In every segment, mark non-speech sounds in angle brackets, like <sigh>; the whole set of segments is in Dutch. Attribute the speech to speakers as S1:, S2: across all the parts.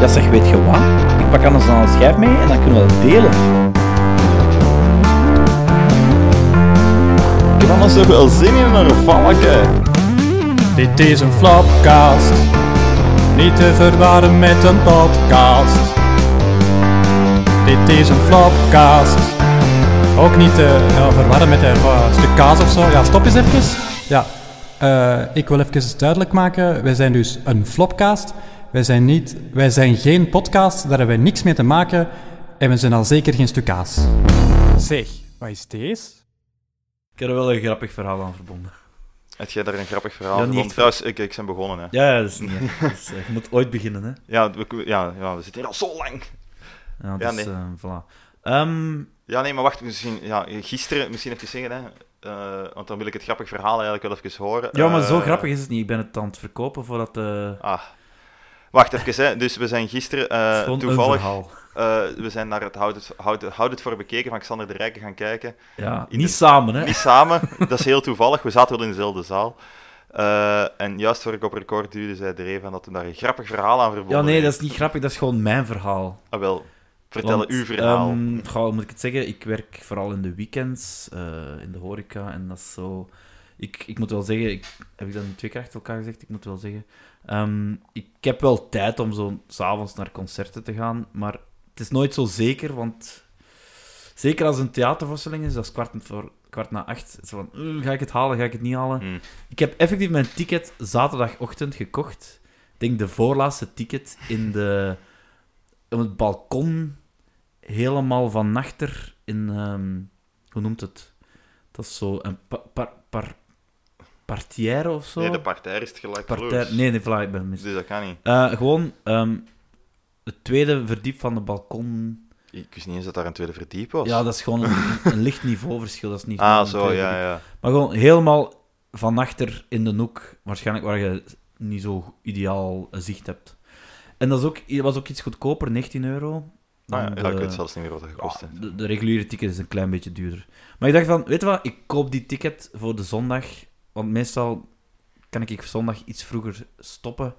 S1: Ja zeg, weet je wat? Ik pak anders dan een schijf mee en dan kunnen we dat delen.
S2: Ik heb anders toch wel zin in een valken.
S3: Dit is een flopcast. Niet te verwarren met een podcast. Dit is een flopcast. Ook niet te ja, verwarren met een eh, stuk kaas of zo. Ja, stop eens even. Ja, eh, ik wil even duidelijk maken. Wij zijn dus een flopcast. Wij zijn, niet, wij zijn geen podcast. Daar hebben wij niks mee te maken. En we zijn al zeker geen stuk kaas. Zeg, wat is deze?
S1: Ik heb er wel een grappig verhaal aan verbonden.
S2: Heb jij daar een grappig
S1: Ja,
S2: verhaal
S1: niet
S2: van?
S1: echt.
S2: Trouwens, ik, ik ben begonnen, hè. Ja,
S1: Ja, ja, dat is niet erg. Dat is, eh, je moet ooit beginnen, hè.
S2: we, ja, ja, we zitten hier al zo lang.
S1: Ja,
S2: Ja,
S1: dus,
S2: nee.
S1: eh, voilà. Ehm,
S2: Ja, nee, maar wacht, misschien... Ja, gisteren, misschien even zeggen, hè. eh, want dan wil ik het grappig verhaal eigenlijk wel even horen.
S1: ja, maar zo
S2: Eh,
S1: grappig is het niet. Ik ben het aan het verkopen voordat... eh
S2: Ah. Wacht even, hè. Dus we zijn gisteren eh,
S1: gewoon een
S2: toevallig...
S1: verhaal.
S2: eh, we zijn naar het Houd het, Houd het- Houd het voor bekeken van Xander de Rijken gaan kijken.
S1: Ja,
S2: in
S1: niet
S2: de-
S1: samen, hè.
S2: Niet
S1: <laughs>
S2: samen, dat is heel toevallig. We zaten wel in dezelfde zaal. Eh, en juist voor ik op record duwde, zei Dre van dat hij daar een grappig verhaal aan verbonden
S1: Ja, nee,
S2: heeft.
S1: dat is niet grappig. Dat is gewoon mijn verhaal.
S2: Ah, wel, vertel
S1: Want,
S2: uw verhaal.
S1: ehm, goh, hoe moet ik het zeggen? Ik werk vooral in de weekends, eh, in de horeca. En dat is zo... Ik, ik moet wel zeggen... Ik, heb ik dat nu twee keer achter elkaar gezegd? Ik moet wel zeggen... ehm, ik heb wel tijd om zo s'avonds naar concerten te gaan. Maar het is nooit zo zeker, want... Zeker als het een theatervoorstelling is, dat is kwart, voor, kwart na acht. Het is van, "Oeh, ga ik het halen, ga ik het niet halen?
S2: Hmm.
S1: Ik heb effectief mijn ticket zaterdagochtend gekocht. Ik denk de voorlaatste ticket in de... Op het balkon, helemaal van nachter in... ehm, hoe noemt het? Dat is zo een pa- par, par, partière of zo?
S2: Nee, de partij is het gelijk.
S1: Partij- nee, nee, voilà, ik ben mis.
S2: Dus dat kan niet.
S1: Eh, gewoon ehm, het tweede verdiep van de balkon.
S2: Ik wist niet eens dat daar een tweede verdiep was.
S1: Ja, dat is gewoon een, een licht niveauverschil. Dat is niet gewoon
S2: ah,
S1: een
S2: zo,
S1: tweede
S2: ja,
S1: verdiep.
S2: ja.
S1: Maar gewoon helemaal van achter in de noek, waarschijnlijk waar je niet zo ideaal zicht hebt. En dat is ook, het was ook iets goedkoper, 19 euro. dan
S2: Ah, ja, ja, ik
S1: de-
S2: weet zelfs niet meer wat dat gekost heeft.
S1: ja, de, de reguliere ticket is een klein beetje duurder. Maar ik dacht van, weet je wat, ik koop die ticket voor de zondag. Want meestal kan ik zondag iets vroeger stoppen.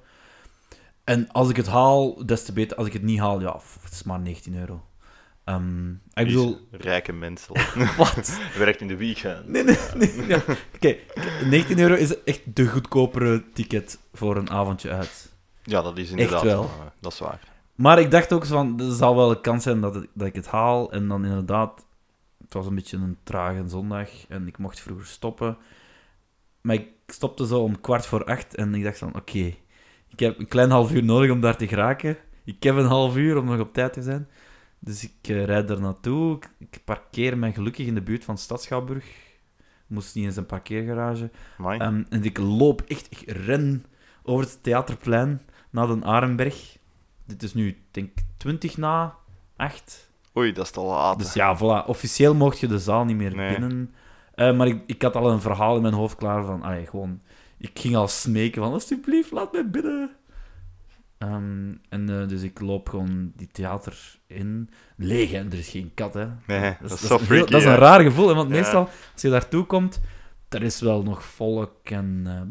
S1: En als ik het haal, des te beter. Als ik het niet haal, ja, f- het is maar 19 euro. Ehm, ik bedoel, <laughs>
S2: Rijke <laughs> mensen.
S1: wat?
S2: Werkt in de weekend.
S1: Nee, nee, nee. ja. Oké, 19 euro is echt de goedkopere ticket voor een avondje uit.
S2: Ja, dat is inderdaad.
S1: wel.
S2: eh, Dat is waar.
S1: Maar ik dacht ook zo van, er zal wel een kans zijn dat, het- dat ik het haal. En dan inderdaad, het was een beetje een trage zondag en ik mocht vroeger stoppen. Maar ik stopte zo om kwart voor acht en ik dacht van, oké, ik heb een klein half uur nodig om daar te geraken. Ik heb een half uur om nog op tijd te zijn. Dus ik eh, rijd daar naartoe. Ik, ik parkeer mij gelukkig in de buurt van Stadschouwburg. Moest niet eens een parkeergarage.
S2: Amai.
S1: Ehm, en ik loop echt, ik ren over het theaterplein naar den Arenberg. Dit is nu, ik denk 20 na 8.
S2: Oei, dat is te laat.
S1: Dus ja, voilà. Officieel mocht je de zaal niet meer
S2: Nee.
S1: binnen. Eh, maar ik, ik had al een verhaal in mijn hoofd klaar van, allee, gewoon, ik ging al smeken van, alsjeblieft, laat mij binnen. Ehm, en eh, dus ik loop gewoon die theater in. Leeg, hè? er is geen kat, hè.
S2: Nee, dat,
S1: Dat
S2: is
S1: is,
S2: zo
S1: dat is een heel-
S2: freaky.
S1: dat is
S2: hè.
S1: een raar gevoel, hè, want
S2: Ja.
S1: meestal, als je daartoe komt, er is wel nog volk en... eh,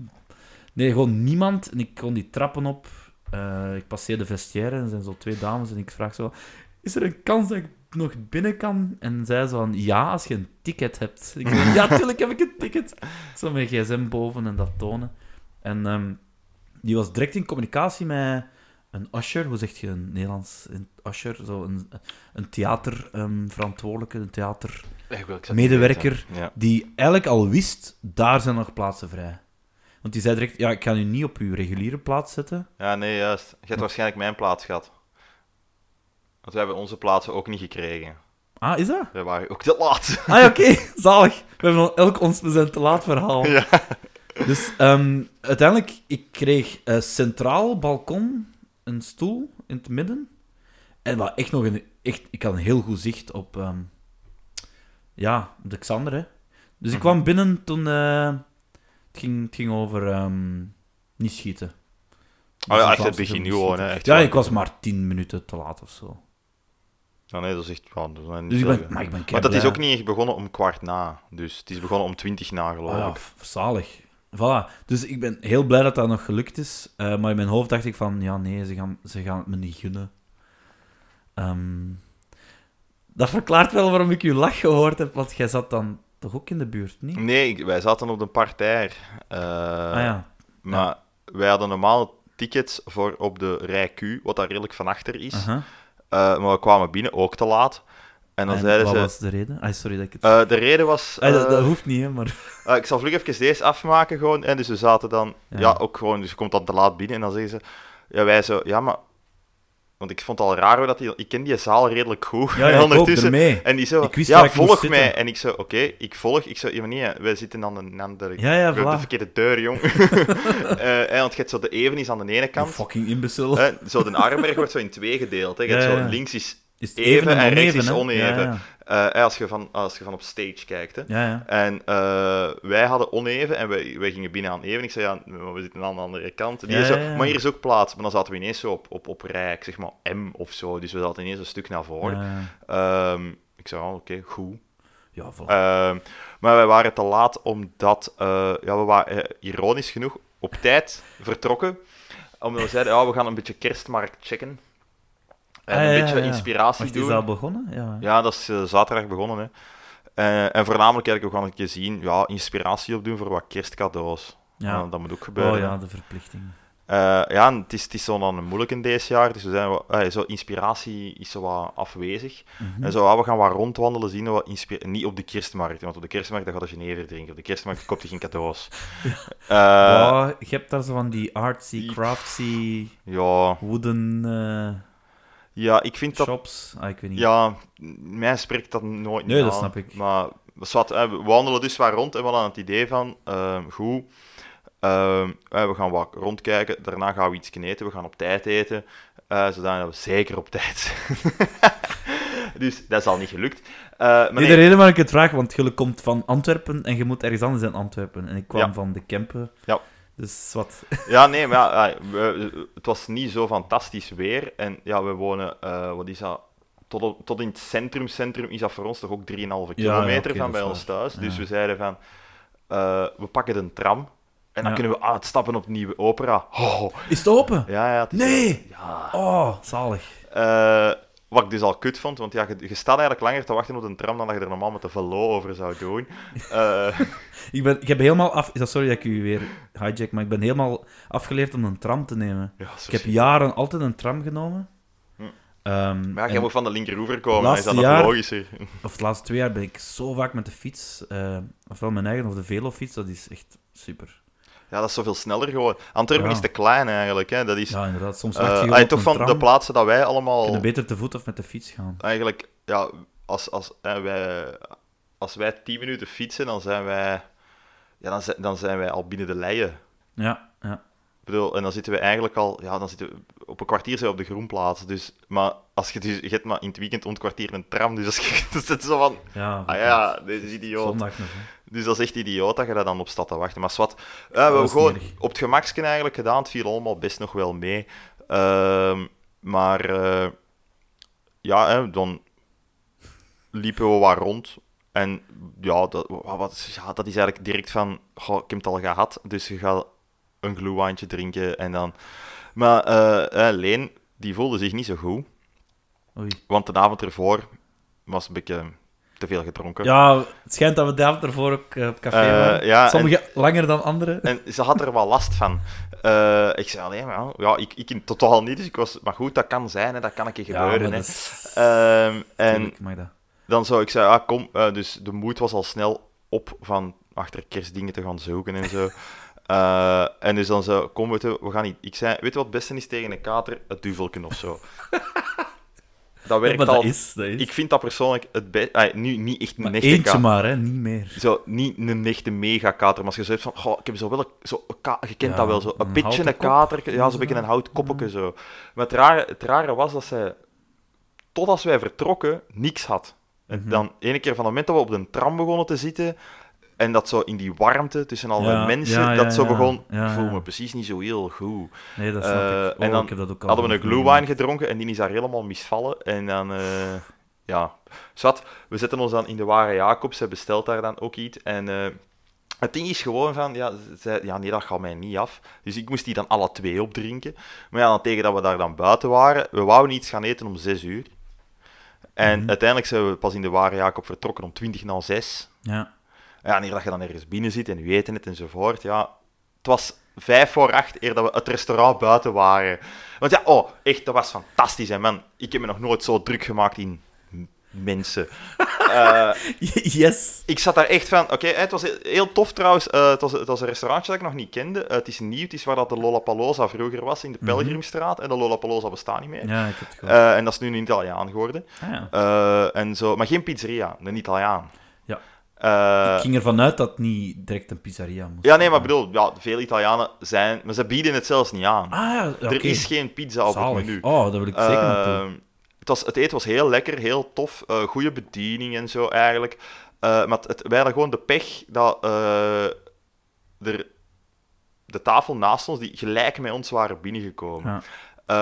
S1: nee, gewoon niemand. En ik kon die trappen op. Eh, ik passeer de vestiaire en er zijn zo twee dames en ik vraag zo... Is er een kans dat ik nog binnen kan? En zij zo van... Ja, als je een ticket hebt. Ik zeg, ja, tuurlijk heb ik een ticket. Zo mijn gsm boven en dat tonen. En ehm, die was direct in communicatie met een usher. Hoe zeg je een Nederlands een usher? Zo een, een theaterverantwoordelijke, een theater
S2: Echt wel, ik zou het
S1: medewerker
S2: niet weten. Ja.
S1: die eigenlijk al wist, daar zijn nog plaatsen vrij. Want die zei direct, ja, ik ga u niet op uw reguliere plaats zetten.
S2: Ja, nee, juist. Je hebt waarschijnlijk mijn plaats gehad. Want we hebben onze plaatsen ook niet gekregen.
S1: Ah, is dat?
S2: We waren ook de laatste.
S1: Ah ja, oké, <laughs> zalig. We hebben al elk ons we zijn te laat verhaal.
S2: Ja.
S1: Dus ehm, uiteindelijk, ik kreeg eh, centraal balkon een stoel in het midden. En wat echt nog een... Echt, ik had een heel goed zicht op... ehm, ja, op de Xander, hè. Dus
S2: Mhm.
S1: ik kwam binnen toen... eh, het, ging, het ging over ehm, niet schieten.
S2: Oh
S1: Dus
S2: ja,
S1: in
S2: echt
S1: plaats
S2: het
S1: van
S2: begin
S1: niet
S2: gewoon.
S1: schieten.
S2: hè, Echt
S1: Ja,
S2: waar.
S1: ik was maar tien minuten te laat of zo.
S2: Ja, nee, dat is echt... Ja, dat is niet
S1: Dus ik ben,
S2: erg.
S1: maar ik ben
S2: Maar dat is
S1: keiblij.
S2: ook niet echt begonnen om kwart na. Dus het is begonnen om twintig na, geloof
S1: Ah ja,
S2: ik.
S1: f- zalig. Voilà. Dus ik ben heel blij dat dat nog gelukt is. Eh, maar in mijn hoofd dacht ik van, ja, nee, ze gaan, ze gaan het me niet gunnen. Ehm, dat verklaart wel waarom ik uw lach gehoord heb, want jij zat dan toch ook in de buurt, niet?
S2: Nee, ik- wij zaten op de parterre. eh,
S1: ah ja.
S2: Maar wij hadden normaal tickets voor op de rij Q, wat daar redelijk van achter is.
S1: aha.
S2: Eh, maar we kwamen binnen, ook te laat. En dan
S1: En
S2: zeiden
S1: wat
S2: ze...
S1: was de reden? Ah, sorry dat ik het...
S2: eh, de reden was...
S1: Ah, dat,
S2: eh,
S1: dat hoeft niet, hè,
S2: <laughs>
S1: maar...
S2: Eh, ik zal vlug even deze afmaken gewoon. En dus we zaten dan,
S1: Ja.
S2: ja, ook gewoon, dus je komt dan te laat binnen en dan zeggen ze, ja, wij zo, ja, maar, want ik vond het al raar hoe dat die, ik ken die zaal redelijk goed.
S1: Ja,
S2: en <laughs>
S1: ja, ik ook, ermee.
S2: en die zo,
S1: Ik wist waar
S2: ja,
S1: ik moest
S2: volg
S1: zitten.
S2: mij. En ik zo, oké, ik volg. Ik zo, ja, maar nee, wij zitten aan een andere,
S1: Ja, ja,
S2: op de
S1: voilà.
S2: verkeerde deur, jong. <laughs> Eh, eh, want je hebt zo de evenis aan de ene
S1: Een
S2: kant.
S1: <laughs> fucking imbecil.
S2: Eh, zo, de Armberg wordt zo in twee gedeeld. Hè. Je
S1: Ja,
S2: hebt zo,
S1: ja.
S2: links is...
S1: Is het
S2: even en rechts
S1: oneven,
S2: is
S1: hè?
S2: oneven.
S1: Ja,
S2: eh, eh, als, je van, als je van op stage kijkt, hè.
S1: ja. ja, ja.
S2: En eh, wij hadden oneven en wij, wij gingen binnen aan even. Ik zei, ja, maar we zitten aan de andere kant. Die
S1: Ja,
S2: zo,
S1: ja, ja.
S2: Maar hier is ook plaats. Maar dan zaten we ineens zo op, op, op rij, ik zeg maar M of zo. Dus we zaten ineens een stuk naar voren.
S1: Ja, ja.
S2: Ehm, ik zei, oh, oké, goed.
S1: Eh, Ja, voilà.
S2: Ehm, maar wij waren te laat omdat eh, ja, we waren eh, ironisch genoeg op tijd vertrokken. Omdat we zeiden, ja, we gaan een beetje kerstmarkt checken. En
S1: Ah,
S2: een
S1: ja,
S2: beetje
S1: ja, ja.
S2: inspiratie
S1: Wacht,
S2: doen.
S1: is dat al begonnen? Ja.
S2: Ja, dat is eh, zaterdag begonnen. Hè. Eh, en voornamelijk eigenlijk ook gewoon een keer zien, ja, inspiratie opdoen voor wat kerstcadeaus.
S1: Ja.
S2: Eh, dat moet ook gebeuren.
S1: Oh
S2: hè.
S1: ja, de verplichting.
S2: Eh, ja, en het is, het is zo dan een moeilijke deze jaar, dus we zijn wat- eh, zo, inspiratie is zo wat afwezig.
S1: Mhm.
S2: En zo, ah, we gaan wat rondwandelen, zien wat inspi- Niet op de kerstmarkt, want op de kerstmarkt dan gaat je never drinken. Op de kerstmarkt koopt je geen cadeaus. Eh,
S1: Oh, je hebt daar zo van die artsy, craftsy,
S2: ja.
S1: wooden eh,
S2: ja, ik vind dat
S1: shops. Ah, ik weet niet.
S2: Ja, m- mij spreekt dat nooit
S1: Nee,
S2: aan.
S1: dat snap ik.
S2: Maar zwart, hè, we wandelen dus waar rond en we hadden het idee van, ehm, goed, ehm, hè, we gaan wat rondkijken, daarna gaan we iets eten, we gaan op tijd eten, eh, zodat we zeker op tijd <laughs> zijn. dus dat is al niet gelukt. Eh, maar
S1: Nee,
S2: nee,
S1: de reden waarom ik het vraag, want je komt van Antwerpen en je moet ergens anders in Antwerpen. En ik kwam
S2: Ja.
S1: van de Kempen.
S2: Ja.
S1: Dus wat. <laughs>
S2: Ja, nee, maar ja, ja, we- het was niet zo fantastisch weer. En ja, we wonen, eh, wat is dat? Tot, op- tot in het centrum, centrum is dat voor ons toch ook 3,5
S1: ja,
S2: kilometer
S1: oké,
S2: van
S1: dat
S2: bij
S1: is
S2: ons
S1: waar.
S2: thuis. Dus
S1: Ja.
S2: we zeiden van, eh, we pakken een tram. En
S1: Ja.
S2: dan kunnen we uitstappen op Nieuwe Opera. Oh,
S1: Is het open?
S2: ja, ja. het is-
S1: Nee!
S2: Ja.
S1: Oh, zalig.
S2: Eh, wat ik dus al kut vond, want ja, je, je staat eigenlijk langer te wachten op een tram dan dat je er normaal met de velo over zou doen. Eh, <laughs>
S1: Ik, ben, ik heb helemaal af. is dat- Sorry dat ik u weer hijack, maar ik ben helemaal afgeleerd om een tram te nemen.
S2: ja,
S1: Ik heb jaren altijd een tram genomen.
S2: Hm.
S1: Ehm,
S2: maar ja, jij
S1: en-
S2: moet van de linkeroever komen, dan is
S1: Laatste
S2: dat nog
S1: jaar-
S2: logischer.
S1: of de laatste twee jaar ben ik zo vaak met de fiets, eh, ofwel mijn eigen of de velofiets, dat is echt super.
S2: Ja, dat is zoveel sneller gewoon. Antwerpen
S1: Ja.
S2: is te klein eigenlijk. Hè. Dat is,
S1: Ja, inderdaad. Soms wacht
S2: eh,
S1: je gewoon
S2: allee,
S1: op
S2: toch
S1: een
S2: van
S1: tram,
S2: de plaatsen dat wij allemaal
S1: kunnen beter te voet of met de fiets gaan.
S2: eigenlijk, ja, als, als, hè, wij, als wij 10 minuten fietsen, dan zijn wij, ja, dan zijn, dan zijn wij al binnen de leien.
S1: Ja, ja.
S2: Ik bedoel, en dan zitten we eigenlijk al, ja, dan zitten we, op een kwartier zijn we op de groenplaats. Dus, maar als je, dus, je hebt maar in het weekend om het kwartier een tram, dus als je <laughs> dan zit je zo van,
S1: ja
S2: ah ja, deze is idioot.
S1: Zondag nog. hè.
S2: <laughs> Dus dat is echt idioot dat je daar dan op staat te wachten. Maar zwart, eh, we
S1: dat
S2: hebben
S1: is
S2: gewoon
S1: smerig.
S2: op het gemakje eigenlijk gedaan. Het viel allemaal best nog wel mee. Ehm, maar eh, ja, hè, dan liepen we wat rond. En ja, dat, wa- wat, ja, dat is eigenlijk direct van, goh, ik heb het al gehad, dus je gaat een glühwijntje drinken en dan... Maar eh, eh, Leen, die voelde zich niet zo goed,
S1: Oei.
S2: want de avond ervoor was een beetje te veel gedronken.
S1: Ja, het schijnt dat we de avond ervoor ook eh, op café
S2: Eh,
S1: waren.
S2: ja,
S1: Sommige langer dan anderen.
S2: En ze had er wel last van. Eh, ik zei alleen maar, ja, ik, ik in totaal niet, dus ik was, maar goed, dat kan zijn, hè, dat kan een keer
S1: maar
S2: gebeuren. hè.
S1: dat is-
S2: Ehm, en
S1: Tuurlijk mag dat.
S2: dan zou ik zeggen, ah, kom, eh, dus de moed was al snel op van achter kerstdingen te gaan zoeken en
S1: <laughs>
S2: zo. Eh, en dus dan zo, kom, weet je, we gaan niet. Ik zei, weet je wat het beste is tegen een kater? Het duvelken of
S1: <laughs>
S2: zo. dat
S1: Ja,
S2: werkt
S1: maar
S2: al.
S1: dat is, dat is.
S2: Ik vind dat persoonlijk het beste. nu niet echt
S1: maar
S2: een echte
S1: eentje
S2: kater.
S1: maar, hè, niet meer.
S2: Zo, niet een echte megakater, maar als je zo hebt van, goh, ik heb zo wel een, zo, een ka- je kent
S1: Ja,
S2: dat wel, zo,
S1: een
S2: een beetje
S1: houten
S2: een
S1: kop.
S2: kater, ja, zo'n beetje een hout koppetje zo. Maar het rare, het rare was dat zij, totdat wij vertrokken, niks had. En
S1: Mhm.
S2: dan, ene keer van het moment dat we op de tram begonnen te zitten, en dat zo in die warmte tussen al die
S1: Ja,
S2: mensen,
S1: ja, ja,
S2: dat zo
S1: ja.
S2: begon,
S1: Ja,
S2: ik voel
S1: ja.
S2: me precies niet zo heel goed.
S1: Nee, dat snap
S2: Eh,
S1: ik. Oh,
S2: en dan
S1: ik heb dat ook al
S2: Hadden we een glue
S1: meegemaakt.
S2: wine gedronken en die is daar helemaal misvallen. En dan, eh, ja. Zat, we zetten ons dan in de ware Jacobs. Ze bestelt daar dan ook iets. En eh, Het ding is gewoon van, ja, ze zei, ja, nee, dat gaat mij niet af. Dus ik moest die dan alle twee opdrinken. Maar ja, dan tegen dat we daar dan buiten waren, we wouden iets gaan eten om zes uur. En
S1: Mhm.
S2: uiteindelijk zijn we pas in de ware Jacob vertrokken om twintig na zes. <laughs>
S1: Ja.
S2: Ja, en eer dat je dan ergens binnen zit en je weet het enzovoort, ja. Het was vijf voor acht eer dat we het restaurant buiten waren. Want ja, oh, echt, dat was fantastisch, hè, man. Ik heb me nog nooit zo druk gemaakt in m- mensen.
S1: Yes.
S2: Ik zat daar echt van... Oké, hè, het was he- heel tof trouwens. Eh, het, was, het was een restaurantje dat ik nog niet kende. Eh, het is nieuw. Het is waar dat de Lollapalooza vroeger was, in de Pelgrimstraat. En de Lollapalooza bestaat niet meer.
S1: Mhm. Ja, ik heb het gehoord.
S2: Eh, en dat is nu een Italiaan geworden.
S1: Ah, ja.
S2: Eh, en zo, maar geen pizzeria, een Italiaan.
S1: Ja.
S2: Eh,
S1: ik ging ervan uit dat het niet direct een pizzeria moest
S2: ja, nee, maar ik
S1: zijn.
S2: bedoel, ja, veel Italianen zijn... Maar ze bieden het zelfs niet aan.
S1: Ah ja, oké.
S2: Er is geen pizza op
S1: Zalig.
S2: het menu.
S1: Oh, daar wil ik zeker naartoe.
S2: Ehm, het, was, het eten was heel lekker, heel tof. eh goede bediening en zo eigenlijk. Eh, maar het, het- wij hadden gewoon de pech dat eh, er, de tafel naast ons, die gelijk met ons waren binnengekomen.
S1: Ja.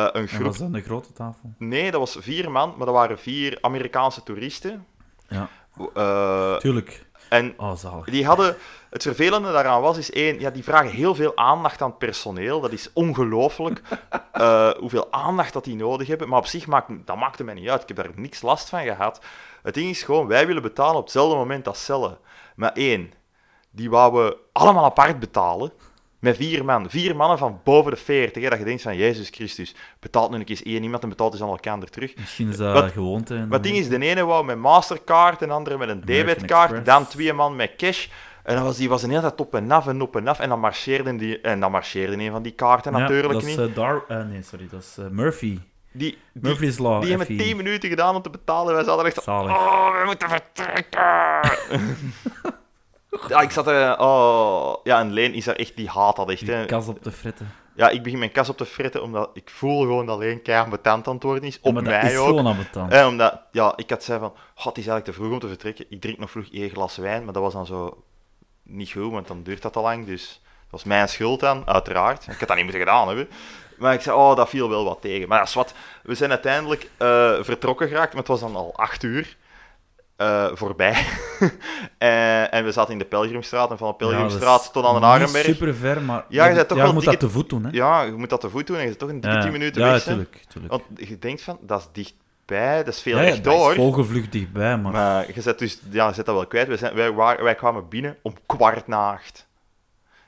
S2: Eh, een
S1: En
S2: groep.
S1: was dat een grote tafel?
S2: Nee, dat was vier man, maar dat waren vier Amerikaanse toeristen.
S1: Ja.
S2: Eh,
S1: Tuurlijk.
S2: en
S1: Oh, zalig.
S2: die hadden. Het vervelende daaraan was, is één, ja, die vragen heel veel aandacht aan het personeel. Dat is ongelooflijk eh, hoeveel aandacht dat die nodig hebben. Maar op zich maakt, dat maakte mij niet uit. Ik heb daar niks last van gehad. Het ding is gewoon, wij willen betalen op hetzelfde moment als cellen. Maar één, die wouden we allemaal apart betalen. Met vier man. Vier mannen van boven de 40. Hè, dat je denkt van, Jezus Christus, betaalt nu een keer één iemand en betaalt dus allemaal elkaar terug.
S1: Misschien is dat
S2: Wat-
S1: gewoonte. en
S2: Maar het ding is, de ene wou met Mastercard, en de andere met een
S1: Mhm. American
S2: debitkaart,
S1: Express.
S2: dan twee man met cash. En dan was die was de hele tijd op en af en op en af. En dan marcheerde, die, en dan marcheerde een van die kaarten
S1: Ja,
S2: natuurlijk
S1: dat is,
S2: niet.
S1: eh, Dar- eh, nee, sorry, dat is eh, Murphy.
S2: Die, die,
S1: Murphy's Law. E.
S2: die hebben
S1: FI.
S2: 10 minuten gedaan om te betalen. Wij zaten echt zo,
S1: Zalig.
S2: oh, we moeten
S1: <laughs>
S2: vertrekken. ja, ik zat er, oh. Ja, en Leen is daar echt, die haat dat echt. Hè.
S1: Die kas op de fritten.
S2: Ja, ik begin mijn kas op te fritten, omdat ik voel gewoon dat Leen keihard betaald aan het worden is. Op
S1: maar dat
S2: mij
S1: is
S2: ook.
S1: gewoon ambetant.
S2: Eh, omdat, ja, ik had zei van, "Goh, het is eigenlijk te vroeg om te vertrekken. Ik drink nog vroeg één glas wijn, maar dat was dan zo niet goed, want dan duurt dat te lang. Dus dat was mijn schuld dan, uiteraard. Ik had dat niet moeten gedaan hebben. Maar ik zei, oh, dat viel wel wat tegen. Maar ja, zwart, we zijn uiteindelijk eh, vertrokken geraakt, maar het was dan al acht uur eh, voorbij. <laughs> Eh, en we zaten in de Pelgrimstraat, en van de Pelgrimstraat tot aan de Arenberg.
S1: Super ver, maar
S2: Ja, je bent toch wel
S1: moet
S2: dikke-
S1: dat te voet doen, hè?
S2: Ja, je moet dat te voet doen en je zit toch een dikke
S1: Ja.
S2: tien minuten
S1: Ja,
S2: weg. hè.
S1: tuurlijk. tuurlijk.
S2: Want je denkt van, dat is dichtbij, dat is veel
S1: ja, ja, dat
S2: rechtdoor.
S1: is vogelvlucht dichtbij, maar...
S2: Maar je zet, dus, ja, je zet dat wel kwijt. Wij, zijn, wij, waren- wij kwamen binnen om kwart na acht.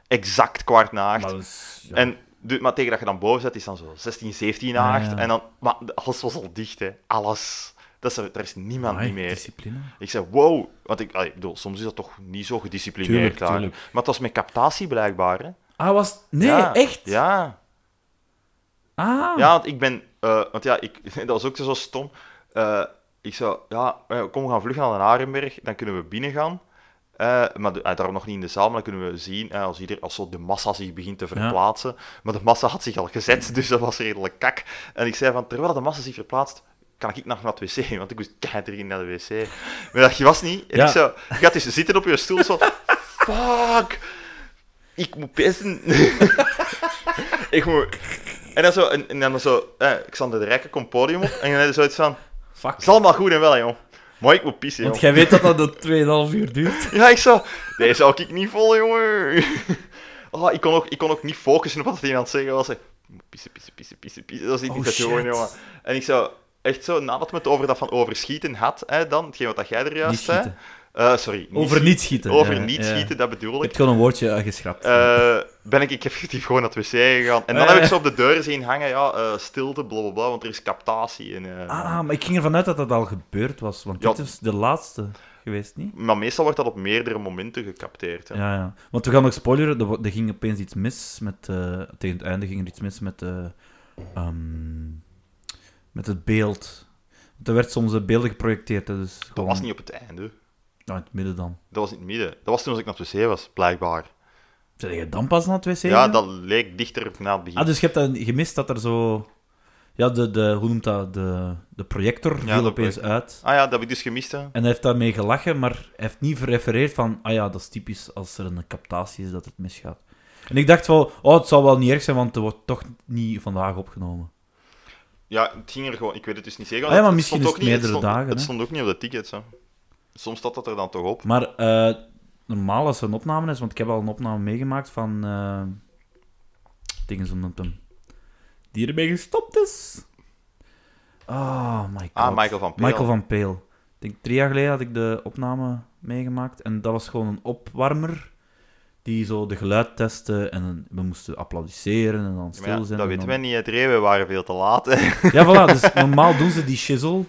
S2: Exact kwart na acht.
S1: maar dat is- ja.
S2: en, du- maar tegen dat je dan boven zet, is dan zo 16, 17 na
S1: Ja,
S2: acht.
S1: ja.
S2: En dan, maar alles was al dicht, hè. Alles. Dat is, er er is niemand
S1: Amai,
S2: niet meer.
S1: Discipline.
S2: Ik zei, wow. Want ik, ah, ik bedoel, soms is dat toch niet zo gedisciplineerd
S1: Tuurlijk,
S2: daar.
S1: tuurlijk.
S2: Maar het was met captatie blijkbaar, hè.
S1: Ah, was... Nee,
S2: Ja,
S1: echt?
S2: Ja.
S1: Ah.
S2: Ja, want ik ben... eh, want ja, ik, <laughs> dat was ook zo stom. Eh, ik zou... Ja, eh, kom, we gaan vlug naar Den Arenberg. Dan kunnen we binnen gaan. Eh, maar de- eh, daarom nog niet in de zaal, maar dan kunnen we zien eh, als, ieder, als zo de massa zich begint te verplaatsen. Maar de massa had zich al gezet, <laughs> dus dat was redelijk kak. En ik zei van, terwijl de massa zich verplaatst, kan ik nog naar het wc, <laughs> want ik moest keihard erin naar de wc. Maar dat was niet. En
S1: Ja.
S2: ik zou, je gaat dus zitten op je stoel, zo, fuck, ik moet pissen. <laughs> ik moet... En dan zo, en, en dan zo, eh, Xander de Rijken komt podium op, en dan heb je zoiets van,
S1: Fuck.
S2: is allemaal goed en wel, joh. Maar ik moet pissen, joh.
S1: Want jij weet dat dat de 2,5 uur duurt. <laughs>
S2: Ja, ik zo. Deze zou ik niet vol, jongen. <laughs> Oh, ik, kon ook, ik kon ook niet focussen op wat hij aan het zeggen was. Ik moet Pissen, pissen, pissen, pissen, pissen. Dat is niet
S1: Oh,
S2: dat
S1: shit.
S2: jongen, jongen. En ik zo, echt zo, nadat we het over dat van overschieten had, hè, dan, hetgeen wat dat jij er
S1: Niet
S2: juist zei.
S1: schieten.
S2: Eh, sorry.
S1: Over
S2: schieten.
S1: niet schieten.
S2: Over
S1: ja,
S2: niet
S1: ja.
S2: schieten, dat bedoel
S1: Ik
S2: ik.
S1: heb gewoon een woordje eh, geschrapt.
S2: Eh, ben ik, ik effectief gewoon naar het wc gegaan. En dan
S1: Eh.
S2: heb ik ze op de deur zien hangen, ja, eh, stilte, blablabla, want er is captatie. En, eh,
S1: Ah, maar ik ging ervan uit dat dat al gebeurd was, want
S2: Ja.
S1: dit is de laatste geweest, niet?
S2: Maar meestal wordt dat op meerdere momenten gecapteerd. hè.
S1: Ja, ja. Want we gaan nog spoileren, er, wo- er ging opeens iets mis met... eh, tegen het einde ging er iets mis met... eh, ehm, met het beeld. Want er werd soms eh, beelden geprojecteerd, hè, dus
S2: Dat
S1: gewoon...
S2: was niet op het einde.
S1: Ah, in het midden dan.
S2: Dat was in het midden. Dat was toen als ik naar het wc was, blijkbaar.
S1: Zijn je dan pas naar het wc
S2: Ja,
S1: gegaan?
S2: dat leek dichter na het begin.
S1: Ah, dus je hebt dan gemist dat er zo... Ja, de, de, hoe noemt dat? De, de projector viel
S2: de
S1: opeens
S2: projector.
S1: uit.
S2: Ah ja, dat heb ik dus gemist. Hè.
S1: En hij heeft daarmee gelachen, maar hij heeft niet gerefereerd van... Ah ja, dat is typisch als er een captatie is dat het misgaat. En ik dacht wel, oh, het zal wel niet erg zijn, want het wordt toch niet vandaag opgenomen.
S2: Ja, het ging er gewoon, ik weet het dus niet zeker.
S1: Ah ja, maar
S2: het
S1: misschien
S2: stond
S1: is
S2: ook
S1: het
S2: niet-
S1: meerdere
S2: stond-
S1: dagen,
S2: Het
S1: hè.
S2: stond ook niet op de tickets. Hè. Soms staat dat er dan toch op.
S1: Maar eh, normaal als er een opname is, want ik heb al een opname meegemaakt van. eh dingen zo noemt hem. Die ermee gestopt is. Oh my god.
S2: Ah, Michael van Peel.
S1: Michael van Peel. Ik denk drie jaar geleden had ik de opname meegemaakt. En dat was gewoon een opwarmer. Die zo de geluid testte. En we mosten applaudisseren en dan
S2: Ja,
S1: stil
S2: maar ja,
S1: zijn. en
S2: dat weten
S1: dan-
S2: we niet, het reden, we waren veel te laat. hè.
S1: ja, voilà. Dus normaal doen ze die shizzle.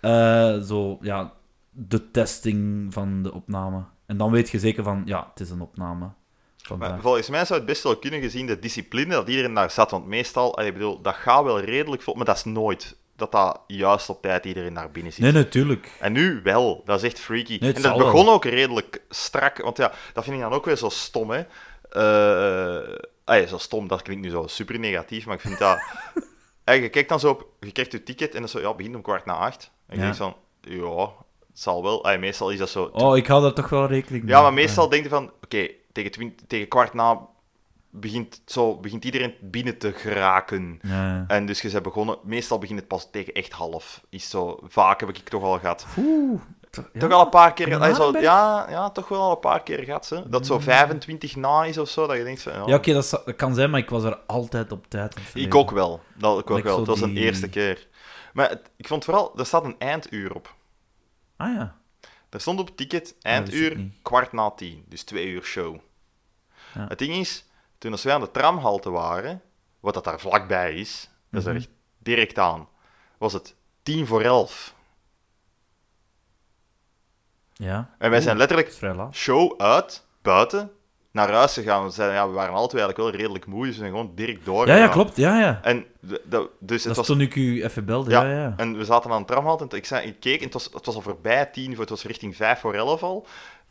S1: eh, zo, ja, de testing van de opname. En dan weet je zeker van, ja, het is een opname.
S2: Maar
S1: Vandaag.
S2: volgens mij zou het best wel kunnen gezien de discipline dat iedereen daar zat. Want meestal, allee, ik bedoel, dat gaat wel redelijk vlot, maar dat is nooit dat dat juist op tijd iedereen naar binnen zit.
S1: Nee, natuurlijk.
S2: En nu wel, dat is echt freaky.
S1: Nee, het
S2: en dat
S1: zal wel.
S2: begon ook redelijk strak, want ja, dat vind ik dan ook weer zo stom, hè. Eh, ah ja, zo stom, dat klinkt nu zo super negatief, maar ik vind
S1: <laughs>
S2: dat... en je kijkt dan zo op, je krijgt je ticket en dat is zo, ja, het begint om kwart na acht. En je
S1: Ja.
S2: denkt van, ja, het zal wel. Ah, meestal is dat zo...
S1: Oh, ik hou daar toch wel rekening mee.
S2: Ja, maar meestal denk je van, oké, tegen, twin- tegen kwart na begint, zo, begint iedereen binnen te geraken.
S1: Ja, ja.
S2: En dus je bent begonnen, meestal begint het pas tegen echt half. Is zo, vaak heb ik het toch al gehad.
S1: Oeh. toch- ja.
S2: Toch al een paar keer.
S1: In
S2: dat is al-
S1: Hardenberg?
S2: ja, ja, toch wel al een paar keer gehad. Hè? Dat zo 25 na is of zo. Dat je denkt van, ja,
S1: Mm. Ja, oké, dat, zou- dat kan zijn, maar ik was er altijd op tijd. in het
S2: ik
S1: verleden.
S2: ook wel. Dat, ik ook
S1: Like
S2: wel.
S1: zo
S2: Het was een
S1: die-
S2: eerste keer. Maar het- ik vond vooral, er staat een einduur op.
S1: Ah ja.
S2: Er stond op het ticket
S1: wist
S2: einduur
S1: ik niet.
S2: kwart na tien. Dus twee uur show.
S1: Ja.
S2: Het ding is, toen als wij aan de tramhalte waren, wat dat daar vlakbij is, dat
S1: Mhm.
S2: is er echt direct aan, was het tien voor elf.
S1: Ja,
S2: En wij zijn letterlijk
S1: dat is vrij laat.
S2: show uit, buiten, naar huis gegaan. We, zeiden, ja, we waren altijd eigenlijk wel redelijk moe, dus we zijn gewoon direct door.
S1: Ja, ja,
S2: gegaan.
S1: klopt. Ja, ja.
S2: En de- de-
S1: Dat
S2: dus het
S1: is
S2: was...
S1: toen ik u even belde.
S2: ja,
S1: Ja, ja.
S2: en we zaten aan de tramhalte en ik, zei, ik keek en het was, het was al voorbij tien, voor- het was richting vijf voor elf al.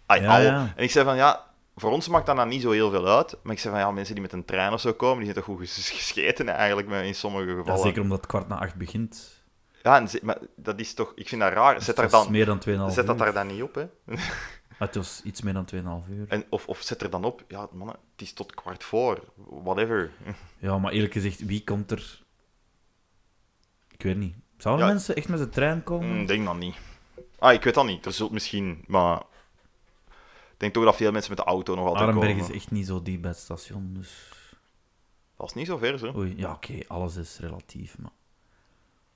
S2: Ai,
S1: Ja,
S2: al.
S1: ja.
S2: En ik zei van, ja, voor ons maakt dat dan niet zo heel veel uit. Maar ik zei van, ja, mensen die met een trein of zo komen, die zijn toch goed ges- gescheten eigenlijk maar in sommige
S1: Ja,
S2: gevallen.
S1: zeker omdat het kwart na acht begint.
S2: Ja, en ze- maar dat is toch... Ik vind dat raar. Zet, daar
S1: Dat is
S2: dan,
S1: meer dan 2,5 uur.
S2: zet dat daar dan niet op, hè.
S1: Ah, Het was iets meer dan 2,5 uur.
S2: En, of, of zet er dan op, ja, mannen, het is tot kwart voor, whatever.
S1: Ja, maar eerlijk gezegd, wie komt er? Ik weet niet. Zouden
S2: Ja. Mm,
S1: mensen echt met de trein komen?
S2: Ik Hmm, denk dat niet. Ah, ik weet dat niet. Er zult misschien, maar... Ik denk toch dat veel mensen met de auto nog altijd
S1: Arenberg
S2: komen.
S1: is echt niet zo diep bij het station, dus...
S2: Dat is niet zo ver, zo. Ik
S1: Oei, ja, oké, alles is relatief, maar...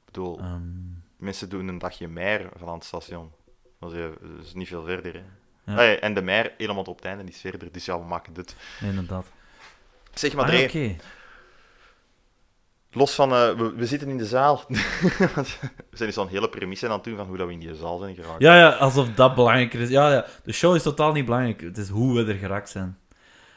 S2: bedoel,
S1: ehm,
S2: mensen doen een dagje meer van aan het station. Dat is, eh, dat is niet veel verder, hè.
S1: Ja.
S2: Allee, en de meer helemaal tot op het einde is verder, dus ja, we maken dit.
S1: nee, inderdaad.
S2: Zeg maar,
S1: Maar
S2: Dre,
S1: Ah, oké.
S2: los van... eh, we, we zitten in de zaal. <laughs> Want we zijn dus al een hele premisse aan het doen van hoe dat we in die zaal zijn geraakt.
S1: Ja, ja, alsof dat belangrijker is. Ja, ja, de show is totaal niet belangrijk. Het is hoe we er geraakt zijn.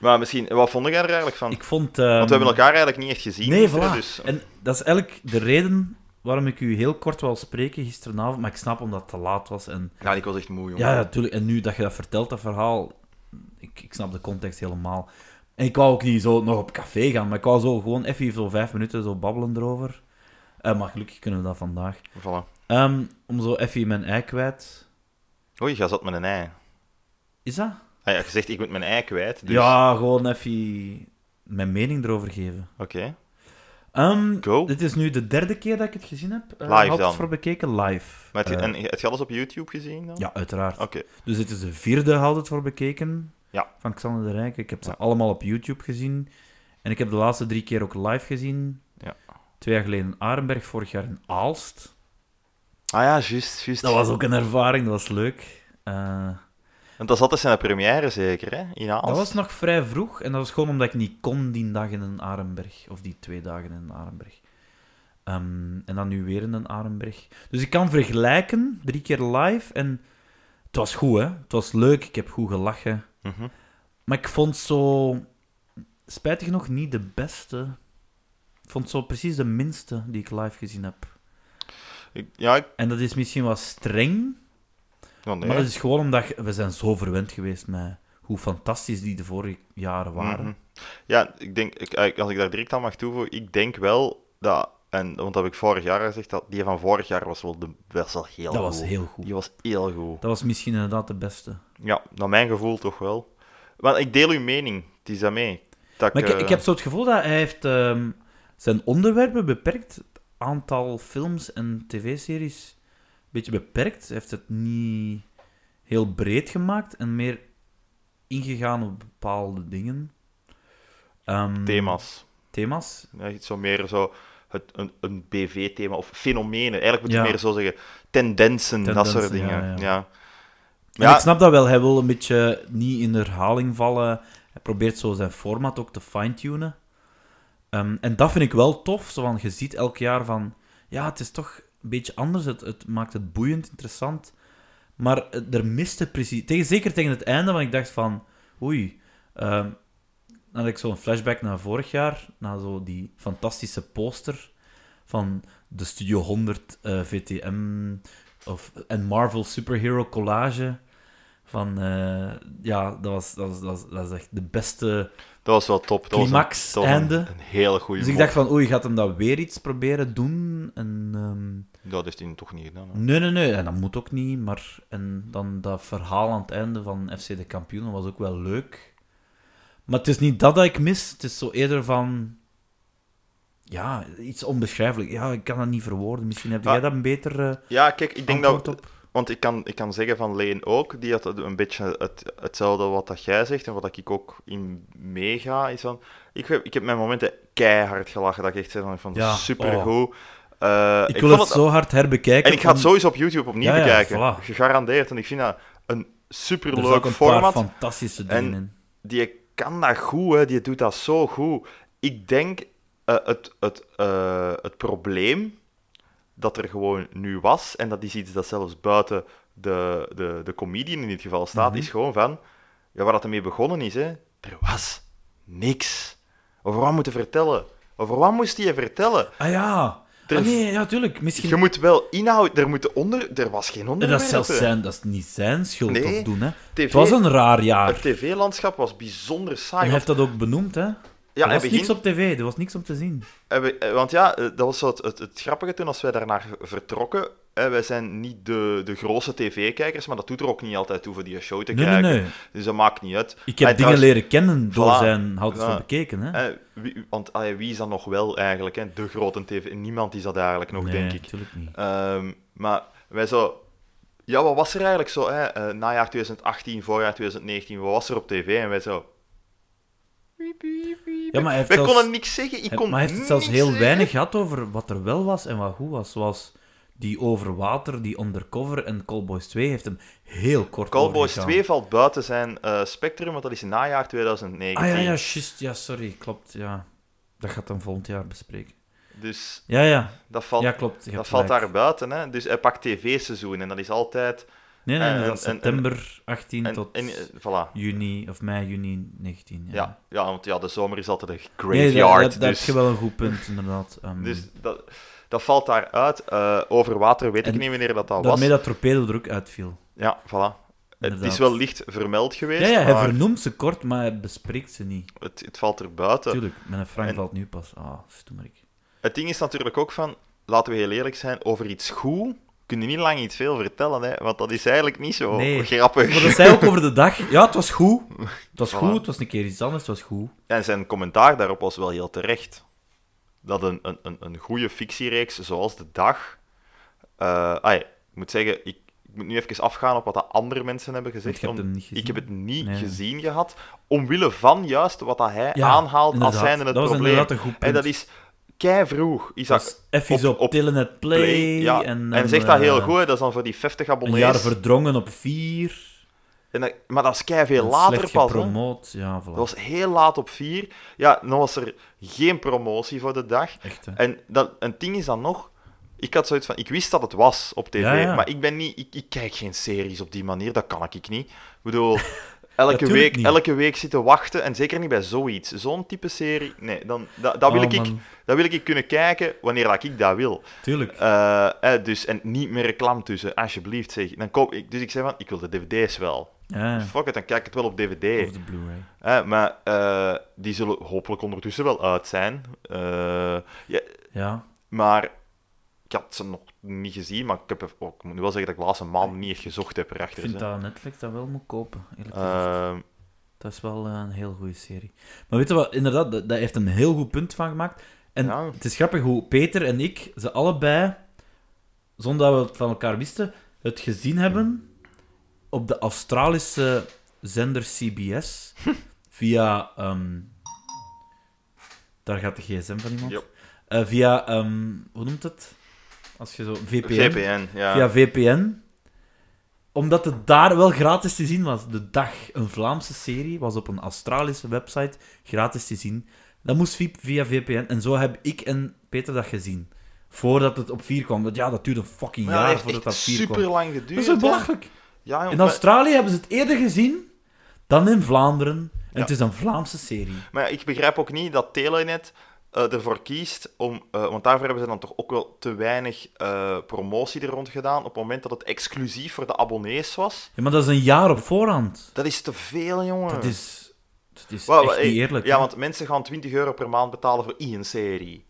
S2: Maar misschien, wat vond jij er eigenlijk van?
S1: Ik vond...
S2: Want we
S1: ehm,
S2: hebben elkaar eigenlijk niet echt gezien.
S1: Nee,
S2: gisteren,
S1: voilà.
S2: dus-
S1: En dat is eigenlijk de reden waarom ik u heel kort wil spreken gisteravond. Maar ik snap omdat het te laat was en...
S2: Ja, ik was echt moe, jongen.
S1: Ja, natuurlijk. En nu dat je dat vertelt, dat verhaal, ik, ik snap de context helemaal. En ik wou ook niet zo nog op café gaan, maar ik wou zo gewoon even zo vijf minuten zo babbelen erover. Eh, maar gelukkig kunnen we dat vandaag.
S2: Voilà.
S1: Ehm, om zo even mijn ei kwijt.
S2: Oei, jij zat met een ei.
S1: Is dat?
S2: Ah ja, je zegt, ik moet mijn ei kwijt. Dus...
S1: Ja, gewoon even mijn mening erover geven.
S2: Oké.
S1: Ehm,
S2: Go.
S1: Dit is nu de derde keer dat ik het gezien heb. Eh,
S2: Live
S1: had het
S2: dan.
S1: voor bekeken live.
S2: Maar heb je,
S1: Eh,
S2: en heb je alles op YouTube gezien dan?
S1: Ja, uiteraard.
S2: Oké.
S1: Dus dit is de vierde Houd het voor bekeken
S2: Ja.
S1: van Xander de Rijk. Ik heb ze
S2: Ja.
S1: allemaal op YouTube gezien. En ik heb de laatste drie keer ook live gezien.
S2: Ja.
S1: Twee jaar geleden in Arenberg, vorig jaar in Aalst.
S2: Ah ja, juist, juist.
S1: Dat was ook een ervaring, dat was leuk. Eh,
S2: Want dat zat dus in de première zeker, hè? In Aalst.
S1: dat was nog vrij vroeg en dat was gewoon omdat ik niet kon die dag in een Arenberg. Of die twee dagen in een Arenberg. Ehm, en dan nu weer in een Arenberg. Dus ik kan vergelijken, drie keer live. En het was goed, hè. Het was leuk, ik heb goed gelachen.
S2: Mhm.
S1: Maar ik vond zo, spijtig genoeg, niet de beste. Ik vond zo precies de minste die ik live gezien heb.
S2: Ik- Ja, ik...
S1: En dat is misschien wat streng,
S2: Oh, nee.
S1: maar dat is gewoon omdat je- we zijn zo verwend geweest met hoe fantastisch die de vorige jaren waren.
S2: Mhm. Ja, ik denk, ik, eh, als ik daar direct aan mag toevoegen, ik denk wel dat, en, want dat heb ik vorig jaar gezegd, dat die van vorig jaar was wel, de, was wel heel
S1: Dat
S2: goed.
S1: was heel goed.
S2: Die was heel goed.
S1: Dat was misschien inderdaad de beste.
S2: Ja, naar mijn gevoel toch wel. Want ik deel uw mening, het is dat mee. Dat
S1: Maar ik,
S2: eh,
S1: ik heb zo het gevoel dat hij heeft ehm, zijn onderwerpen beperkt. Het aantal films en tv-series een beetje beperkt. Hij heeft het niet heel breed gemaakt en meer ingegaan op bepaalde dingen. Ehm,
S2: thema's.
S1: Thema's.
S2: Ja, iets zo meer zo het, een, een BV-thema of fenomenen. Eigenlijk moet je
S1: Ja.
S2: meer zo zeggen tendensen, dat
S1: Tendensen,
S2: soort dingen.
S1: ja,
S2: Ja,
S1: ja.
S2: ja.
S1: En ik snap dat wel. Hij wil een beetje niet in herhaling vallen. Hij probeert zo zijn format ook te fine-tunen. Ehm, en dat vind ik wel tof. Zo van, je ziet elk jaar van... Ja, het is toch een beetje anders. Het, het maakt het boeiend, interessant. Maar het- er miste precies... Tegen, zeker tegen het einde, want ik dacht van... Oei. ehm, dan had ik zo'n flashback naar vorig jaar. Naar zo die fantastische poster van de Studio 100 eh, VTM... Of, en Marvel Superhero Collage. Van, eh, ja, dat was, dat, was, dat, was, dat is echt de beste
S2: dat was wel top. Dat was een-
S1: climax
S2: dat was een,
S1: einde.
S2: een, hele goede
S1: Dus ik dacht van, oei, gaat hem dat weer iets proberen doen? En, ehm,
S2: Dat is hij toch niet gedaan. hè.
S1: nee, nee, nee, en dat moet ook niet. Maar en dan dat verhaal aan het einde van FC de Kampioenen was ook wel leuk. Maar het is niet dat dat ik mis. Het is zo eerder van... Ja, iets onbeschrijfelijk. Ja, ik kan dat niet verwoorden. Misschien heb
S2: Ah.
S1: jij dat een beter eh,
S2: Ja, kijk, ik denk dat...
S1: antwoord op.
S2: Want ik kan, ik kan zeggen van Leen ook, die had een beetje het, hetzelfde wat dat jij zegt en wat ik ook in meega, is van... Ik heb, ik heb mijn momenten keihard gelachen, dat ik echt zei van, van
S1: Ja, Oh.
S2: supergoed. Eh,
S1: Ik,
S2: ik
S1: wil
S2: vond
S1: het
S2: het-
S1: zo hard herbekijken.
S2: En ik ga het
S1: om-
S2: sowieso op YouTube opnieuw
S1: Ja, ja,
S2: bekijken.
S1: voilà.
S2: Gegarandeerd. En ik vind dat een
S1: Er zat ook
S2: superleuk
S1: een
S2: format.
S1: paar fantastische dingen
S2: En-
S1: in.
S2: Die kan dat goed, hè. die doet dat zo goed. Ik denk eh, het, het, eh, het probleem dat er gewoon nu was, en dat is iets dat zelfs buiten de, de, de comedian in dit geval staat,
S1: Mhm.
S2: is gewoon van ja, waar dat ermee begonnen is. Hè, er was niks. Over wat moeten vertellen? Over wat moest hij vertellen?
S1: Ah ja.
S2: Er-
S1: Ah, nee, ja, tuurlijk. Misschien...
S2: Je moet wel inhoud, er, moet onder, er was geen
S1: En
S2: onderwerp.
S1: dat, is zelfs zijn, dat is niet zijn schuld
S2: Nee.
S1: of doen, hè.
S2: TV
S1: Het was een raar jaar.
S2: Het tv-landschap was bijzonder
S1: En
S2: saai.
S1: hij
S2: want-
S1: heeft dat ook benoemd, hè.
S2: ja,
S1: er
S2: hij
S1: was
S2: begint,
S1: niks op tv, er was niks om te zien.
S2: hij be- eh, want ja, eh, dat was zo het, het, het grappige toen als wij daarnaar vertrokken. hè, wij zijn niet de, de grote tv-kijkers, maar dat doet er ook niet altijd toe voor die show te
S1: Nee, nee,
S2: kijken.
S1: nee.
S2: Dus dat maakt niet uit.
S1: Ik heb dingen
S2: Ah, trouwens,
S1: leren kennen door
S2: Voilà.
S1: zijn hout
S2: Ja.
S1: van bekeken, hè.
S2: hè, wie, want ah ja, wie is dat nog wel eigenlijk? Hè? De grote tv. Niemand is dat eigenlijk nog,
S1: nee,
S2: denk ik.
S1: natuurlijk niet.
S2: Ehm, maar wij zo... Ja, wat was er eigenlijk zo? Hè? Eh, najaar 2018, voorjaar 2019, wat was er op tv? En wij zo...
S1: Ja, maar hij heeft
S2: Wij
S1: zelfs,
S2: konden niks zeggen. Ik
S1: hij-
S2: kon
S1: maar hij heeft het zelfs
S2: niks
S1: heel
S2: zeggen.
S1: weinig gehad over wat er wel was en wat goed was. Zoals die over water, die undercover en Callboys 2 heeft hem heel kort
S2: Callboys
S1: overgegaan.
S2: 2 valt buiten zijn eh, spectrum, want dat is najaar 2019.
S1: Ah ja, ja, juist. Ja, sorry, klopt. Ja. Dat gaat dan volgend jaar bespreken.
S2: Dus
S1: Ja, ja.
S2: dat valt,
S1: ja, klopt. je
S2: dat
S1: hebt
S2: valt
S1: gelijk.
S2: daar buiten. Hè? Dus hij pakt tv-seizoen en dat is altijd...
S1: Nee, nee, nee,
S2: en-
S1: dat is
S2: Eh, en- en-
S1: september 18
S2: En,
S1: tot
S2: en, eh, voilà.
S1: juni, of mei, juni 19. Ja,
S2: Ja. Ja, want ja, de zomer is altijd een
S1: nee,
S2: graveyard.
S1: dat, dat, dat
S2: dus...
S1: heb je wel een goed punt, inderdaad. Ehm,
S2: Dus dat, dat valt daaruit. Eh over water weet
S1: En
S2: ik niet wanneer dat, dat was.
S1: daarmee dat torpedo er ook uitviel.
S2: Ja, voilà. Het
S1: Inderdaad.
S2: is wel licht vermeld
S1: Ja,
S2: geweest,
S1: ja, hij
S2: maar
S1: vernoemt ze kort, maar hij bespreekt ze niet.
S2: het, het valt er buiten.
S1: Tuurlijk, mijn Frank
S2: Eh, En-
S1: valt nu pas. Ah, stoemerik.
S2: Het ding is natuurlijk ook van, laten we heel eerlijk zijn, over iets goed kun je niet lang iets veel vertellen, hè, want dat is eigenlijk niet zo
S1: Nee.
S2: grappig.
S1: Maar dat zei ook over de dag. Ja, het was goed. Het was
S2: <laughs> Voilà.
S1: goed, het was een keer iets anders, het was goed.
S2: <laughs> En zijn commentaar daarop was wel heel terecht. Dat een, een, een, een goede fictiereeks zoals De Dag... eh, ah ja, ik moet zeggen, ik, ik moet nu even afgaan op wat de andere mensen hebben
S1: Want
S2: gezegd.
S1: je hebt
S2: om-
S1: hem niet gezien.
S2: Ik heb het niet
S1: Nee.
S2: gezien gehad, omwille van juist wat dat hij
S1: Ja,
S2: aanhaalt
S1: inderdaad.
S2: als zijnde het
S1: dat was
S2: probleem.
S1: inderdaad een goed punt.
S2: En dat is kei vroeg. Is dat
S1: Dat is even
S2: op-
S1: op,
S2: op
S1: Telenet Play.
S2: play? ja.
S1: en,
S2: En,
S1: dan,
S2: zegt dat
S1: eh,
S2: heel goed, hè. dat is dan voor die 50
S1: Een jaar
S2: abonnees.
S1: verdrongen op vier.
S2: En dat- maar dat is kei veel
S1: en
S2: later
S1: slecht
S2: pas. hè.
S1: gepromoot. Ja, voilà.
S2: Dat was heel laat op 4. Ja, dan was er geen promotie voor de dag.
S1: Echt, hè.
S2: En dat, een ding is dan nog. Ik had zoiets van, ik wist dat het was op tv,
S1: Ja, ja.
S2: maar ik ben niet, ik, ik kijk geen series op die manier, dat kan ik ik niet. Ik
S1: <laughs>
S2: bedoel, elke,
S1: tuurlijk
S2: week,
S1: niet.
S2: elke week zitten wachten, en zeker niet bij zoiets. Zo'n type serie, nee, dan, dat, dat, wil
S1: Oh,
S2: ik, ik,
S1: man.
S2: dat wil ik kunnen kijken wanneer dat ik dat wil.
S1: Tuurlijk.
S2: Eh, eh, dus, en niet meer reclame tussen, alsjeblieft zeg. Dan koop ik, dus ik zei van, ik wil de dvd's wel.
S1: Ja, ja.
S2: Fuck it, dan kijk ik het wel op dvd.
S1: Of de Blu-ray.
S2: Hè, maar eh, die zullen hopelijk ondertussen wel uit zijn. Eh, ja,
S1: Ja.
S2: maar ik had ze nog niet gezien, maar ik, heb, er- ook- ik moet nu wel zeggen dat ik de laatste maand niet echt gezocht heb
S1: Ik
S2: erachter.
S1: vind
S2: hè.
S1: dat Netflix dat wel moet kopen. Eerlijk gezegd.
S2: Ehm,
S1: dat is wel eh, een heel goede serie. Maar weet je wat? Inderdaad, dat, dat heeft een heel goed punt van gemaakt. En
S2: Ja.
S1: het is grappig hoe Peter en ik, ze allebei, zonder dat we het van elkaar wisten, het gezien hebben op de Australische zender CBS via. ehm, daar gaat de gsm van iemand.
S2: Yep.
S1: Eh, via, ehm, hoe noemt het? Als je zo, VPN.
S2: VPN, ja.
S1: Via VPN. Omdat het daar wel gratis te zien was. De dag, een Vlaamse serie, was op een Australische website gratis te zien. Dat moest vi- via VPN. En zo heb ik en Peter dat gezien. Voordat het op 4 kwam. Want ja, dat duurde een fucking
S2: Maar ja,
S1: jaar
S2: dat heeft
S1: voordat
S2: echt
S1: dat 4 kwam.
S2: super lang geduurd.
S1: Dat is toch
S2: hè?
S1: belachelijk?
S2: Ja,
S1: In
S2: jongen, maar,
S1: Australië hebben ze het eerder gezien dan in Vlaanderen. En
S2: Ja.
S1: het is een Vlaamse serie.
S2: maar ik begrijp ook niet dat Telenet eh, ervoor kiest om... eh, want daarvoor hebben ze dan toch ook wel te weinig eh, promotie er rond gedaan. Op het moment dat het exclusief voor de abonnees was.
S1: Ja, maar dat is een jaar op voorhand.
S2: Dat is te veel, jongen.
S1: Dat is, dat is
S2: Wel,
S1: echt
S2: eh,
S1: niet eerlijk.
S2: Ja,
S1: hè.
S2: want mensen gaan 20 euro per maand betalen voor één serie.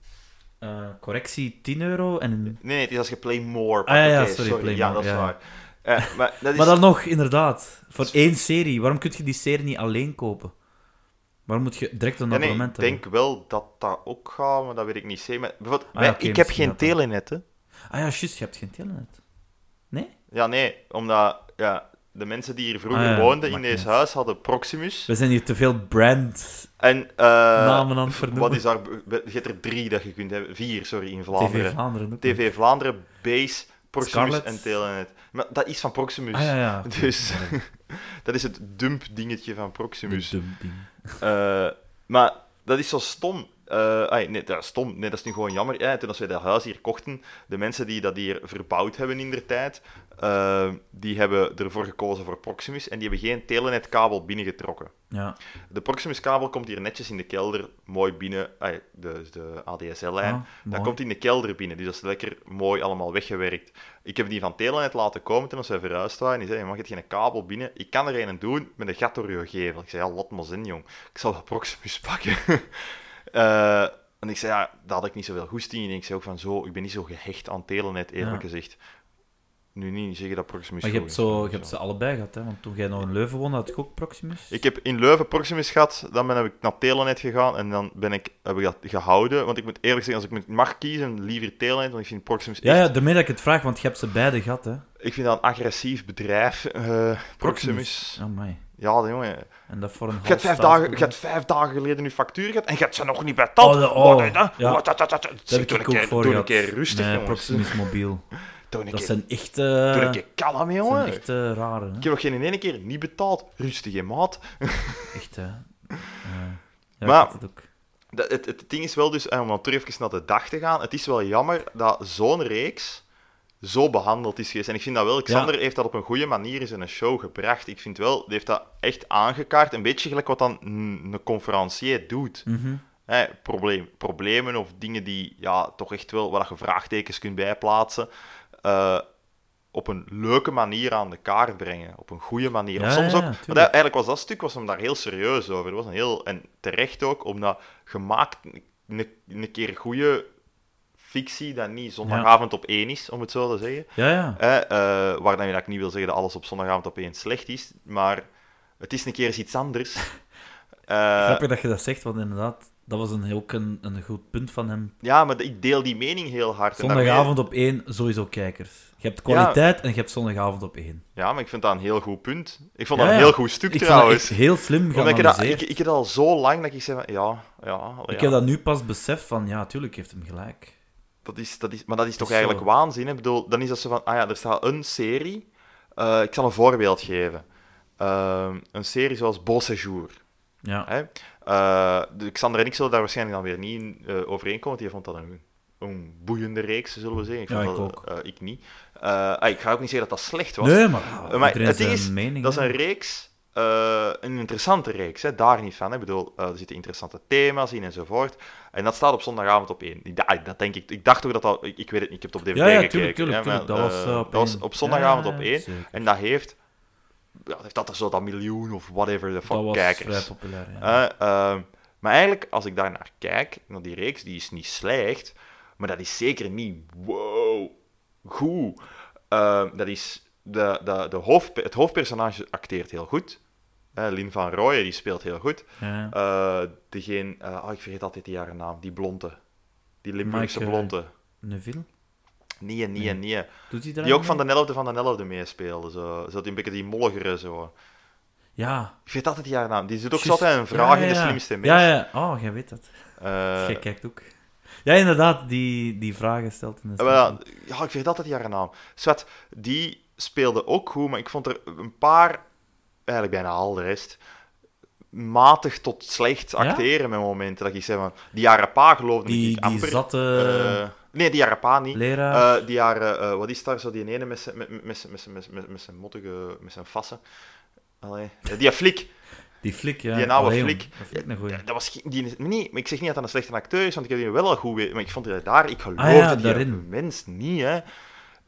S1: Eh, correctie 10 euro. En...
S2: Nee, nee, het is als je Play More
S1: Ah, ja, ja,
S2: oké,
S1: sorry, Play
S2: ja,
S1: More,
S2: dat is
S1: ja.
S2: waar. Eh, maar dat
S1: <laughs>
S2: is...
S1: Maar dan nog, inderdaad. Voor één serie. Waarom kun je die serie niet alleen kopen? Waarom moet je direct een
S2: Ja, nee,
S1: abonnement
S2: ik denk wel dat dat ook gaat, maar dat weet ik niet zeker. Maar, bijvoorbeeld,
S1: Ah,
S2: wij-
S1: ja, oké,
S2: ik heb
S1: misschien dat
S2: geen
S1: dan.
S2: telenet, hè.
S1: hebben? Ah ja, juist, je hebt geen telenet.
S2: Ja, nee, omdat ja, de mensen die hier vroeger
S1: Ah, ja,
S2: woonden in
S1: maakt niet
S2: deze
S1: uit.
S2: huis hadden Proximus.
S1: We zijn hier te veel brandnamen
S2: En eh,
S1: aan het vernoemen.
S2: wat is daar? Je hebt er drie dat je kunt hebben. Vier, sorry, in
S1: TV
S2: Vlaanderen.
S1: Vlaanderen ook.
S2: TV Vlaanderen, Base, Proximus
S1: Scarlet.
S2: en Telenet. Maar dat is van Proximus.
S1: Ah ja, ja.
S2: <laughs> Dus dat is het dump-dingetje van Proximus.
S1: Een dum ding.
S2: Eh, maar dat is zo stom. Eh, ai, nee, dat is stom. Nee, dat is nu gewoon jammer. Ja, toen als wij dat huis hier kochten, de mensen die dat hier verbouwd hebben in de tijd, eh, die hebben ervoor gekozen voor Proximus en die hebben geen telenetkabel binnengetrokken.
S1: Ja.
S2: De Proximus-kabel komt hier netjes in de kelder, mooi binnen, ai, de, de ADSL-lijn.
S1: Ah,
S2: dat
S1: mooi.
S2: komt in de kelder binnen, dus dat is lekker mooi allemaal weggewerkt. Ik heb die van Telenet laten komen toen wij verhuisd waren. Die zei, je mag het geen kabel binnen. Ik kan er een doen met een gat door je gevel. Ik zei, ja, laat maar zin, jong. Ik zal dat Proximus pakken. <laughs> Eh, en ik zei, ja, daar had ik niet zoveel goed in. En ik zei ook van, zo, ik ben niet zo gehecht aan Telenet, eerlijk
S1: Ja.
S2: gezegd. Nu niet zeggen dat Proximus
S1: Maar je
S2: goed
S1: hebt,
S2: is,
S1: zo, je
S2: zo.
S1: hebt ze allebei gehad, hè? Want toen jij nog in Leuven woonde, had ik ook Proximus.
S2: Ik heb in Leuven Proximus gehad, dan ben ik naar Telenet gegaan en dan ben ik, heb ik dat gehouden. Want ik moet eerlijk zeggen, als ik moet- mag kiezen, liever Telenet, want ik vind Proximus
S1: Ja, ja,
S2: echt-
S1: daarmee dat ik het vraag, want je hebt ze beide gehad, hè?
S2: Ik vind dat een agressief bedrijf, eh, Proximus.
S1: Oh, my.
S2: Ja, jongen.
S1: En dat voor een half
S2: Je hebt, vijf
S1: staatsbedrijf.
S2: dagen, je hebt vijf dagen geleden je factuur gehad en je hebt ze nog niet betaald.
S1: Oh, de- oh,
S2: Wat is dat?
S1: ja.
S2: Wat, dat, dat, dat, dat.
S1: Dat
S2: Zeg,
S1: heb
S2: doe
S1: ik
S2: een
S1: ook
S2: keer-
S1: voor
S2: Doe een
S1: gehad.
S2: keer rustig,
S1: Nee,
S2: jongens.
S1: Proximus Mobiel.
S2: Doe een
S1: Dat
S2: keer-
S1: zijn echt...
S2: doe een
S1: eh
S2: keer kalm,
S1: dat zijn
S2: jongen.
S1: echt eh, rare, hè?
S2: Ik heb nog geen ene keer niet betaald. Rustig, hè, maat.
S1: Echt, hè. Eh, ja,
S2: Maar-
S1: ik had het ook.
S2: Dat- het, het ding is wel dus, en om dan terug even naar de dag te gaan, het is wel jammer dat zo'n reeks zo behandeld is geweest. En ik vind dat wel, Xander heeft dat op een goede manier in zijn show gebracht. Ik vind wel, die heeft dat echt aangekaart. Een beetje gelijk wat dan een een conferencier doet.
S1: Mhm.
S2: Hè, probleem, problemen of dingen die ja, toch echt wel, waar je vraagtekens kunt bijplaatsen. eh, op een leuke manier aan de kaart brengen. Op een goede manier.
S1: Ja,
S2: Of soms
S1: ja,
S2: ook,
S1: ja,
S2: want
S1: tuurlijk.
S2: eigenlijk was dat stuk was hem daar heel serieus over. Het was een heel, en terecht ook, omdat gemaakt een, een keer goede fictie dat niet zondagavond op één is, om het zo te zeggen.
S1: Ja, ja.
S2: Hè, eh, waar dan weer dat ik niet wil zeggen dat alles op zondagavond op één slecht is, maar het is een keer eens iets
S1: <laughs>
S2: anders. Eh,
S1: Grappig dat je dat zegt, want inderdaad, dat was een, ook een, een goed punt van hem.
S2: ja, maar ik deel die mening heel hard. en daarmee-
S1: Zondagavond op één, sowieso kijkers. Je hebt kwaliteit en je hebt zondagavond op één.
S2: Ja, maar ik vind dat een heel goed punt. Ik vond
S1: Ja,
S2: dat een
S1: ja.
S2: heel goed stuk
S1: Ik vond dat
S2: trouwens.
S1: echt heel slim
S2: Omdat ik, dat,
S1: geanalyseerd.
S2: ik, ik heb dat al zo lang dat ik zei van, ja, ja, ja.
S1: Ik heb dat nu pas beseft van, ja, tuurlijk heeft hem gelijk.
S2: Dat is, dat is, maar dat is toch
S1: Zo.
S2: eigenlijk waanzin. Hè? Ik bedoel, dan is dat zo van, ah ja, er staat een serie. Eh, ik zal een voorbeeld geven. Ehm, een serie zoals Beau Séjour.
S1: Ja.
S2: Hè? Eh, de- Xander en ik zullen daar waarschijnlijk dan weer niet in, eh, overeenkomen, want die vond dat een, een boeiende reeks, zullen we zeggen. Ik,
S1: Ja,
S2: vond
S1: ik
S2: dat,
S1: ook.
S2: eh, ik niet. Eh, ah, ik ga ook niet zeggen dat dat slecht was.
S1: Nee, maar, ja,
S2: Eh, maar
S1: iedereen
S2: het
S1: zijn
S2: ding is,
S1: mening.
S2: dat is
S1: hè.
S2: een reeks, eh, een interessante reeks, hè, daar niet van. Hè. Ik bedoel, eh, er zitten interessante thema's in enzovoort. En dat staat op zondagavond op één. Ik da- ah, Dat, denk ik, ik dacht ook dat dat, ik, ik weet het niet, ik heb het op DVD
S1: Ja, ja,
S2: gekeken.
S1: tuurlijk, tuurlijk,
S2: hè, maar,
S1: tuurlijk. Dat was,
S2: eh,
S1: eh, op
S2: dat was
S1: één.
S2: op zondagavond
S1: Ja,
S2: op één.
S1: zeker.
S2: En dat heeft, ja, dat heeft dat er zo dat miljoen of whatever de
S1: dat
S2: fuck
S1: was
S2: kijkers.
S1: vrij populair. Ja.
S2: Eh, ehm, maar eigenlijk, als ik daar naar kijk, naar die reeks, die is niet slecht, maar dat is zeker niet wow, goed. Ehm, dat is de, de, de hoofd, het hoofdpersonage acteert heel goed. Eh, Lin van Rooyen, die speelt heel goed.
S1: Ja.
S2: Eh degene, eh, oh, ik vergeet altijd die haar naam, die blonde. Die Limburgse
S1: Maaike-
S2: blonde.
S1: Neville?
S2: Nee, nee,
S1: Nee.
S2: nee.
S1: Doet hij daar
S2: Die ook
S1: eigenlijk
S2: van de 11e van de 11e meespeelde. Zo. zo die een beetje die molligere zo.
S1: mee? Ja.
S2: Ik weet altijd die haar naam. Die zit ook
S1: Juist.
S2: altijd een vraag
S1: Ja,
S2: in de
S1: ja.
S2: slimste mens.
S1: Ja, ja. Oh, jij weet dat.
S2: Eh,
S1: jij kijkt ook. Ja, inderdaad, die, die vragen stelt in de
S2: eh, wel ja, ja, ik weet altijd die haar naam. Zwat, die speelde ook goed, maar ik vond er een paar, eigenlijk bijna al de rest, matig tot slecht acteren met momenten. Dat ik zei van, die Arapa geloofde ik
S1: Die, die
S2: amper.
S1: zatte
S2: Eh, nee, die Arapa niet.
S1: leraar.
S2: Eh, die haar, eh, eh, wat is daar zo die ene met zijn- met- met- met zijn- met zijn- met zijn- met zijn mottige, met zijn vassen? Allee. Eh, Die flik,
S1: die flik, ja.
S2: die oude
S1: Allee,
S2: flik.
S1: jong, Dat vind ik een goeie.
S2: dat was geen- die, nee, maar ik zeg niet dat dat een slechte acteur is, want ik heb die wel al goed weet, maar ik vond die daar, ik geloofde
S1: Ah ja,
S2: die
S1: daarin.
S2: mens niet, hè.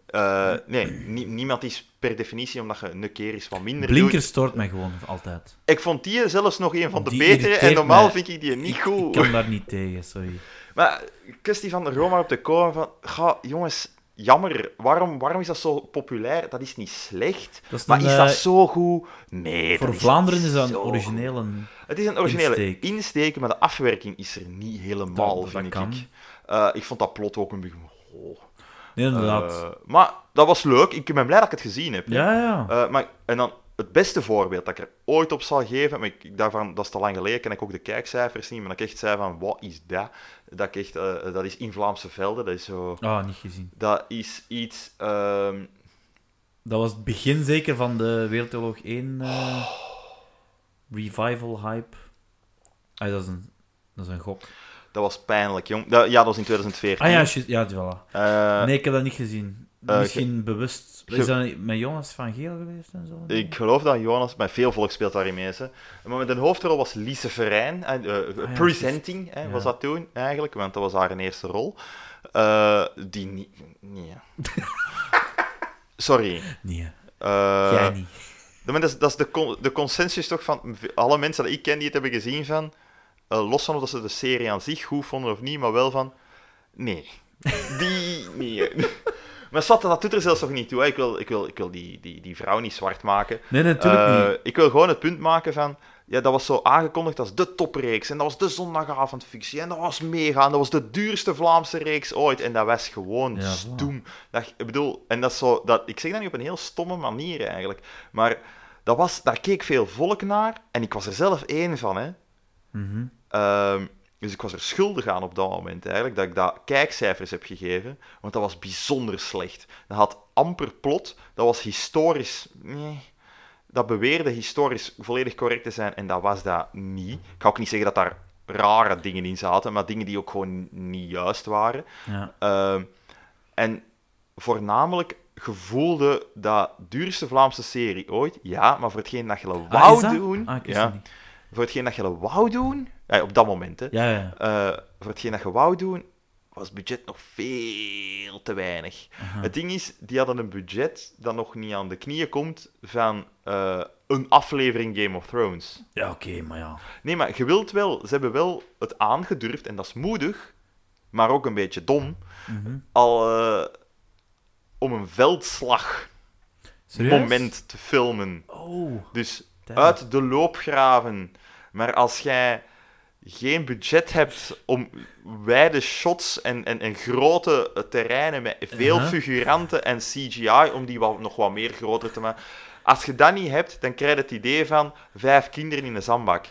S2: Eh, nee, nie- niemand is per definitie, omdat je een keer is wat minder
S1: Blinker
S2: doet.
S1: stoort mij gewoon altijd.
S2: Ik vond die zelfs nog een van de
S1: Die
S2: betere, en
S1: irriteert
S2: normaal
S1: mij.
S2: vind ik die niet
S1: Ik-
S2: goed.
S1: Ik kan daar niet tegen, sorry.
S2: Maar kwestie van Roma op de komen van, ga jongens, jammer, waarom, waarom is dat zo populair? Dat is niet slecht.
S1: Dat is
S2: maar
S1: een,
S2: is dat
S1: eh,
S2: zo goed? Nee.
S1: Voor
S2: dat is
S1: Vlaanderen
S2: niet
S1: is dat een
S2: zo goed.
S1: originele...
S2: Het is een originele
S1: insteek.
S2: insteek. maar de afwerking is er niet helemaal,
S1: Dat- dat
S2: vind
S1: kan.
S2: ik. Eh, ik vond dat plot ook een beetje. oh.
S1: Nee, inderdaad.
S2: Eh, maar dat was leuk. Ik ben blij dat ik het gezien heb. hè.
S1: ja, ja.
S2: Eh, maar, en dan het beste voorbeeld dat ik er ooit op zal geven, maar ik, ik daarvan, dat is te lang geleden, ken ik ook de kijkcijfers niet, maar dat ik echt zei van, wat is dat? Dat, ik echt, eh, dat is in Vlaamse velden, dat is zo...
S1: Ah, niet gezien.
S2: Dat is iets... ehm,
S1: Dat was het begin zeker van de Wereldoorlog 1 eh, revival hype. Ah, dat, is een, dat is een gok.
S2: dat was pijnlijk, jong. Dat, ja, dat was in 2014.
S1: Ah ja, juist, ja voilà.
S2: Eh,
S1: nee, ik heb dat niet gezien.
S2: eh,
S1: Misschien bewust.
S2: ge-
S1: Is dat met Jonas van Geel geweest en zo?
S2: Ik geloof dat Jonas, maar veel volk speelt daarin mee. Hè. Maar met een hoofdrol was Lise Verijn, eh, eh,
S1: Ah ja,
S2: presenting hè,
S1: ja.
S2: was dat toen eigenlijk, want dat was haar eerste rol. Eh, die niet. Nee. hè.
S1: <laughs>
S2: Sorry.
S1: Nee,
S2: Eh,
S1: jij niet.
S2: maar dat is, dat is de, con- de consensus toch van alle mensen die ik ken die het hebben gezien van, eh, los van of dat ze de serie aan zich goed vonden of niet, maar wel van, nee, die, nee. <laughs> Maar Satte, dat doet er zelfs nog niet toe. Hè. Ik wil, ik wil, ik wil die, die, die vrouw niet zwart maken.
S1: Nee, natuurlijk
S2: Eh,
S1: niet.
S2: Ik wil gewoon het punt maken van... Ja, dat was zo aangekondigd als de topreeks. En dat was de zondagavondfictie. En dat was mega. En dat was de duurste Vlaamse reeks ooit. En dat was gewoon
S1: Ja, voilà.
S2: stoem. Dat, ik bedoel, en dat is zo... Dat, ik zeg dat nu op een heel stomme manier eigenlijk. Maar dat was, daar keek veel volk naar. En ik was er zelf één van, hè.
S1: Mhm.
S2: Ehm, dus ik was er schuldig aan op dat moment eigenlijk, dat ik daar kijkcijfers heb gegeven. Want dat was bijzonder slecht. Dat had amper plot, dat was historisch... Nee. Dat beweerde historisch volledig correct te zijn en dat was dat niet. Ik ga ook niet zeggen dat daar rare dingen in zaten, maar dingen die ook gewoon niet juist waren.
S1: Ja.
S2: Ehm, en voornamelijk gevoelde dat duurste Vlaamse serie ooit, ja, maar voor hetgeen dat je
S1: Ah, is
S2: wou
S1: dat?
S2: doen...
S1: Ah, ik wist
S2: ja,
S1: dat niet.
S2: voor hetgeen dat je wou doen, eh, op dat moment, hè,
S1: Ja, ja.
S2: eh, voor hetgeen dat je wou doen, was het budget nog veel te weinig. Het ding is, die hadden een budget dat nog niet aan de knieën komt van eh, een aflevering Game of Thrones.
S1: Ja, oké, maar ja.
S2: Nee, maar je wilt wel, ze hebben wel het aangedurfd, en dat is moedig, maar ook een beetje dom,
S1: Mhm.
S2: al eh, om een veldslagmoment
S1: Serieus?
S2: te filmen.
S1: Oh.
S2: Dus
S1: damn.
S2: uit de loop graven. Maar als jij geen budget hebt om wijde shots en, en, en grote eh, terreinen met veel
S1: Uh-huh.
S2: figuranten en CGI, om die wat, nog wat meer groter te maken. Als je dat niet hebt, dan krijg je het idee van vijf kinderen in een zandbak.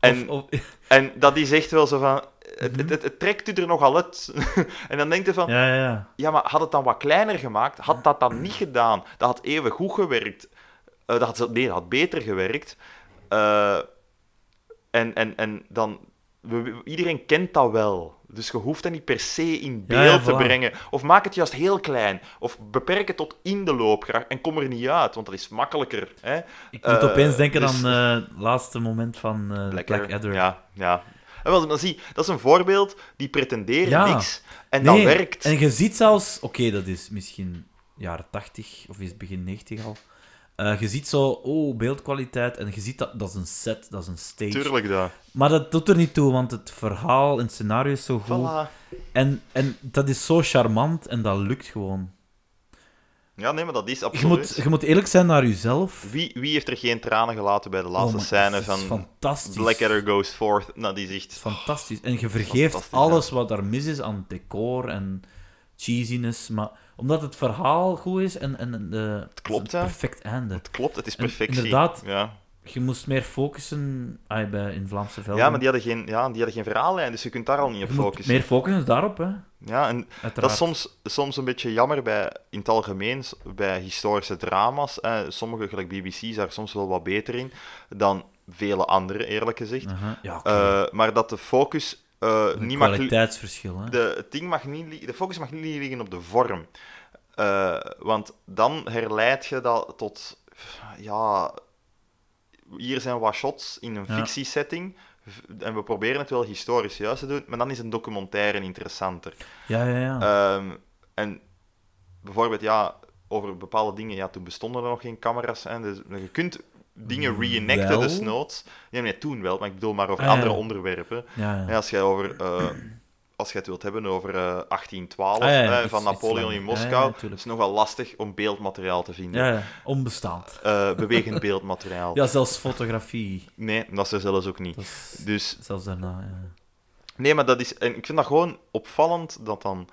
S2: En,
S1: Of, Mhm. of- <laughs>
S2: en dat is echt wel zo van... Het, het, het, het trekt u er nogal uit. <laughs> en dan denk je van,
S1: ja, ja, ja.
S2: ja, maar had het dan wat kleiner gemaakt? Had dat dan niet gedaan? Dat had even goed gewerkt. Eh, dat had, ze- nee, dat had beter gewerkt. Eh, en, en, en dan... we- we- iedereen kent dat wel. Dus je hoeft dat niet per se in
S1: Ja,
S2: beeld
S1: ja,
S2: te
S1: voilà.
S2: brengen. Of maak het juist heel klein. Of beperk het tot in de loopgraag en kom er niet uit, want dat is makkelijker. Hè?
S1: Ik moet
S2: Eh,
S1: opeens denken
S2: dus-
S1: aan eh, het laatste moment van eh
S2: Lekker.
S1: Blackadder.
S2: Ja, ja. En wel, dan zie, dat is een voorbeeld die pretendeert
S1: Ja.
S2: niks. En
S1: Nee,
S2: dat werkt.
S1: En je ziet zelfs, oké, dat is misschien jaren 80 of is het begin 90 al. Eh, je ziet zo, oh, beeldkwaliteit. En je ziet dat dat is een set, dat is een stage.
S2: Tuurlijk dat.
S1: Maar dat doet er niet toe, want het verhaal en het scenario is zo goed.
S2: Voilà.
S1: En, en dat is zo charmant en dat lukt gewoon.
S2: Ja, nee, maar dat is
S1: Je
S2: absoluut.
S1: moet, je moet eerlijk zijn naar jezelf.
S2: Wie, wie heeft er geen tranen gelaten bij de
S1: Oh
S2: laatste
S1: my-
S2: scène
S1: dat is
S2: van
S1: fantastisch.
S2: Blackadder Goes Forth? Nou, die
S1: is
S2: zegt...
S1: fantastisch. En je vergeeft
S2: fantastisch,
S1: alles wat daar mis is aan decor en cheesiness. Maar omdat het verhaal goed is en, en de,
S2: klopt, hè?
S1: perfect einde.
S2: Het klopt, het is
S1: En
S2: perfectie.
S1: inderdaad,
S2: Ja.
S1: Je moest meer focussen ah, bij, in Vlaamse velden.
S2: Ja, maar die hadden geen, ja, die hadden geen verhaallijn, dus je kunt daar al niet op
S1: Je moet
S2: focussen.
S1: Meer focussen daarop, hè.
S2: Ja, en
S1: Uiteraard.
S2: dat is soms, soms een beetje jammer bij, in het algemeen s- bij historische drama's. Eh, sommige, gelijk BBC, is daar soms wel wat beter in dan vele andere, eerlijk gezegd.
S1: Aha. Ja, oké.
S2: Eh, maar dat de focus eh,
S1: Een
S2: niet mag, li-
S1: kwaliteitsverschil, hè.
S2: de, het ding mag niet, li- de focus mag niet liggen op de vorm. Eh, want dan herleid je dat tot... Ja, hier zijn wat shots in een
S1: Ja.
S2: fictiesetting. v- En we proberen het wel historisch juist te doen, maar dan is een documentaire interessanter.
S1: Ja, ja, ja.
S2: Ehm, en bijvoorbeeld, ja, over bepaalde dingen, ja, toen bestonden er nog geen camera's. Hè, dus je kunt dingen reenacten,
S1: Wel.
S2: desnoods. Nee, nee, toen wel, maar ik bedoel maar over
S1: Ah, ja.
S2: andere onderwerpen.
S1: ja, ja.
S2: Ja, als jij over... eh, als jij het wilt hebben over eh, 1812
S1: Ah, ja, ja,
S2: hè,
S1: iets-
S2: van
S1: iets
S2: Napoleon in
S1: langer. Ja, ja,
S2: Moskou,
S1: tuurlijk.
S2: is nogal lastig om beeldmateriaal te vinden.
S1: Ja, ja. Onbestaand.
S2: Eh, bewegend beeldmateriaal.
S1: Ja, zelfs fotografie.
S2: Nee, dat is er zelfs ook niet.
S1: Dat is...
S2: Dus
S1: Zelfs daarna, ja.
S2: nee, maar dat is. En ik vind dat gewoon opvallend dat dan.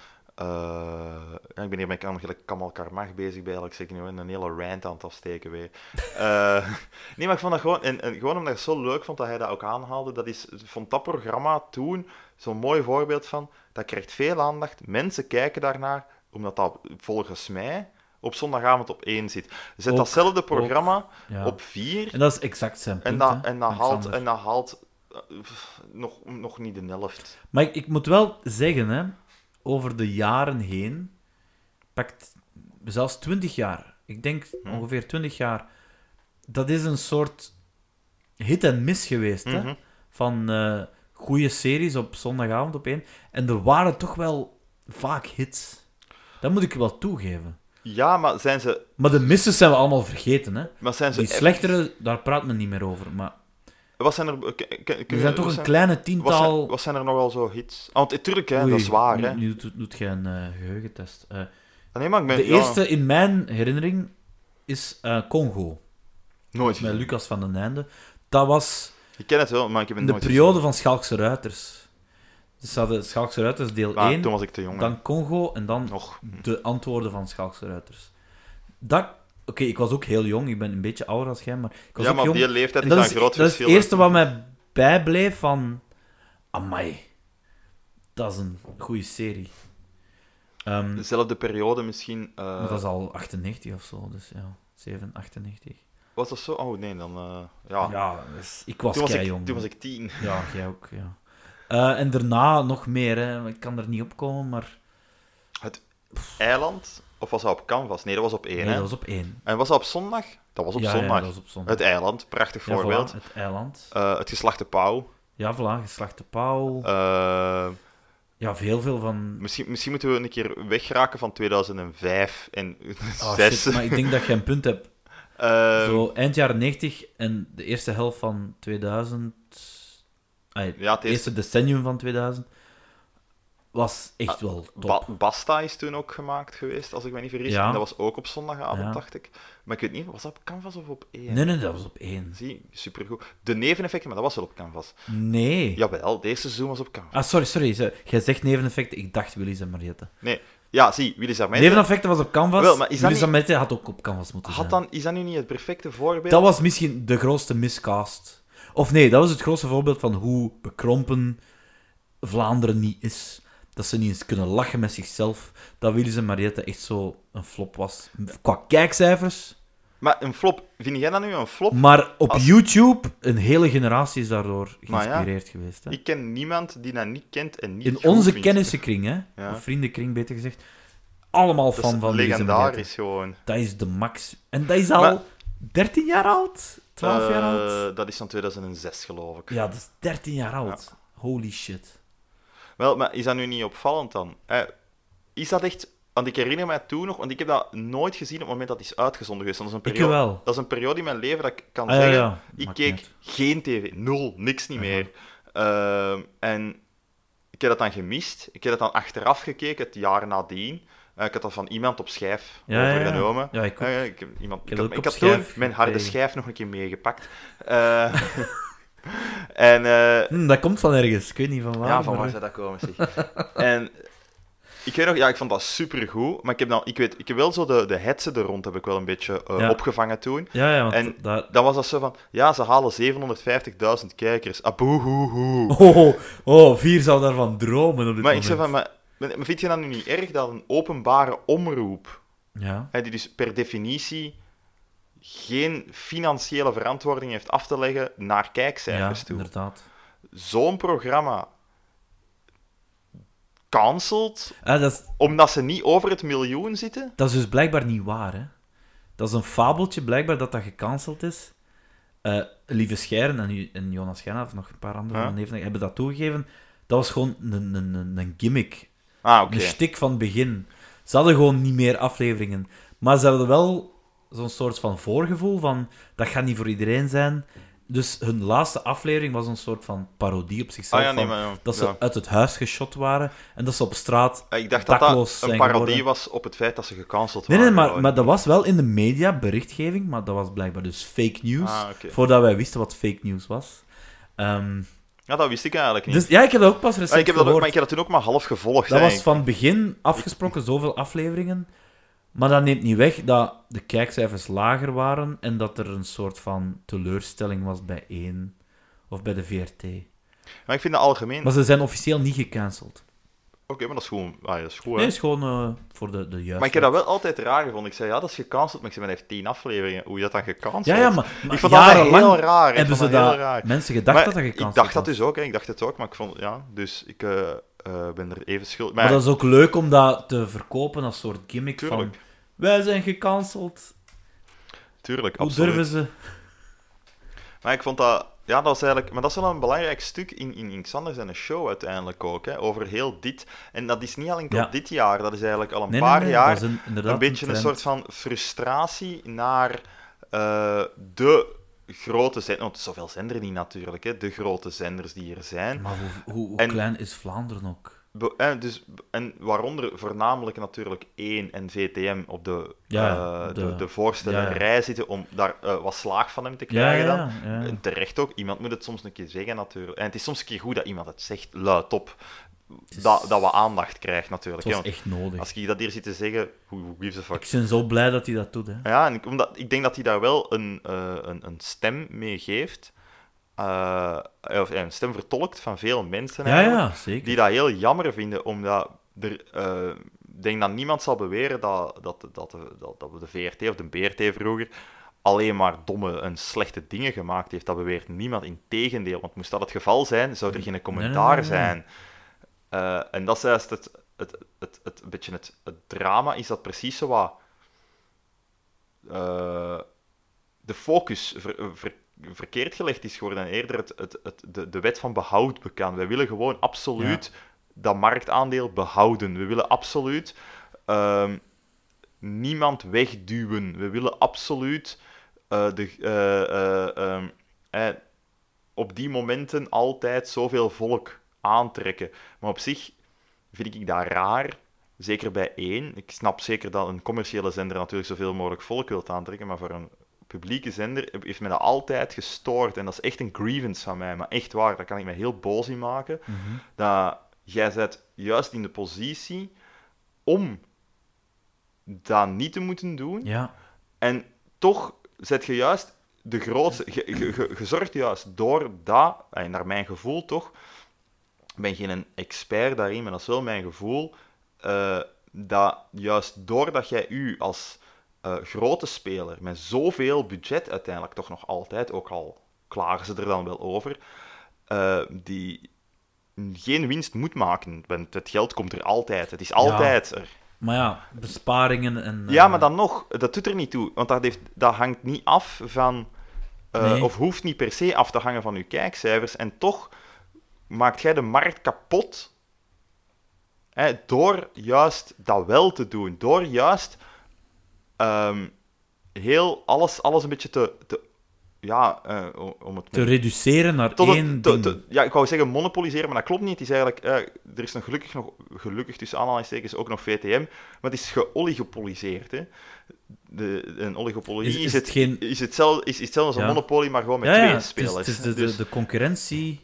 S2: eh, ja, ik ben hier met Kam- gelijk Kamal Karmach bezig bij, eigenlijk zeker niet, hoor, en een hele rant aan het
S1: <laughs>
S2: afsteken weer. Eh, nee, maar ik vond dat gewoon, en, en gewoon omdat ik het zo leuk vond dat hij dat ook aanhaalde, dat is, ik vond dat programma toen zo'n mooi voorbeeld van, dat krijgt veel aandacht, mensen kijken daarnaar, omdat dat volgens mij op zondagavond op één zit. Zet
S1: Ook,
S2: datzelfde programma
S1: ja.
S2: op vier,
S1: En dat is exact zijn punt.
S2: En dat,
S1: hè,
S2: en dat haalt,
S1: Alexander.
S2: en dat haalt eh, pff, nog, nog niet de helft.
S1: Maar ik, ik moet wel zeggen, hè, over de jaren heen, pakt zelfs 20 jaar, ik denk
S2: Hm.
S1: ongeveer 20 jaar, dat is een soort hit en miss geweest. Hè?
S2: Mhm.
S1: Van eh goede series op zondagavond op één. En er waren toch wel vaak hits. Dat moet ik wel toegeven.
S2: Ja, maar zijn ze, maar
S1: Maar de misses zijn we allemaal vergeten. Hè?
S2: zijn ze
S1: Die
S2: echt-
S1: slechtere, daar praat men niet meer over. Maar
S2: Wat zijn er? k- k-
S1: er
S2: kunnen-
S1: zijn
S2: wat
S1: toch een
S2: zijn-
S1: kleine
S2: Wat zijn,
S1: tiental...
S2: wat zijn er nogal zo hits? Ah, Want natuurlijk, hè, dat
S1: Oei,
S2: is waar. Hè.
S1: Nu, nu doet, doet jij een eh, geheugentest. Eh,
S2: Ah, Nee, maar ik ben
S1: de
S2: ja,
S1: eerste in mijn herinnering is eh, Congo,
S2: nooit.
S1: met
S2: gezien.
S1: Lucas van den Einde. Dat was
S2: Ik ken het wel, maar ik heb het
S1: in de
S2: nooit
S1: periode van Schalkse Ruiters. Dus ze hadden Schalkse Ruiters deel
S2: gezien. Maar
S1: 1,
S2: toen was ik te jong. hè.
S1: dan Congo en dan
S2: Nog.
S1: de antwoorden van Schalkse Ruiters. Dat... Oké, ik was ook heel jong. Ik ben een beetje ouder als jij, maar ik was
S2: Ja,
S1: ook
S2: maar op
S1: jong.
S2: die leeftijd
S1: En
S2: is
S1: dat
S2: dat een
S1: is,
S2: groot
S1: dat is
S2: verschil.
S1: het eerste wat mij bijbleef van... Amai. Dat is een goede serie. Ehm,
S2: Dezelfde periode misschien. eh,
S1: Maar dat is al 98 of zo, dus ja. 7, 98.
S2: Was dat zo? Oh nee, dan. eh, ja.
S1: Ja, dus ik was,
S2: toen, was
S1: kei
S2: ik,
S1: jong.
S2: toen was ik tien.
S1: Ja, jij ook, ja. Eh, en daarna nog meer, hè. Ik kan er niet op komen, maar...
S2: Eiland? Of was dat op Canvas? Nee, dat was op één.
S1: Nee,
S2: hè.
S1: dat was op één.
S2: En was dat op zondag? Dat was op
S1: ja, ja,
S2: zondag.
S1: dat was op zondag.
S2: Het eiland, prachtig
S1: Ja, voilà,
S2: voorbeeld.
S1: het eiland.
S2: Eh, het geslacht de pauw.
S1: Ja, voilà, geslachte pauw.
S2: Eh,
S1: Ja, heel veel van...
S2: misschien, misschien moeten we een keer wegraken van 2005 en <laughs>
S1: Oh,
S2: 6.
S1: shit, maar ik denk dat je een punt hebt.
S2: Eh,
S1: Zo, eind jaren 90 en de eerste helft van 2000... Ah, het
S2: ja, het eerste.
S1: eerste decennium van 2000 was echt
S2: Ah,
S1: wel top.
S2: Ba- Basta is toen ook gemaakt geweest, als ik me niet vergis.
S1: Ja.
S2: En dat was ook op zondagavond,
S1: Ja.
S2: dacht ik. Maar ik weet niet, was dat op Canvas of op één?
S1: Nee, nee, dat was op één.
S2: Zie, supergoed. De neveneffecten, maar dat was wel op Canvas.
S1: Nee.
S2: Jawel, de eerste seizoen was op Canvas.
S1: Ah, sorry, sorry. ze- Jij zegt neveneffecten. Ik dacht Willy's en Mariette.
S2: Ja, zie, Willy Sarmijn.
S1: Neveneffecten was op canvas.
S2: Wel, maar is dat
S1: Willy's
S2: niet-
S1: en Mariette had ook op canvas moeten
S2: Had
S1: zijn.
S2: dan, is dat nu niet het perfecte voorbeeld?
S1: Dat was misschien de grootste miscast. Of nee, dat was het grootste voorbeeld van hoe bekrompen Vlaanderen niet is. Dat ze niet eens kunnen lachen met zichzelf. Dat Willy's en Mariette echt zo een flop was. Qua kijkcijfers.
S2: Maar een flop, vind jij dat nu een flop?
S1: Maar op
S2: Als-
S1: YouTube, een hele generatie is daardoor
S2: Maar ja,
S1: geïnspireerd geweest. Hè?
S2: Ik ken niemand die dat niet kent en niet
S1: In
S2: goed
S1: onze
S2: vindt.
S1: kennissenkring, hè?
S2: Ja.
S1: Of vriendenkring, beter gezegd. Allemaal
S2: Dat is
S1: fan van Willy's en Mariette.
S2: legendarisch gewoon.
S1: Dat is de max. En dat is al
S2: Maar-
S1: 13 jaar oud? 12 jaar oud?
S2: Eh, dat is van 2006, geloof ik.
S1: Ja, dat is 13 jaar oud. Holy shit.
S2: Wel, maar is dat nu niet opvallend dan? Eh, is dat echt... Want ik herinner mij toen nog, want ik heb dat nooit gezien op het moment dat het is uitgezonden geweest. Dat is een
S1: Ik
S2: periode,
S1: wel.
S2: dat is een periode in mijn leven dat ik kan
S1: Ah, ja,
S2: zeggen,
S1: ja.
S2: ik
S1: Maakt
S2: keek
S1: niet uit.
S2: geen tv, nul, niks niet
S1: Ja.
S2: meer. Ehm, en ik heb dat dan gemist. Ik heb dat dan achteraf gekeken, het jaar nadien. Eh, ik had dat van iemand op schijf
S1: Ja, ja, ja.
S2: overgenomen.
S1: Ja, ik ook.
S2: Eh, ik, heb iemand, ik,
S1: heb
S2: had,
S1: ook
S2: ik
S1: op
S2: had toen
S1: schijf
S2: mijn harde
S1: gekregen.
S2: schijf nog een keer meegepakt. Eh, <laughs> en eh,
S1: Hm, dat komt van ergens. Ik weet niet van waar.
S2: ja, van
S1: maar-
S2: waar zou dat komen, zeg. <laughs> en Ik weet nog, ja, ik vond dat supergoed, maar ik heb dan, ik weet, ik heb wel zo de, de hetze er rond heb ik wel een beetje eh,
S1: Ja.
S2: opgevangen toen.
S1: Ja, ja, want
S2: En-
S1: daar...
S2: Dan was dat zo van, ja, ze halen 750.000 kijkers. Ah, Aboehoehoe.
S1: Oh, <laughs> oh, oh, vier zou daarvan dromen op dit
S2: maar ik
S1: moment.
S2: zei van, maar, maar vind je dat nu niet erg dat een openbare omroep,
S1: Ja.
S2: hè, die dus per definitie geen financiële verantwoording heeft af te leggen naar
S1: Ja,
S2: kijkcijfers toe,
S1: inderdaad.
S2: zo'n programma cancelt
S1: Ah, dat, is,
S2: omdat ze niet over het miljoen zitten?
S1: dat is dus blijkbaar niet waar, hè. Dat is een fabeltje, blijkbaar, dat dat gecanceld is. Eh, Lieve Scheren en, u- en Jonas Schijnhoff, of nog een paar anderen
S2: Ja.
S1: van de Nevenaar, hebben dat toegegeven. Dat was gewoon een, een, een, een gimmick.
S2: Ah, oké.
S1: Een stik van het begin. Ze hadden gewoon niet meer afleveringen. Maar ze hadden wel zo'n soort van voorgevoel van... Dat gaat niet voor iedereen zijn. Dus hun laatste aflevering was een soort van parodie op
S2: Ah
S1: zichzelf.
S2: ja, nee,
S1: van
S2: maar... ja,
S1: Dat ze
S2: ja. Ah,
S1: uit het huis geschot waren en dat ze op straat...
S2: Ik dacht dat
S1: dakloos
S2: dat een
S1: zijn
S2: parodie
S1: geworden.
S2: was Ah, op het feit dat ze gecanceld
S1: Nee,
S2: waren.
S1: nee, maar,
S2: gewoon.
S1: maar dat was wel in de media berichtgeving, maar dat was blijkbaar dus fake news.
S2: Ah, oké.
S1: Voordat wij wisten wat fake news was. Ehm,
S2: Ja, dat wist ik eigenlijk niet.
S1: dus ja, ik heb dat ook pas
S2: Ah,
S1: recent
S2: ik heb dat ook,
S1: gehoord.
S2: maar ik heb dat toen ook maar half gevolgd.
S1: Dat
S2: hè.
S1: was van begin afgesproken, zoveel afleveringen. Maar dat neemt niet weg dat de kijkcijfers lager waren en dat er een soort van teleurstelling was bij één of bij de VRT.
S2: Maar ik vind dat algemeen...
S1: Maar ze zijn officieel niet gecanceld.
S2: Oké, maar dat is gewoon... Ah, ja, dat is goed, hè.
S1: Nee, is gewoon eh, voor de, de juiste.
S2: Maar ik heb dat wel altijd raar gevonden. Ik zei, ja, dat is gecanceld. Maar ik zei, maar hij heeft tien afleveringen. Hoe is dat dan gecanceld?
S1: Ja, ja, maar, maar
S2: ik vond dat
S1: jarenlang
S2: heel raar. Ik
S1: hebben ze
S2: vond dat
S1: dat
S2: heel raar.
S1: mensen gedacht
S2: Maar
S1: dat dat
S2: Ik
S1: gecanceld
S2: dacht dat
S1: was.
S2: dus ook, hè. Ik dacht het ook, maar ik vond... Ja, dus ik eh, eh, ben er even schuldig... Maar,
S1: Maar dat is ook leuk om dat te verkopen als soort gimmick
S2: tuurlijk,
S1: van... Wij zijn gecanceld.
S2: tuurlijk,
S1: Hoe
S2: absoluut.
S1: durven ze?
S2: Maar ik vond dat... Ja, dat was eigenlijk... Maar dat is wel een belangrijk stuk in, in, in Xander zijn show uiteindelijk ook, hè. Over heel dit... En dat is niet alleen tot
S1: Ja.
S2: dit jaar. Dat is eigenlijk al een
S1: Nee, nee,
S2: paar
S1: nee,
S2: jaar...
S1: dat is een, inderdaad
S2: een beetje een
S1: trend.
S2: soort van frustratie naar eh, de grote zenders. Want zoveel zender niet natuurlijk, hè, de grote zenders die er zijn.
S1: Maar hoe, hoe, hoe
S2: En-
S1: klein is Vlaanderen ook?
S2: Be- eh, dus, en waaronder voornamelijk natuurlijk één en VTM op de,
S1: Ja,
S2: eh,
S1: de-
S2: de, de, voorstellerij zitten om daar eh, wat slaag van hem te krijgen dan.
S1: ja, ja.
S2: En Eh, terecht ook, iemand moet het soms een keer zeggen natuurlijk. En het is soms een keer goed dat iemand het zegt, luid op.
S1: is-
S2: Dat, dat we aandacht krijgen natuurlijk.
S1: Het
S2: hè,
S1: was
S2: want
S1: echt nodig.
S2: Als ik dat hier zit te zeggen, hoe, hoe gives a fuck.
S1: Ik ben zo blij dat hij dat doet. Hè.
S2: Ja, en ik, omdat, ik denk dat hij daar wel een, eh, een, een stem mee geeft. Eh, of eh, een stem vertolkt van veel mensen
S1: Ja,
S2: eigenlijk,
S1: ja, zeker.
S2: die dat heel jammer vinden, omdat er... eh, ik denk dat niemand zal beweren dat, dat, dat, de- dat, dat we de VRT of de BRT vroeger alleen maar domme en slechte dingen gemaakt heeft. Dat beweert niemand. Integendeel, want moest dat het geval zijn, zou er geen commentaar
S1: nee, nee, nee.
S2: zijn. Eh, en dat is juist het, het, het, het, een beetje het, het drama, is dat precies zo wat... eh, de focus ver- ver- verkeerd gelegd is geworden en eerder het, het, het, de, de wet van behoud bekend. Wij willen gewoon absoluut dat marktaandeel behouden. We willen absoluut ehm, niemand wegduwen. We willen absoluut eh, de, eh, eh, ehm, eh, op die momenten altijd zoveel volk aantrekken. Maar op zich vind ik dat raar. Zeker bij één. Ik snap zeker dat een commerciële zender natuurlijk zoveel mogelijk volk wilt aantrekken, maar voor een publieke zender heb- heeft me dat altijd gestoord. En dat is echt een grievance van mij, maar echt waar. Daar kan ik me heel boos in maken.
S1: Mhm.
S2: Dat jij zit juist in de positie om dat niet te moeten doen.
S1: Ja,
S2: En toch zet je juist de grootste. Je, je, je- je zorgt juist door dat, en naar mijn gevoel toch, ik ben geen expert daarin, maar dat is wel mijn gevoel, eh, dat juist doordat jij u als eh, grote speler met zoveel budget uiteindelijk toch nog altijd, ook al klagen ze er dan wel over, eh, die geen winst moet maken. Want het geld komt er altijd. Het is altijd er.
S1: maar ja, besparingen en...
S2: Ja,
S1: eh,
S2: maar dan nog, dat doet er niet toe. Want dat, heeft, dat hangt niet af van. eh,
S1: Nee.
S2: Of hoeft niet per se af te hangen van uw kijkcijfers. En toch maakt jij de markt kapot. Hè, door juist dat wel te doen. Door juist ehm, heel alles, alles een beetje te. te ja, eh, o- om het
S1: Te reduceren naar
S2: tot
S1: één
S2: een,
S1: ding.
S2: tot- tot- ja, ik wou zeggen monopoliseren, maar dat klopt niet. Het is eigenlijk, eh, er is nog gelukkig, nog, gelukkig tussen aanhalingstekens ook nog VTM, maar het is geoligopoliseerd. Hè. De, een oligopolie
S1: Is-
S2: is,
S1: is het
S2: het,
S1: geen-
S2: is hetzelfde, is, is hetzelfde als
S1: Ja.
S2: een monopolie, maar gewoon met
S1: ja,
S2: twee
S1: ja, het is-
S2: spelers.
S1: het is de,
S2: Dus-
S1: de, de concurrentie...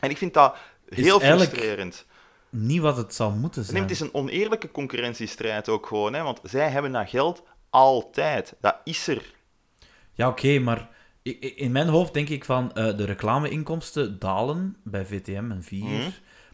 S2: en ik vind dat heel
S1: eigenlijk-
S2: frustrerend.
S1: niet wat het zou moeten zijn.
S2: Nee, het is een oneerlijke concurrentiestrijd ook gewoon, hè, want zij hebben dat geld altijd. Dat is er.
S1: Ja, oké, maar i- i- in mijn hoofd denk ik van eh, de reclameinkomsten dalen bij VTM en 4.
S2: Mhm.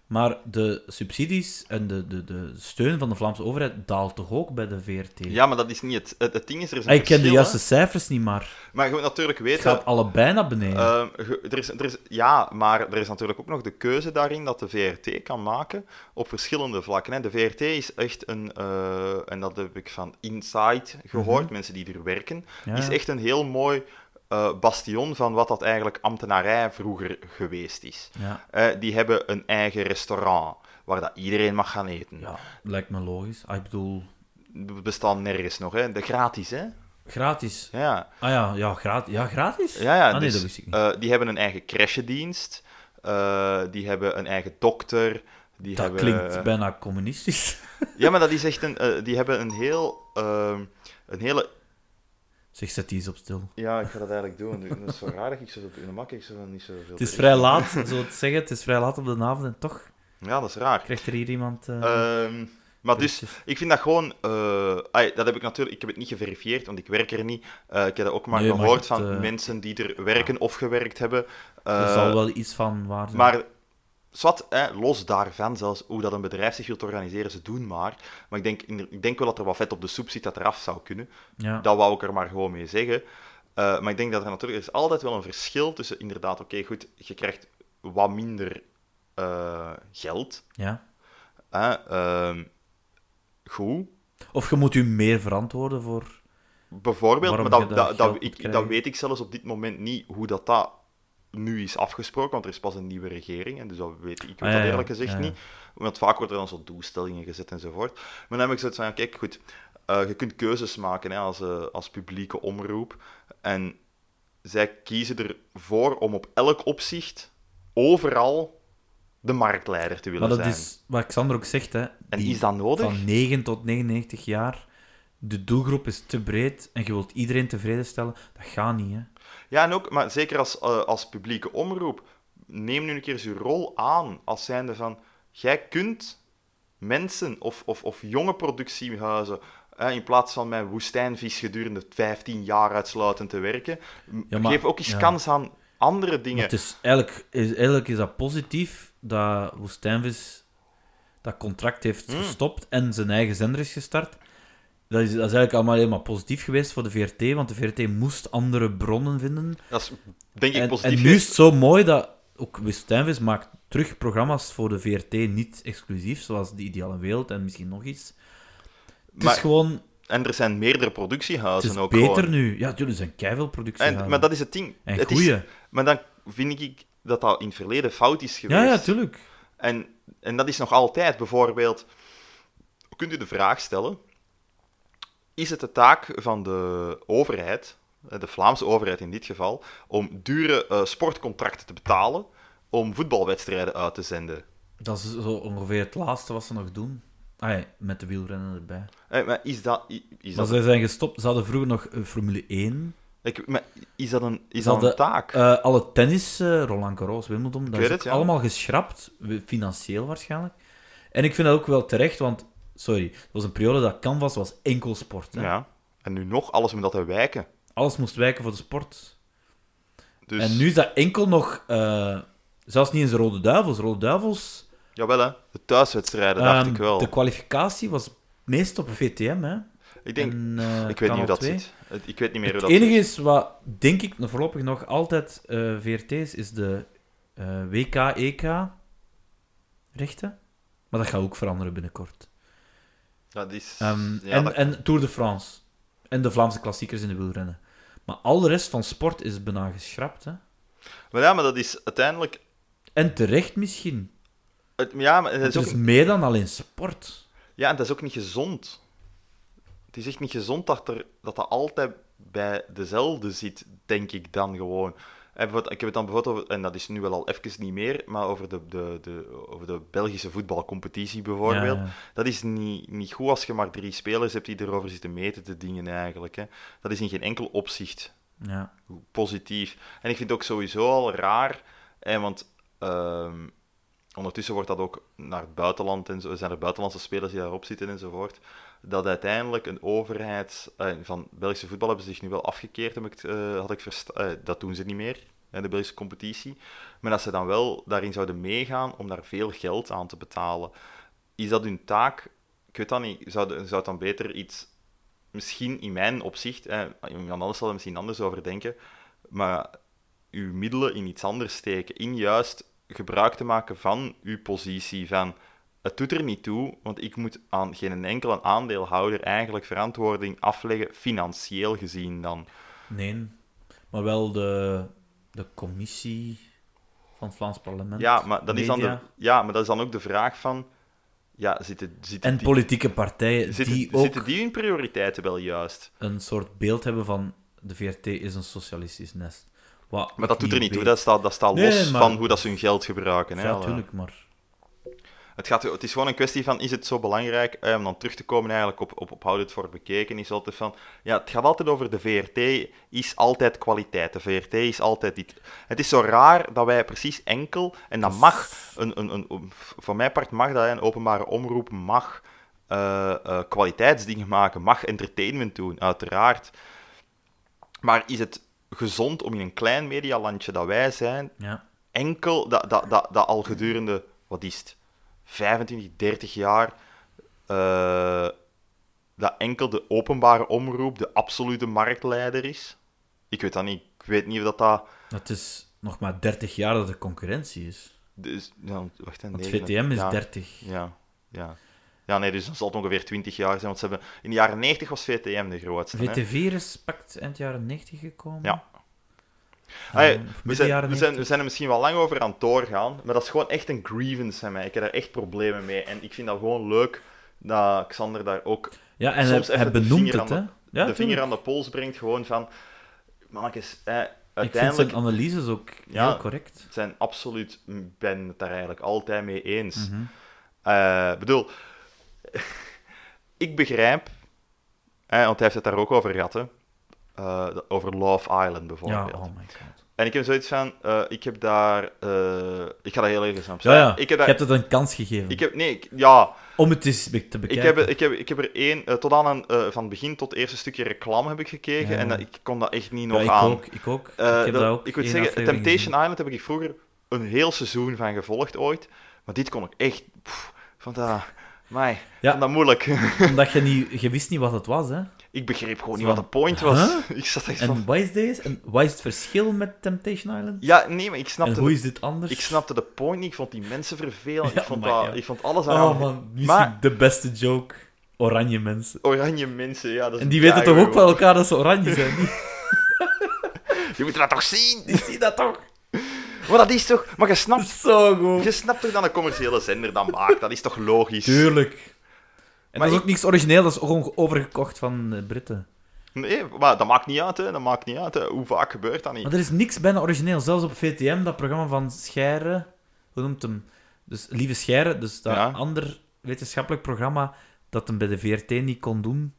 S1: Maar de subsidies en de, de, de steun van de Vlaamse overheid daalt toch ook bij de VRT?
S2: Ja, maar dat is niet het. Het, het ding is, er is een
S1: Ah, ik ken de
S2: verschil,
S1: juiste
S2: hè.
S1: cijfers niet, maar
S2: Maar je moet natuurlijk
S1: het
S2: weten...
S1: gaat allebei naar beneden.
S2: Ehm, ge- er is, er is, ja, maar er is natuurlijk ook nog de keuze daarin dat de VRT kan maken op verschillende vlakken. Hè. De VRT is echt een, eh, en dat heb ik van Inside gehoord, mensen die er werken,
S1: Mhm. Ja,
S2: is
S1: ja.
S2: echt een heel mooi eh, bastion van wat dat eigenlijk ambtenarij vroeger geweest is.
S1: ja.
S2: Eh, die hebben een eigen restaurant waar dat iedereen mag gaan eten.
S1: ja, lijkt me logisch. Ah, ik bedoel,
S2: B- Bestaan nergens nog, hè? De gratis, hè?
S1: gratis.
S2: Ja.
S1: Ah ja, ja, gratis. Ja, gratis?
S2: Ja, ja
S1: ah, nee,
S2: dus,
S1: dat wist ik niet.
S2: eh, die hebben een eigen crashendienst, eh, die hebben een eigen dokter. Die
S1: dat
S2: hebben, eh,
S1: klinkt bijna communistisch. <laughs>
S2: Ja, maar dat is echt een. eh, die hebben een heel. ehm, een hele.
S1: zeg, zet die eens op stil.
S2: Ja, ik ga dat eigenlijk doen. Dat is zo raar dat ik zo in de mak ik zo niet zoveel.
S1: Het is vrij
S2: <laughs>
S1: laat, zo te zeggen. Het is vrij laat op de avond en toch
S2: Ja, dat is raar.
S1: krijgt er hier iemand... eh,
S2: Ehm, maar dus,
S1: berichtjes.
S2: ik vind dat gewoon. eh, ai, dat heb ik natuurlijk. Ik heb het niet geverifieerd, want ik werk er niet. Eh, ik heb dat ook maar
S1: Nee, maar
S2: gehoord
S1: het,
S2: van
S1: eh,
S2: mensen die er werken of gewerkt hebben.
S1: Er
S2: Eh,
S1: zal wel iets van waar zijn.
S2: Maar zwart, hè, los daarvan, zelfs hoe dat een bedrijf zich wil organiseren, ze doen maar. Maar ik denk, in- ik denk wel dat er wat vet op de soep zit dat eraf zou kunnen.
S1: ja.
S2: Dat wou ik er maar gewoon mee zeggen. Eh, maar ik denk dat er natuurlijk er is altijd wel een verschil tussen inderdaad, oké, goed, je krijgt wat minder eh, geld.
S1: ja.
S2: Hè, ehm, goed,
S1: Of je moet u meer verantwoorden voor...
S2: bijvoorbeeld,
S1: Waarom
S2: maar
S1: je
S2: dat,
S1: dat
S2: dat,
S1: geld
S2: dat,
S1: moet
S2: ik, dat
S1: krijgen.
S2: weet ik zelfs op dit moment niet hoe dat, dat nu is afgesproken, want er is pas een nieuwe regering, en dus dat weet ik, ik weet
S1: Ah, ja,
S2: dat eerlijk
S1: ja,
S2: gezegd
S1: ja, ja.
S2: niet. Want vaak worden er dan zo doelstellingen gezet enzovoort. Maar dan heb ik zoiets van, ja, kijk, goed, eh, je kunt keuzes maken hè, als, eh, als publieke omroep. En zij kiezen ervoor om op elk opzicht, overal, de marktleider te willen
S1: Maar dat
S2: zijn.
S1: is wat Xander ook zegt, hè.
S2: En
S1: Die
S2: is dat nodig?
S1: Van 9 tot 99 jaar. De doelgroep is te breed en je wilt iedereen tevreden stellen. Dat gaat niet, hè.
S2: Ja, en ook, maar zeker als, eh, als publieke omroep, neem nu een keer zijn rol aan als zijnde van, jij kunt mensen of, of, of jonge productiehuizen, hè, in plaats van mijn woestijnvis gedurende 15 jaar uitsluitend te werken, m-
S1: Ja, maar-
S2: geef ook eens
S1: ja.
S2: kans aan andere
S1: Maar
S2: dingen.
S1: het is eigenlijk, is, eigenlijk is dat positief dat Woestijnvis dat contract heeft
S2: Hmm.
S1: gestopt en zijn eigen zender is gestart. Dat is, dat is eigenlijk allemaal helemaal positief geweest voor de VRT, want de VRT moest andere bronnen vinden.
S2: Dat is, denk ik,
S1: En,
S2: positief.
S1: en nu is het zo mooi dat ook Woestijnvis maakt terug programma's voor de VRT niet exclusief, zoals De Ideale Wereld en misschien nog iets. Het
S2: Maar-
S1: is gewoon...
S2: En er zijn meerdere
S1: Het
S2: productiehuizen
S1: is
S2: ook
S1: beter
S2: gewoon.
S1: nu. Ja, natuurlijk zijn keiveel producties.
S2: En, maar dat is het ding.
S1: En
S2: het
S1: goeie.
S2: Is, maar dan vind ik dat dat in het verleden fout is geweest.
S1: ja, ja, tuurlijk.
S2: En, en dat is nog altijd bijvoorbeeld. Kunt u de vraag stellen: is het de taak van de overheid, eh, de Vlaamse overheid in dit geval, om dure eh, sportcontracten te betalen om voetbalwedstrijden uit te zenden?
S1: Dat is zo ongeveer het laatste wat ze nog doen. Ah, ja, met de wielrennen erbij.
S2: Eh, maar is dat, i- is
S1: Maar
S2: dat,
S1: ze zijn gestopt. Ze hadden vroeger nog eh, Formule 1.
S2: ik, maar is dat een, is
S1: Ze
S2: dat een
S1: hadden,
S2: taak?
S1: eh, alle tennis, eh, Roland Garros, Wimbledon, dat
S2: weet
S1: is
S2: het,
S1: ook
S2: ja.
S1: allemaal geschrapt. we- Financieel waarschijnlijk. En ik vind dat ook wel terecht, want... Sorry, het was een periode dat Canvas was enkel sport. Hè?
S2: ja. En nu nog alles om dat te wijken.
S1: Alles moest wijken voor de sport.
S2: Dus,
S1: En nu is dat enkel nog... eh, zelfs niet eens de Rode Duivels. Rode Duivels...
S2: Jawel, hè? De thuiswedstrijden, dacht
S1: Ehm,
S2: ik wel.
S1: De kwalificatie was meest op VTM, hè?
S2: Ik, denk,
S1: En, eh,
S2: ik weet niet
S1: Kanaal
S2: hoe dat
S1: 2.
S2: zit. Het- Ik weet niet meer
S1: Het
S2: hoe dat
S1: enige is wat, denk ik, nog voorlopig nog altijd eh VRT is, is de eh, WK-EK-rechten. E Maar dat gaat ook veranderen binnenkort.
S2: Dat is...
S1: Ehm,
S2: ja,
S1: en,
S2: dat-
S1: en Tour de France. En de Vlaamse klassiekers in de wielrennen. Maar al de rest van sport is bijna geschrapt. Hè?
S2: Maar ja, maar dat is uiteindelijk...
S1: En terecht misschien.
S2: Het, ja, maar dat
S1: Het
S2: is ook
S1: is meer dan alleen sport.
S2: Ja, en dat is ook niet gezond. Het is echt niet gezond dat er, dat, dat altijd bij dezelfde zit, denk ik dan gewoon. En bijvoorbeeld- ik heb het dan bijvoorbeeld over, en dat is nu wel al even niet meer, maar over de, de, de, over de Belgische voetbalcompetitie bijvoorbeeld.
S1: Ja, ja.
S2: Dat is niet, niet goed als je maar drie spelers hebt die erover zitten meten te dingen eigenlijk. Hè. Dat is in geen enkel opzicht
S1: Ja.
S2: positief. En ik vind het ook sowieso al raar, hè, want ehm, ondertussen wordt dat ook naar het buitenland en zo, zijn er buitenlandse spelers die daarop zitten enzovoort. Dat uiteindelijk een overheid eh, van Belgische voetbal hebben ze zich nu wel afgekeerd, heb ik, het, eh, had ik versta- eh, dat doen ze niet meer, hè, de Belgische competitie. Maar dat ze dan wel daarin zouden meegaan om daar veel geld aan te betalen. Is dat hun taak? Ik weet dat niet. Zou, zou het dan beter iets, misschien in mijn opzicht, eh, iemand anders zal er misschien anders over denken, maar uw middelen in iets anders steken. In juist gebruik te maken van uw positie. Van het doet er niet toe, want ik moet aan geen enkele aandeelhouder eigenlijk verantwoording afleggen, financieel gezien dan.
S1: Nee, maar wel de, de commissie van het Vlaams parlement.
S2: Ja, maar dat is dan, de,
S1: media
S2: ja, maar dat is dan ook de vraag van. Ja, zitten, zitten,
S1: En
S2: die,
S1: politieke partijen
S2: zitten,
S1: die ook
S2: zitten die hun prioriteiten wel juist?
S1: een soort beeld hebben van de VRT is een socialistisch nest. Wat
S2: Maar dat
S1: ik
S2: doet er niet toe.
S1: weet.
S2: Dat staat, dat staat
S1: Nee,
S2: los
S1: maar-
S2: van hoe dat ze hun geld gebruiken. hè,
S1: Ja,
S2: al, ja.
S1: natuurlijk, maar...
S2: Het, gaat, het is gewoon een kwestie van, is het zo belangrijk eh, om dan terug te komen eigenlijk op, op, op houd het voor bekeken, is altijd van, ja, het gaat altijd over de VRT, is altijd kwaliteit. De VRT is altijd dit. Het is zo raar dat wij precies enkel, en dat mag, een, een, een, een- voor mijn part mag dat, hè, een openbare omroep mag eh, eh, kwaliteitsdingen maken, mag entertainment doen, uiteraard. Maar is het gezond om in een klein medialandje dat wij zijn,
S1: Ja.
S2: enkel dat, dat, dat, dat al gedurende, wat is het, 25, 30 jaar, eh, dat enkel de openbare omroep de absolute marktleider is. Ik weet dat niet. Ik weet niet of dat dat...
S1: Het is nog maar 30 jaar dat er concurrentie is.
S2: Dus, ja, wacht, hè,
S1: Want
S2: negen-
S1: VTM is
S2: ja,
S1: 30.
S2: Ja, ja. Ja, nee, dus dat zal het ongeveer 20 jaar zijn, want ze hebben... In de jaren 90 was VTM de grootste, hè.
S1: VT4 is pakt eind jaren 90 gekomen.
S2: Ja.
S1: Eh,
S2: Ah, ja,
S1: midden
S2: we, zijn,
S1: jaren
S2: we, zijn,
S1: 90.
S2: we zijn er misschien wel lang over aan het doorgaan, maar dat is gewoon echt een grievance aan mij. Ik heb daar echt problemen mee. En ik vind dat gewoon leuk dat Xander daar ook
S1: Ja, en
S2: soms
S1: hij,
S2: even
S1: hij
S2: de
S1: benoemt
S2: vinger
S1: het, hè.
S2: aan
S1: Ja,
S2: de
S1: tuurlijk.
S2: vinger aan de pols brengt. Gewoon van, mannetjes, eh,
S1: Ik vind
S2: uiteindelijk
S1: zijn analyses ook
S2: Ja.
S1: heel correct.
S2: zijn absoluut, ik ben het daar eigenlijk altijd mee eens.
S1: Mhm.
S2: Eh, bedoel, <laughs> ik begrijp, eh, want hij heeft het daar ook over gehad, hè, eh, over Love Island
S1: Ja,
S2: bijvoorbeeld.
S1: oh my god.
S2: En ik heb zoiets van, eh, ik heb daar, eh, ik ga dat heel even snel
S1: Ja,
S2: zeggen.
S1: ja.
S2: Ik heb
S1: Je
S2: daar,
S1: hebt het een kans gegeven
S2: ik heb, nee, ik- ja,
S1: om het eens be- te
S2: Ik
S1: bekijken.
S2: heb, ik, heb, ik heb er één, eh, tot aan een, eh, van begin tot eerste stukje reclame heb ik gekeken.
S1: Ja.
S2: En dat- ik kon dat echt niet
S1: Ja,
S2: nog
S1: ik
S2: aan.
S1: ook. Ik ook.
S2: Eh,
S1: ik heb
S2: dat-
S1: daar ook
S2: ik moet
S1: één
S2: zeggen,
S1: aflevering
S2: Temptation Island heb ik vroeger een heel seizoen van gevolgd ooit. Maar dit kon ik echt. Pff, vond dat, amai,
S1: Ja.
S2: vond dat moeilijk. <laughs>
S1: gezien. Omdat je, niet, je wist niet wat het was, hè.
S2: ik begreep gewoon
S1: Zo
S2: niet wat de
S1: van,
S2: point was.
S1: huh?
S2: <laughs> Ik zat echt
S1: En
S2: van.
S1: wat is deze? En wat is het verschil met Temptation Island?
S2: Ja, nee, maar ik
S1: en
S2: snapte,
S1: hoe
S2: de,
S1: is dit anders?
S2: ik snapte de point niet. Ik vond die mensen
S1: <laughs>
S2: vervelend.
S1: Ja,
S2: ik, vond
S1: maar
S2: dat,
S1: ja.
S2: ik vond alles aan.
S1: Oh man, nu
S2: Maar-
S1: zie ik de beste joke. Oranje mensen.
S2: Oranje mensen, ja. Dat is
S1: En die weten toch
S2: keigoed,
S1: ook wel elkaar dat ze oranje
S2: <laughs>
S1: zijn? Die,
S2: Je moet dat toch zien?
S1: die zien dat toch?
S2: Maar dat is toch. Maar je snapt
S1: Zo goed.
S2: Je snapt toch dat een commerciële zender dat maakt? Dat is toch logisch?
S1: Tuurlijk. En dat
S2: Maar
S1: is
S2: ik-
S1: ook niks origineel, dat is gewoon overgekocht van eh, Britten.
S2: Nee, maar dat maakt niet uit, hè. Dat maakt niet uit, hè. Hoe vaak gebeurt dat niet?
S1: Maar er is niks bijna origineel. Zelfs op VTM, dat programma van Scheire, hoe noemt hem? Dus Lieve Scheire, dus dat
S2: Ja.
S1: ander wetenschappelijk programma dat hem bij de VRT niet kon doen.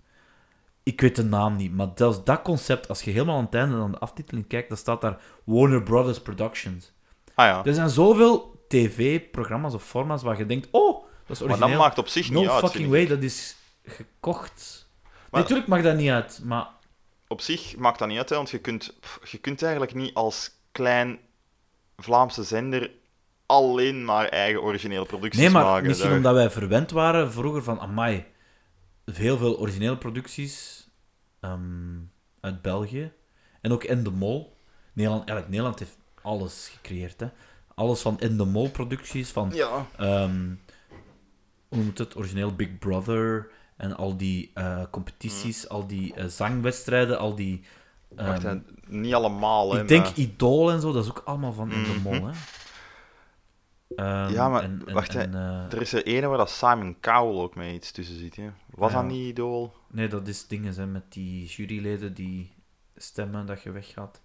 S1: Ik weet de naam niet, maar zelfs dat concept, als je helemaal aan het einde aan de aftiteling kijkt, dan staat daar Warner Brothers Productions.
S2: Ah ja.
S1: Er zijn zoveel tv-programma's of formats waar je denkt, oh, dat is
S2: Maar
S1: origineel.
S2: dat maakt op zich
S1: no
S2: niet uit.
S1: fucking
S2: vind
S1: way,
S2: ik.
S1: dat is gekocht.
S2: Maar-
S1: Natuurlijk mag dat niet uit, maar
S2: Op zich maakt dat niet uit, hè, want je kunt, pff, je kunt eigenlijk niet als klein Vlaamse zender alleen maar eigen originele producties
S1: Nee, maar
S2: maken.
S1: misschien
S2: Daar-
S1: omdat wij verwend waren vroeger van, amai, heel veel originele producties ehm, uit België. En ook En de Mol. Nederland, eigenlijk, Nederland heeft alles gecreëerd, hè. Alles van En de Mol-producties, van...
S2: Ja.
S1: ehm, hoe noemt het? Origineel Big Brother. En al die eh, competities, al die eh, zangwedstrijden, al die... ehm,
S2: Mm. Wacht, hè, niet allemaal, hè.
S1: ik denk
S2: maar-
S1: Idol en zo, dat is ook allemaal van In de
S2: Mhm.
S1: Mol, hè. Ehm,
S2: Ja, maar
S1: en- en-
S2: wacht, hè.
S1: en, eh,
S2: Er is er ene waar dat Simon Cowell ook mee iets tussen zit, hè. Was
S1: Ja.
S2: dat niet idool?
S1: Nee, dat is dingen hè, met die juryleden die stemmen dat je weggaat.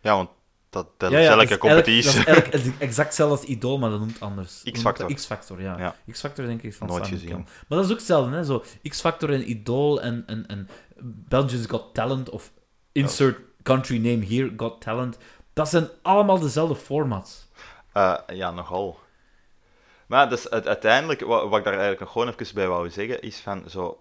S2: Ja, want dat, dat
S1: Ja,
S2: is
S1: ja, dus
S2: elke
S1: dat is
S2: competitie. <laughs>
S1: elk- dat is elk- het is exact hetzelfde als Idol, maar dat noemt anders. Hoe noemt
S2: X-Factor.
S1: dat? X-Factor, ja.
S2: Ja.
S1: X-Factor denk ik van
S2: Nooit
S1: Simon
S2: gezien.
S1: Cowell. Maar dat is ook hetzelfde, hè. Zo, X-Factor en Idol en, en, en Belgium's Got Talent of insert country name here, Got Talent. Dat zijn allemaal dezelfde formats.
S2: Eh, ja, nogal. Maar dus u- uiteindelijk, wat, wat ik daar eigenlijk nog gewoon even bij wou zeggen, is van zo,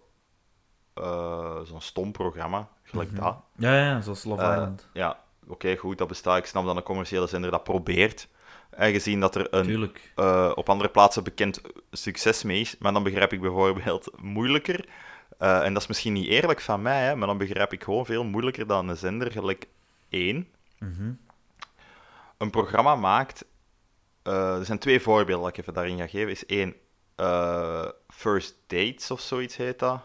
S2: eh, zo'n stom programma, gelijk
S1: Mhm.
S2: dat.
S1: Ja, ja, zoals Love
S2: Eh,
S1: Island.
S2: Ja, oké, goed, dat bestaat. Ik snap dat een commerciële zender dat probeert. En gezien dat er een,
S1: Tuurlijk.
S2: eh, op andere plaatsen bekend succes mee is. Maar dan begrijp ik bijvoorbeeld moeilijker. eh, en dat is misschien niet eerlijk van mij, hè, maar dan begrijp ik gewoon veel moeilijker dan een zender gelijk één
S1: Mhm.
S2: een programma maakt. eh, er zijn twee voorbeelden dat ik even daarin ga geven. Is één, eh, First Dates of zoiets heet dat.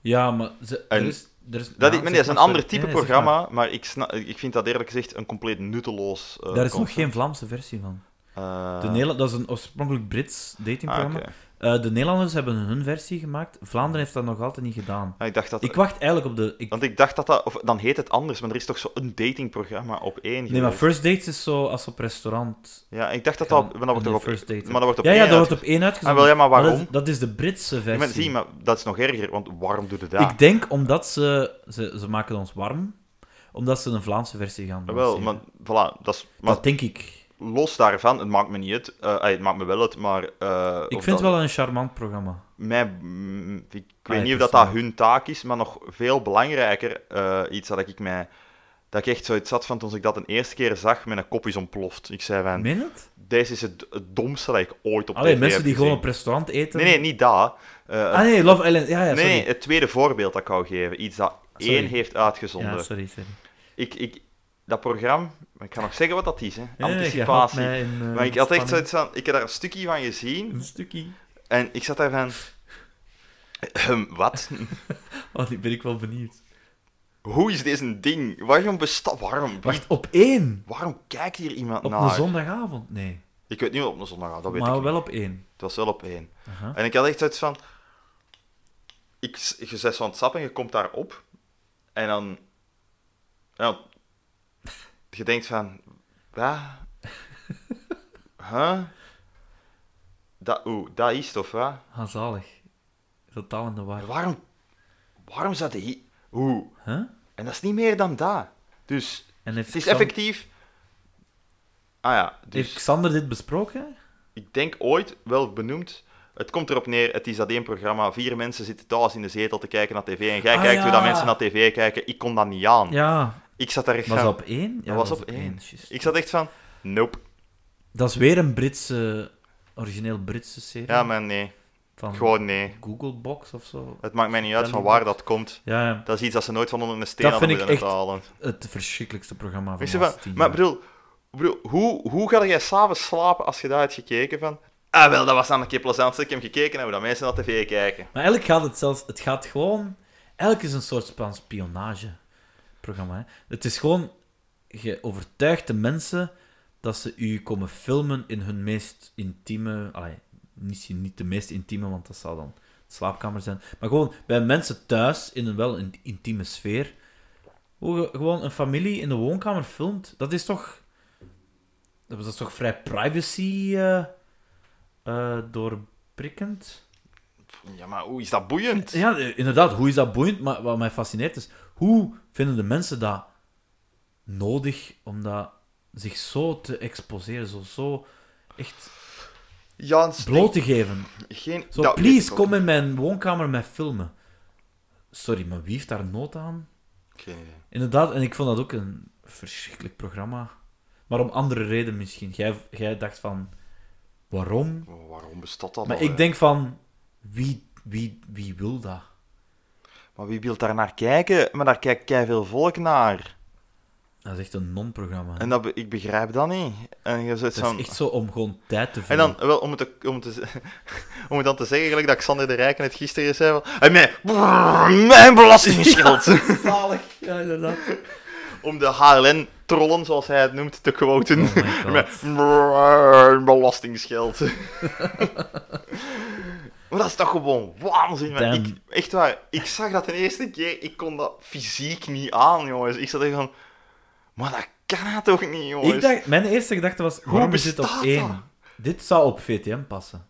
S1: Ja, maar ze,
S2: En-
S1: er is... Er is
S2: Dat
S1: ja, zeg
S2: is, nee, dat is een
S1: maar,
S2: ander
S1: sorry.
S2: type
S1: Nee, nee, zeg
S2: programma, maar, ik, sna- ik vind dat eerlijk gezegd een compleet nutteloos. eh,
S1: maar. Daar is nog
S2: concept.
S1: geen Vlaamse versie van.
S2: Eh,
S1: De Nederla- dat is een oorspronkelijk Brits
S2: ah,
S1: datingprogramma.
S2: oké.
S1: Eh, de Nederlanders hebben hun versie gemaakt. Vlaanderen heeft dat nog altijd niet gedaan.
S2: Ah, ik dacht dat.
S1: Ik wacht eigenlijk op de... Ik,
S2: Want ik dacht dat dat... Of, dan heet het anders, maar er is toch zo'n datingprogramma op één
S1: nee, maar
S2: geweest?
S1: First Dates is zo als op restaurant.
S2: Ja, ik dacht dat
S1: gaan.
S2: dat... Maar dat wordt
S1: Nee,
S2: toch op...
S1: First Dates.
S2: Maar dat wordt op
S1: ja, ja,
S2: één
S1: dat wordt
S2: uitge-
S1: op één uitgezonden.
S2: Ah, wel, ja, maar waarom?
S1: dat, is, dat is de Britse
S2: Ja, maar,
S1: versie.
S2: zie, maar dat is nog erger, want waarom doe je dat?
S1: Ik denk omdat ze, ze... Ze maken ons warm. Omdat ze een Vlaamse versie gaan
S2: Ah, wel,
S1: lanceren.
S2: maar... Voilà, dat is... Maar
S1: Dat denk ik.
S2: los daarvan, het maakt me niet uit. Eh, ay, het maakt me wel uit, maar... eh,
S1: Ik vind het
S2: of dat-
S1: wel een charmant programma.
S2: Mij, mm, ik weet
S1: ja,
S2: niet of dat, dat
S1: persoonlijk.
S2: hun taak is, maar nog veel belangrijker, eh, iets dat ik mij... Dat ik echt zoiets zat van, toen ik dat de eerste keer zag, mijn kop is ontploft. Ik zei van,
S1: Meen het?
S2: deze is het, het domste dat ik ooit op
S1: Alleen
S2: tv
S1: mensen
S2: heb
S1: die gewoon
S2: gezien."
S1: op restaurant eten.
S2: Nee, nee, niet dat. Eh,
S1: Ah nee, Love Island. Ja, ja,
S2: nee,
S1: sorry.
S2: nee, het tweede voorbeeld dat ik wou geven. Iets dat
S1: Sorry.
S2: één heeft uitgezonden.
S1: Ja, sorry, sorry.
S2: ik, ik, dat programma, maar ik ga nog zeggen wat dat is, hè.
S1: Nee, nee, jij had
S2: Anticipatie.
S1: mij in, eh,
S2: maar ik had echt
S1: spanning.
S2: zoiets van... Ik heb daar een stukje van gezien
S1: Een stukje.
S2: en ik zat daar van... ehm, wat? <laughs>
S1: Oh, die ben ik wel benieuwd.
S2: Hoe is dit een ding? Waarom bestaat... Waarom,
S1: Wacht, op één?
S2: waarom kijkt hier iemand
S1: Op
S2: naar?
S1: een zondagavond? Nee.
S2: Ik Nou, weet niet of het op een zondag gaat, dat weet ik
S1: maar
S2: niet.
S1: wel op één.
S2: Het was wel op één.
S1: Aha.
S2: En ik had echt zoiets van... Ik, je zet zo aan het sappen, je komt daarop. En dan... Ja, je denkt van...
S1: <laughs>
S2: Wat? Huh? Dat, oeh, dat is het, of wat?
S1: Ah, zalig. Totaal in de war.
S2: Waarom... Waarom zat hij... hier? Oeh.
S1: Huh?
S2: En dat is niet meer dan dat. Dus,
S1: En heeft,
S2: het is
S1: Xan-
S2: effectief... Ah ja,
S1: heeft
S2: dus...
S1: Xander dit besproken?
S2: ik denk ooit wel benoemd. Het komt erop neer, het is dat één programma. Vier mensen zitten thuis in de zetel te kijken naar tv. En jij
S1: Ah,
S2: kijkt hoe dat
S1: ja.
S2: mensen naar tv kijken. Ik kon dat niet aan.
S1: Ja.
S2: Ik zat daar echt
S1: Was
S2: van...
S1: dat op één? Ja,
S2: dat was op één.
S1: juist.
S2: Ik zat echt van... Nope.
S1: Dat is weer een Britse, origineel Britse serie.
S2: Ja, maar nee.
S1: van
S2: Gewoon nee.
S1: Google Box of zo.
S2: Het maakt mij niet uit
S1: Dat
S2: van
S1: niet
S2: waar
S1: goed.
S2: dat komt.
S1: Ja, ja.
S2: Dat is iets dat ze nooit van onder een steen
S1: Dat
S2: hadden
S1: vind ik
S2: moeten
S1: echt
S2: halen.
S1: het verschrikkelijkste programma van
S2: Ik
S1: de
S2: zeg van,
S1: laatste tien
S2: maar
S1: jaar.
S2: bedoel, bedoel hoe, hoe ga jij s'avonds slapen als je daar hebt gekeken van... Ah wel, dat was dan een keer plezant. Ik heb gekeken naar hoe dat mensen naar tv kijken.
S1: Maar eigenlijk gaat het zelfs... Het gaat gewoon... Eigenlijk is een soort van spionageprogramma. Hè? Het is gewoon... Je overtuigt de mensen dat ze u komen filmen in hun meest intieme... Allee, misschien niet de meest intieme, want dat zou dan de slaapkamer zijn. Maar gewoon bij mensen thuis, in een wel een intieme sfeer, hoe je gewoon een familie in de woonkamer filmt. Dat is toch... Dat is toch vrij privacy... eh eh, doorprikkend?
S2: Ja, maar hoe is dat boeiend?
S1: Ja, eh, inderdaad. Hoe is dat boeiend? Maar wat mij fascineert is, hoe vinden de mensen dat nodig om dat zich zo te exposeren, zo, zo echt
S2: Ja, een steen-
S1: bloot te geven?
S2: Geen...
S1: Zo,
S2: dat weet
S1: please,
S2: ik ook
S1: kom in mijn woonkamer met filmen. Sorry, maar wie heeft daar nood aan?
S2: Geen idee.
S1: Inderdaad, en ik vond dat ook een verschrikkelijk programma. Maar om andere reden misschien. Jij, jij dacht van, waarom?
S2: Maar Waarom bestaat dat
S1: Maar
S2: nou,
S1: ik
S2: hè?
S1: denk van, wie, wie, wie wil dat?
S2: Maar wie wil daar naar kijken? Maar daar kijkt kei veel volk naar.
S1: Dat is echt een non-programma. hè.
S2: En dat be- ik begrijp dat niet. En je zit
S1: Het
S2: zo'n...
S1: is echt zo om gewoon tijd te
S2: En
S1: vullen.
S2: dan, wel, om het, te, om, het te, z- <laughs> om het dan te zeggen, gelijk dat Xander de Rijken het gisteren zei van... "Hey, mijn, brrr, mijn <laughs> belastingsgeld!
S1: Zalig, <laughs> ja, inderdaad.
S2: Om de HLN-trollen, zoals hij het noemt, te quoten. <laughs>
S1: Oh my god.
S2: Mijn brrr, belastingsgeld. <laughs> maar dat is toch gewoon waanzin, man.
S1: Damn.
S2: Ik, echt waar, ik zag dat de eerste keer, ik kon dat fysiek niet aan, jongens. Ik zat echt van, maar dat kan dat toch niet, jongens.
S1: Ik dacht, mijn eerste gedachte was, waarom is dit op
S2: bestaat
S1: één?
S2: dat?
S1: Dit zou op VTM passen.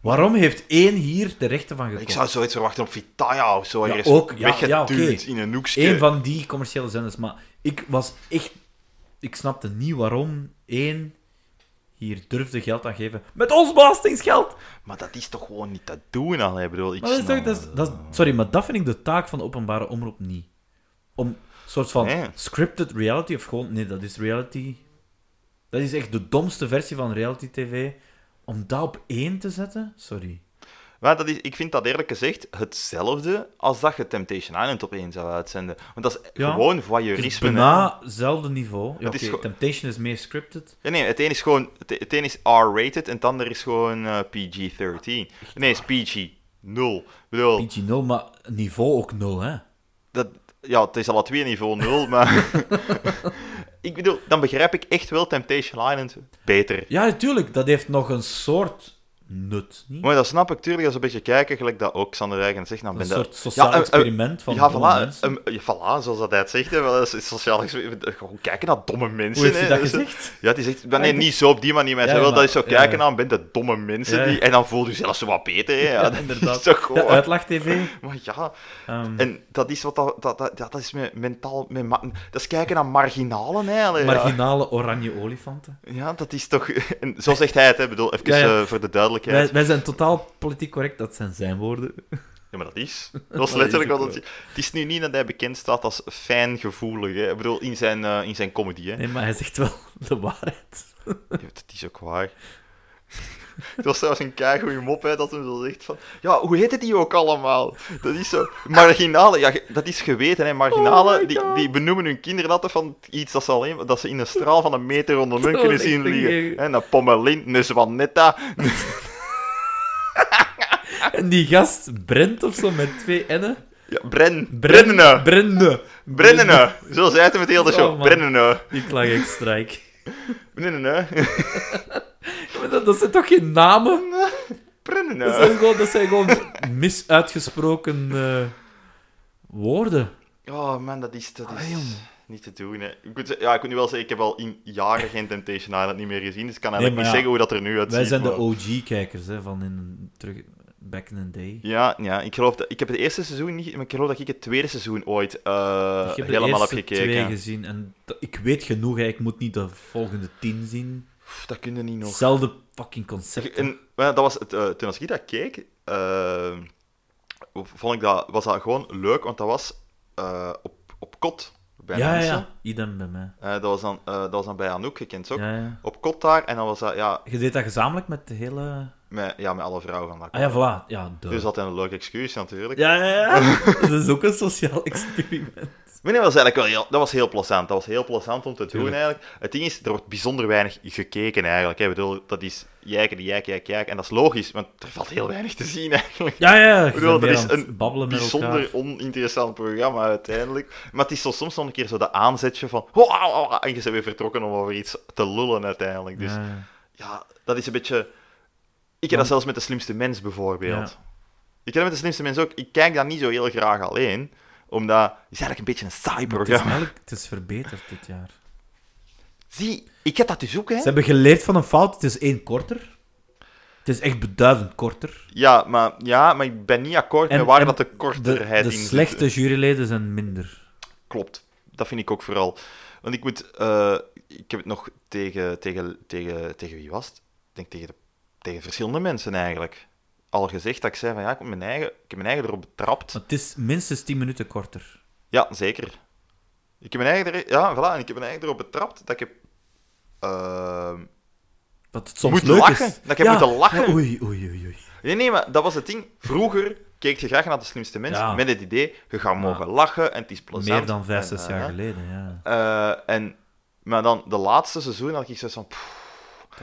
S1: Waarom heeft één hier de rechten van
S2: Ik
S1: gekocht?
S2: zou zoiets verwachten op Vitaya of zo.
S1: Ja,
S2: Er is
S1: ook, ja,
S2: weggeduwd
S1: ja, oké.
S2: in een hoekje.
S1: Eén van die commerciële zenders. Maar ik was echt... Ik snapte niet waarom één hier durfde geld aan geven. Met ons belastingsgeld!
S2: Maar dat is toch gewoon niet te doen, al. Ik bedoel, ik
S1: Maar dat is toch,
S2: snap-
S1: dat is, dat is- sorry, maar dat vind ik de taak van de openbare omroep niet. Om een soort van
S2: Nee.
S1: scripted reality of gewoon... Nee, dat is reality... Dat is echt de domste versie van reality tv. Om dat op één te zetten? Sorry.
S2: Maar dat is, ik vind dat eerlijk gezegd hetzelfde als dat je Temptation Island opeens zou uitzenden. Want dat is
S1: Ja.
S2: gewoon
S1: Het is
S2: voyeurisme. hè.
S1: bijna hetzelfde niveau. Ja,
S2: Het is
S1: oké,
S2: gewoon-
S1: Temptation is meer scripted.
S2: Ja, nee, het een is gewoon het, het een is R-rated en het ander is gewoon eh, PG-13. Nee, is PG. Nul. Ik bedoel,
S1: PG 0, maar niveau ook 0, hè?
S2: dat, ja, het is al twee niveau nul,
S1: <laughs>
S2: maar... <laughs> ik bedoel, dan begrijp ik echt wel Temptation Island beter.
S1: Ja, natuurlijk. Dat heeft nog een soort nut. Niet?
S2: Maar dat snap ik tuurlijk, als een beetje kijken, gelijk dat ook Sander Eigen zegt. Dan ben
S1: Een
S2: dat-
S1: soort sociaal
S2: Ja, eh, eh,
S1: experiment van
S2: ja,
S1: domme
S2: voilà,
S1: mensen.
S2: ehm, ja, voilà, zoals dat hij het zegt. Hè, wel, dat is- is sociaal experiment. Gewoon kijken naar domme mensen.
S1: Hoe heeft
S2: hè.
S1: hij dat
S2: Dus-
S1: gezegd? Ah,
S2: Ja, die zegt, nee,
S1: ik-
S2: niet zo op die manier. Maar hij
S1: Ja,
S2: zegt wel,
S1: maar-
S2: dat is zo
S1: ja,
S2: kijken
S1: ja.
S2: naar ben de domme mensen.
S1: Ja.
S2: Die, en dan voel je zelfs zo wat beter. Hè, ja,
S1: Ja,
S2: dat
S1: inderdaad.
S2: is toch gewoon...
S1: De uitlag-tv.
S2: Maar ja,
S1: Ehm,
S2: en dat is wat dat, dat, dat, ja, dat is met mentaal, met ma- dat is kijken naar marginalen eigenlijk. ja.
S1: marginale oranje olifanten.
S2: Ja, dat is toch. <laughs> En zo zegt hij het, hè. Ik bedoel, even
S1: Ja, ja.
S2: eh, voor de
S1: Wij,
S2: duidelijkheid.
S1: wij zijn totaal politiek correct, dat zijn zijn woorden.
S2: Ja, maar dat
S1: <laughs>
S2: is. Dat is
S1: is
S2: letterlijk
S1: ook
S2: wat het. Het is nu niet dat hij bekend staat als fijngevoelig. Hè. Ik bedoel, in zijn, eh, in zijn comedy.
S1: <laughs>
S2: Hè.
S1: Nee, maar hij zegt wel de waarheid.
S2: Ja, Dat is ook waar. <laughs> Het was trouwens een keigoeie mop, hè, dat hem zo zegt van... Ja, hoe heet het die ook allemaal? Dat is zo... Marginalen, ja, ge- dat is geweten, hè.
S1: Oh
S2: Marginalen,
S1: my
S2: die,
S1: God.
S2: die benoemen hun kinderen altijd van iets dat ze, alleen, dat ze in een straal van een meter onder hun
S1: Dat
S2: kunnen
S1: was
S2: zien
S1: echt een
S2: liggen.
S1: geier.
S2: Hè, Een Pommelin, een Zwanetta.
S1: En die gast, Brent of zo, met twee N'en.
S2: Ja, Bren.
S1: Bren-
S2: Brennene.
S1: Brenne.
S2: Brennene. Zo zei het hem het hele
S1: Oh,
S2: show.
S1: man.
S2: Brennene.
S1: Ik lag echt strijk.
S2: Brennene. <laughs>
S1: Maar dat, dat zijn toch geen namen? Dat
S2: Brennene.
S1: zijn gewoon, dat zijn gewoon misuitgesproken eh, woorden.
S2: Oh man, dat is... Dat is...
S1: jongen.
S2: Niet te doen, hè. Ik moet, ze- ja, ik moet nu wel zeggen, ik heb al in jaren geen Temptation Island niet meer gezien, dus ik kan eigenlijk
S1: Nee,
S2: niet
S1: maar ja,
S2: zeggen hoe dat er nu uitziet.
S1: Wij zijn de
S2: maar-
S1: OG-kijkers hè, van in, terug, back in the day.
S2: Ja, ja ik, geloof dat, ik heb het eerste seizoen niet... Maar ik geloof dat ik het tweede seizoen ooit eh,
S1: ik heb de
S2: helemaal heb
S1: eerste twee
S2: gekeken.
S1: gezien en dat- ik weet genoeg, hè, ik moet niet de volgende tien zien.
S2: Pff, dat kun je niet nog.
S1: Hetzelfde fucking concept.
S2: En, maar dat was het, eh, toen als ik dat keek, eh, vond ik dat, was dat gewoon leuk, want dat was eh, op, op kot bij
S1: ja,
S2: mensen.
S1: ja, idem bij mij.
S2: Eh, dat, was dan, eh, dat was dan bij Anouk gekend, ook.
S1: Ja, ja.
S2: Op kot daar, en dan was dat, ja,
S1: Je deed dat gezamenlijk met de hele...
S2: met, ja, met alle vrouwen van dat
S1: Ah
S2: kot.
S1: ja, voilà. Ja, duh.
S2: Dus dat is een leuk excuus natuurlijk.
S1: ja, ja, ja.
S2: <laughs>
S1: dat is ook een sociaal experiment.
S2: Maar nee, dat was eigenlijk wel heel, dat was heel plezant. Dat was heel plezant om te
S1: Tuurlijk.
S2: doen eigenlijk. Het ding is, er wordt bijzonder weinig gekeken eigenlijk. Hè. Ik bedoel, dat is jijken, die jijk, jijk, jijk. En dat is logisch, want er valt heel weinig te zien eigenlijk.
S1: Ja, ja, je
S2: bedoel,
S1: bent
S2: er
S1: weer
S2: is
S1: aan het
S2: een
S1: babbelen met elkaar.
S2: Bijzonder oninteressant programma uiteindelijk. Maar het is zo soms nog een keer zo de aanzetje van... "Ho, au, au, au," en je bent weer vertrokken om over iets te lullen uiteindelijk. Dus
S1: Ja,
S2: ja,
S1: ja.
S2: dat is een beetje... Ik heb dat zelfs met de slimste mens bijvoorbeeld.
S1: Ja.
S2: Ik heb dat met de slimste mens ook. Ik kijk dat niet zo heel graag alleen. Omdat... Het is eigenlijk een beetje een saai
S1: Het is,
S2: programma.
S1: eigenlijk, het is verbeterd dit jaar.
S2: Zie, ik heb dat dus ook, hè.
S1: Ze hebben geleerd van een fout. Het is één korter. Het is echt beduidend korter.
S2: Ja, maar, ja, maar ik ben niet akkoord
S1: En-
S2: met waar
S1: en
S2: dat de
S1: De,
S2: korterheid
S1: de
S2: in zit.
S1: slechte juryleden zijn minder.
S2: Klopt. Dat vind ik ook vooral. Want ik moet... eh, ik heb het nog tegen, tegen, tegen, tegen wie was het? Ik denk tegen, de- tegen verschillende mensen eigenlijk. Al gezegd dat ik zei van ja, ik heb mijn eigen, ik heb mijn eigen erop betrapt.
S1: Het is minstens 10 minuten korter.
S2: Ja, zeker. Ik heb mijn eigen, er, ja, voilà, en ik heb mijn eigen erop betrapt dat ik heb... eh,
S1: Wat het soms
S2: Moet
S1: leuk
S2: lachen.
S1: is.
S2: Dat ik heb moeten lachen.
S1: ja, Oei, oei, oei. oei.
S2: Nee, nee, maar dat was het ding. Vroeger keek je graag naar de slimste mensen
S1: Ja.
S2: met het idee, je gaat mogen lachen en het is plezant.
S1: Meer dan 5, 6
S2: en,
S1: jaar
S2: eh,
S1: geleden, ja.
S2: Eh, en, maar dan de laatste seizoen had ik zoiets van. pff,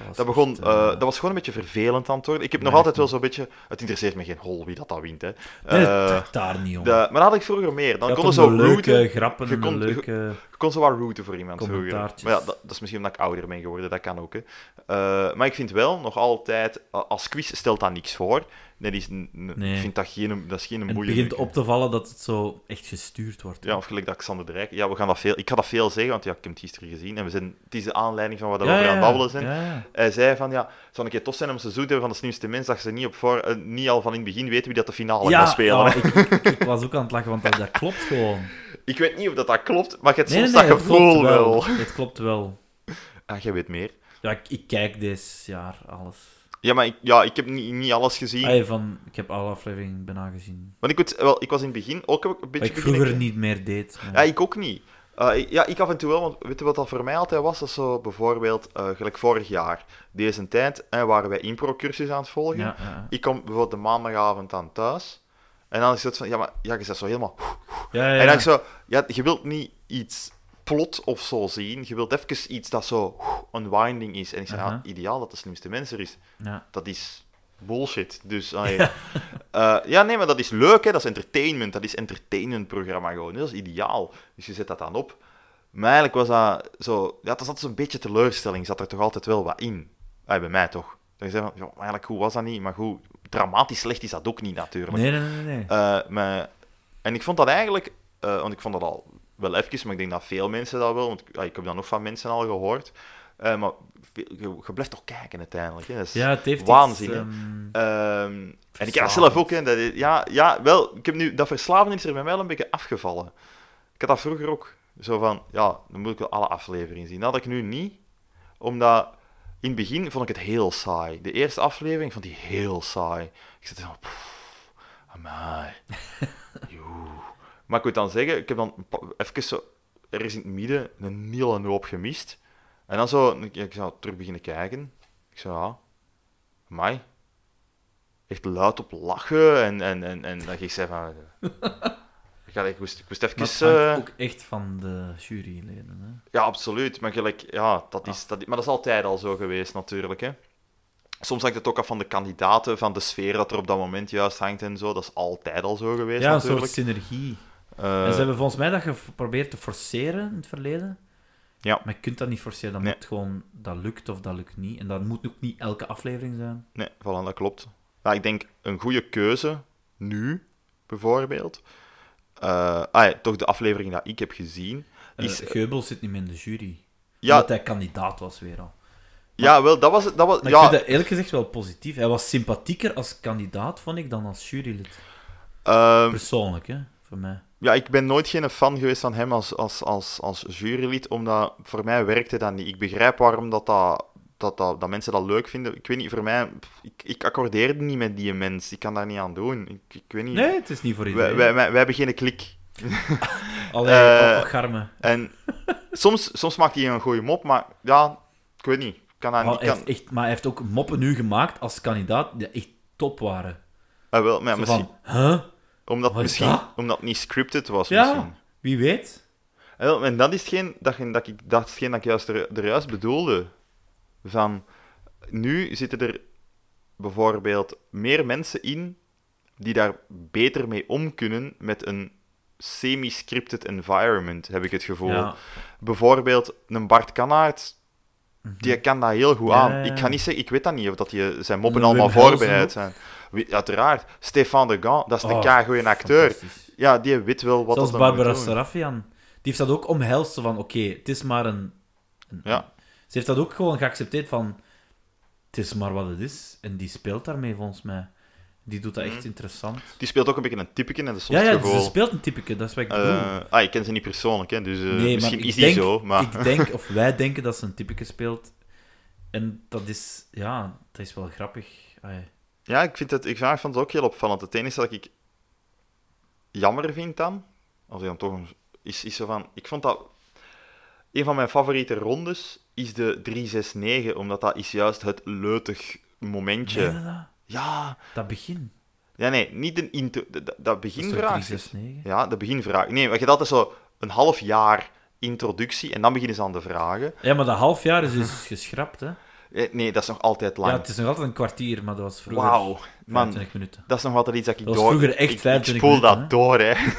S1: was
S2: dat, begon,
S1: echt, eh,
S2: eh, dat was gewoon een beetje vervelend aan het worden. Ik heb nog
S1: Nee,
S2: altijd
S1: echt
S2: wel zo'n beetje. Het interesseert me geen hol wie dat, dat wint. Hè.
S1: Nee,
S2: Eh,
S1: het trekt daar niet om.
S2: de- maar dat had ik vroeger meer. Dan
S1: Je had
S2: konden
S1: om
S2: zo
S1: de leuke
S2: rooten.
S1: grappen
S2: je
S1: en
S2: kon-
S1: de leuke...
S2: Je kon zo wat rooten voor iemand vroeger. Maar
S1: Commentaartjes.
S2: ja, dat, dat is misschien omdat ik ouder ben geworden, dat kan ook. Hè. Eh, maar ik vind wel nog altijd. eh, Als quiz stelt dat niks voor. Dat is, n- n-
S1: Nee.
S2: Ik vind dat geen, dat is geen
S1: En het
S2: moeilijke.
S1: begint op te vallen dat het zo echt gestuurd wordt.
S2: Ja, of gelijk dat Xander de Rijk... Ja, we gaan dat veel... Ik ga dat veel zeggen, want ja, ik heb het gisteren gezien. En we zijn... Het is de aanleiding van wat we over aan het babbelen zijn.
S1: Ja, ja.
S2: Hij zei van, ja, het zou een keer tof zijn om ze zo te hebben van de slimste mens, dat ze niet, op voor, eh, niet al van in het begin weten wie dat de finale
S1: Ja,
S2: gaat spelen.
S1: oh, ik, ik- ik was ook aan het lachen, want dat, dat klopt gewoon.
S2: <laughs> Ik weet niet of dat, dat klopt, maar je hebt
S1: Nee, nee,
S2: soms
S1: nee,
S2: dat
S1: het klopt
S2: gevoel wel. <laughs>
S1: wel. Het klopt wel.
S2: Ah, jij weet meer.
S1: Ja, ik, ik kijk dit jaar alles.
S2: Ja, maar ik, ja, ik heb niet, niet alles gezien.
S1: Allee, van, ik heb alle afleveringen bijna gezien.
S2: Want ik, weet, wel, ik was in het begin ook een beetje...
S1: Wat ik
S2: beginnen-
S1: vroeger niet meer deed. maar-
S2: Ja, ik ook niet. Eh, ik- ja, ik af en toe wel, want weet je wat dat voor mij altijd was? Dat is zo bijvoorbeeld, eh, gelijk vorig jaar, deze tijd, en waren wij impro-cursus aan het volgen.
S1: Ja, ja,
S2: Ik kom bijvoorbeeld de maandagavond dan thuis, en dan is het van, ja, maar ja, je zegt zo helemaal...
S1: ja. ja,
S2: En
S1: ja.
S2: dan ik zo, ja, je wilt niet iets plot of zo zien, je wilt even iets dat zo unwinding is. En ik zei,
S1: Aha.
S2: ja, ideaal dat de slimste mens er is.
S1: Ja.
S2: Dat is bullshit. Dus, allee.
S1: <laughs>
S2: Eh, ja. nee, maar dat is leuk, hè. dat is entertainment. Dat is entertainmentprogramma gewoon. Dat is ideaal. Dus je zet dat dan op. Maar eigenlijk was dat zo... Ja, dat zat zo'n beetje teleurstelling. Zat er toch altijd wel wat in. Ah, bij mij toch. Dan je zegt van, joh, eigenlijk goed was dat niet. Maar goed, dramatisch slecht is dat ook niet natuurlijk.
S1: Nee, nee, nee. nee.
S2: Eh, maar, en ik vond dat eigenlijk, eh, want ik vond dat al wel even, maar ik denk dat veel mensen dat wel, want ja, ik heb dat nog van mensen al gehoord. Eh, maar veel- je, je blijft toch kijken uiteindelijk. Hè? Dat is-
S1: Ja, het heeft
S2: waanzin,
S1: iets...
S2: hè.
S1: ehm,
S2: Ehm, en ik heb dat
S1: Verslavend.
S2: zelf ook, hè, dat, ja, ja, wel, ik heb nu, dat verslaven is er bij mij wel een beetje afgevallen. Ik had dat vroeger ook, zo van, ja, dan moet ik wel alle afleveringen zien. Dat had ik nu niet, omdat in het begin vond ik het heel saai. De eerste aflevering vond die heel saai. Ik zat van, pff, amai, joe. Maar ik moet dan zeggen, ik heb dan een pa- even zo, er is in het midden een hele hoop gemist. En dan zo, ik, ik zou terug beginnen kijken. Ik zei, ja, amai. Echt luid op lachen en, en, en, en dat ik zei van... eh, <laughs> Ik, had, ik, moest, ik moest even...
S1: maar het
S2: eh,
S1: hangt ook echt van de juryleden. Hè.
S2: ja, absoluut. Maar gelijk, ja, dat is,
S1: Ah.
S2: dat, maar dat is altijd al zo geweest, natuurlijk. Hè. Soms hangt het ook af van de kandidaten, van de sfeer dat er op dat moment juist hangt en zo. Dat is altijd al zo geweest,
S1: Ja, een
S2: natuurlijk.
S1: soort synergie.
S2: Eh,
S1: en ze hebben volgens mij dat geprobeerd te forceren in het verleden.
S2: Ja.
S1: Maar je kunt dat niet forceren. Dat
S2: Nee.
S1: moet gewoon... Dat lukt of dat lukt niet. En dat moet ook niet elke aflevering zijn.
S2: Nee, voilà, dat klopt. Ja, ik denk een goede keuze, nu bijvoorbeeld. Eh, ah, ja, toch de aflevering dat ik heb gezien. Is,
S1: Is, Geubels Eh, zit niet meer in de jury.
S2: Ja.
S1: Omdat hij kandidaat was weer al.
S2: ja, wel, dat was het. Dat was,
S1: Maar
S2: ja,
S1: ik vind dat eerlijk gezegd wel positief. Hij was sympathieker als kandidaat, vond ik, dan als jurylid.
S2: ehm,
S1: Persoonlijk, hè, voor mij.
S2: Ja, ik ben nooit geen fan geweest van hem als, als, als, als jurylid, omdat voor mij werkte dat niet. Ik begrijp waarom dat, dat, dat, dat, dat mensen dat leuk vinden. Ik weet niet, voor mij... pff, Ik, ik accordeerde niet met die mens. Ik kan daar niet aan doen. Ik, ik weet niet...
S1: Nee, het is niet voor
S2: wij,
S1: iedereen.
S2: wij, wij, wij hebben geen klik.
S1: Alleen,
S2: eh,
S1: oh, garme.
S2: En soms, soms maakt hij een goede mop, maar ja, ik weet niet. Ik kan daar
S1: Maar
S2: niet...
S1: hij,
S2: Kan,
S1: heeft echt, maar hij heeft ook moppen nu gemaakt als kandidaat die echt top waren.
S2: Ah, wel, maar ja,
S1: Zo
S2: misschien,
S1: van, huh?
S2: omdat,
S1: wat is
S2: misschien,
S1: dat?
S2: omdat het niet scripted was, misschien.
S1: Ja, wie weet.
S2: Ah, wel, En dat is hetgeen dat, je- dat, ik, dat, is hetgeen dat ik juist er, er juist bedoelde. Van, nu zitten er bijvoorbeeld meer mensen in die daar beter mee om kunnen met een semi-scripted environment, heb ik het gevoel.
S1: Ja.
S2: Bijvoorbeeld een Bart Kanaert, die kan dat heel goed aan.
S1: Mhm. Ja, ja, ja.
S2: Ik ga niet zeggen, ik weet dat niet, of dat die zijn moppen
S1: Een Wim
S2: allemaal
S1: Helsen
S2: voorbereid
S1: ook.
S2: zijn. Wie- Uiteraard, Stefan de Gant, dat is een
S1: Oh,
S2: oh, goeie acteur.
S1: fantastisch.
S2: Ja, die weet wel wat
S1: Zelfs
S2: dat hem moet
S1: Barbara
S2: doen.
S1: Sarafian. Die heeft dat ook omhelst. zo van, oké, het is maar een... een-
S2: Ja.
S1: Ze heeft dat ook gewoon geaccepteerd van... Het is maar wat het is. En die speelt daarmee, volgens mij. Die doet dat echt interessant.
S2: Die speelt ook een beetje een typeke en dat is soms
S1: Ja, ja,
S2: Mhm. het gevoel.
S1: ze speelt een typeke, dat is wat ik bedoel.
S2: Eh, ah, ik ken ze niet persoonlijk, hè, dus eh,
S1: Nee, maar
S2: misschien
S1: ik
S2: is die
S1: denk-
S2: zo. Maar...
S1: Ik denk, of wij denken dat ze een typeke speelt. En dat is, ja, dat is wel grappig. Ai.
S2: <laughs> Ja, ik vind het, ik vind het ook heel opvallend. Het enige dat ik jammer vind dan, als ik dan toch een, is, is zo van, ik vond dat een van mijn favoriete rondes is de 369, omdat dat is juist het leutig momentje.
S1: Ken je dat?
S2: Ja,
S1: Dat begin.
S2: ja, nee, niet een intro, dat- dat, dat
S1: Dat is toch
S2: beginvraag.
S1: 369?
S2: ja, de beginvraag. Nee, maar je hebt altijd zo een half jaar introductie en dan beginnen ze aan de vragen.
S1: Ja, maar dat half jaar is
S2: <laughs>
S1: dus geschrapt, hè?
S2: Eh, Nee, dat is nog altijd lang.
S1: Ja, het is nog altijd een kwartier, maar dat was vroeger
S2: Wauw, man.
S1: 25 minuten.
S2: Dat is nog altijd iets dat ik
S1: Dat was
S2: door...
S1: vroeger echt
S2: ik- ik,
S1: 25
S2: spoel dat
S1: minuten, hè?
S2: door, hè.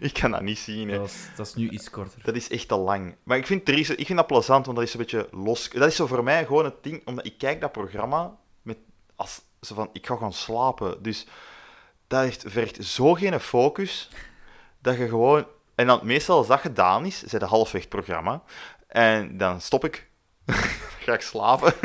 S2: <laughs> ik kan dat niet zien, hè.
S1: Dat, was, dat is nu iets korter.
S2: Dat is echt te lang. Maar ik vind, Therese- ik vind dat plezant, want dat is een beetje los... Dat is zo voor mij gewoon het ding, omdat ik kijk dat programma met... Als, zo van, ik ga gewoon slapen. Dus dat heeft, vergt zo geen focus, dat je gewoon... En dan meestal als dat gedaan is, zij de halfweg het programma, en dan stop ik. <laughs> Dan ga ik slapen. <laughs>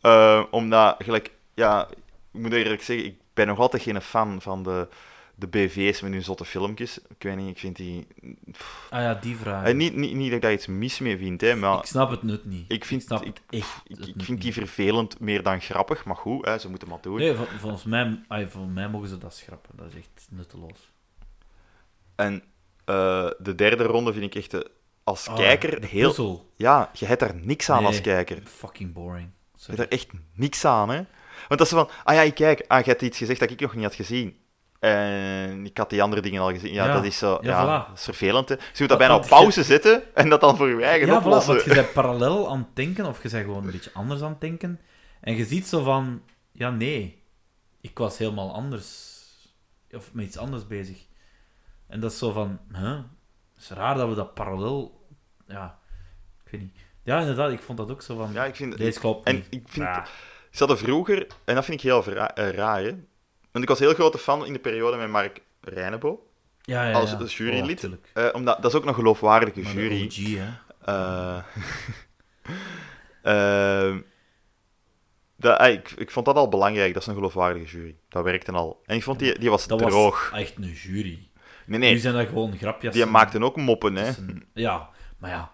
S2: Eh, omdat, gelijk, ja, ik moet eerlijk zeggen, ik ben nog altijd geen fan van de de BV's met hun zotte filmpjes. Ik weet niet, ik vind die... pff.
S1: Ah ja, die vraag.
S2: Eh, niet, niet, niet dat ik daar iets mis mee vind, hè, maar
S1: Ik snap het nut niet.
S2: ik vind,
S1: Ik snap
S2: ik,
S1: het echt.
S2: ik,
S1: het
S2: ik
S1: nut
S2: vind die
S1: niet.
S2: vervelend meer dan grappig. Maar goed, hè, ze moeten maar doen.
S1: Nee, vol- volgens mij, ay, volgens mij mogen ze dat schrappen. Dat is echt nutteloos.
S2: En eh, de derde ronde vind ik echt eh, als
S1: Ah,
S2: kijker
S1: de
S2: heel...
S1: puzzel.
S2: Ja, je hebt daar niks aan als
S1: Nee.
S2: kijker. Je
S1: Fucking boring. Sorry.
S2: hebt daar echt niks aan, hè. Want dat ze van... Ah ja, ik kijk. Ah, je hebt iets gezegd dat ik nog niet had gezien. En ik had die andere dingen al gezien. Ja,
S1: Ja.
S2: dat is zo...
S1: Ja,
S2: Ja,
S1: voilà.
S2: dat is vervelend, hè. Dus je moet
S1: Want-
S2: dat bijna op
S1: want je-
S2: pauze zetten en dat dan voor je eigen
S1: Ja, voilà,
S2: oplossen.
S1: want je
S2: <laughs>
S1: bent parallel aan het denken, of je bent gewoon een beetje anders aan het denken. En je ziet zo van, ja, nee, ik was helemaal anders. Of met iets anders bezig. En dat is zo van, hè? Het is raar dat we dat parallel... Ja, ik weet niet. Ja, inderdaad, ik vond dat ook zo van...
S2: Ja, ik vind...
S1: Deze klopt
S2: En
S1: niet.
S2: ik vind...
S1: Ja.
S2: Ze hadden vroeger, en dat vind ik heel verra- eh, raar, hè? want ik was heel grote fan in de periode met Mark Reinebo,
S1: Ja, ja, ja.
S2: als als jurylid.
S1: Oh, tuurlijk.
S2: Eh, omdat, dat is ook een geloofwaardige
S1: Maar de
S2: jury.
S1: OG, hè.
S2: Eh, <laughs> ehm, dat, eh, ik, ik vond dat al belangrijk, dat is een geloofwaardige jury. Dat werkte al. En ik vond die, die was
S1: Dat
S2: droog.
S1: was echt een jury. Nu
S2: Nee, nee,
S1: zijn dat gewoon grapjes.
S2: die maakten ook moppen,
S1: Dat
S2: hè.
S1: is een- Ja, maar ja.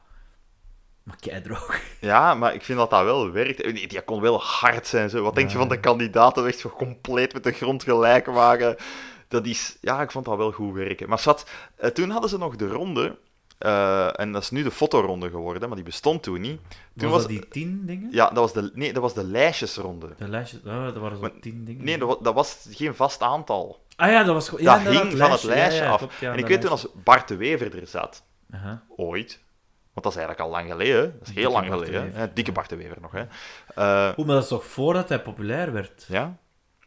S1: Maar keidroog.
S2: Ja, maar ik vind dat dat wel werkt. Eh, Die, die kon wel hard zijn. Zo. Wat denk je van de kandidaten echt zo compleet met de grond gelijk maken? Dat is... Ja, ik vond dat wel goed werken. Maar zat, eh, toen hadden ze nog de ronde... eh, en dat is nu de fotoronde geworden, maar die bestond toen niet. Toen
S1: Was,
S2: was,
S1: dat die tien dingen?
S2: Ja, dat was de, nee, dat was de lijstjesronde.
S1: De lijstjes, oh, dat waren zo
S2: Maar-
S1: tien dingen.
S2: Nee, dat wa- dat was geen vast aantal.
S1: ah ja, dat was gewoon...
S2: dat hing van het lijstje af. en ik weet toen als Bart de Wever er zat, ooit... Want dat is eigenlijk al lang geleden. hè. Dat is heel
S1: Dikke
S2: lang
S1: Bart de
S2: geleden. hè.
S1: Wever.
S2: Dikke Bart de Wever nog, hè. Eh,
S1: Hoe, maar dat is toch voordat hij populair werd?
S2: ja?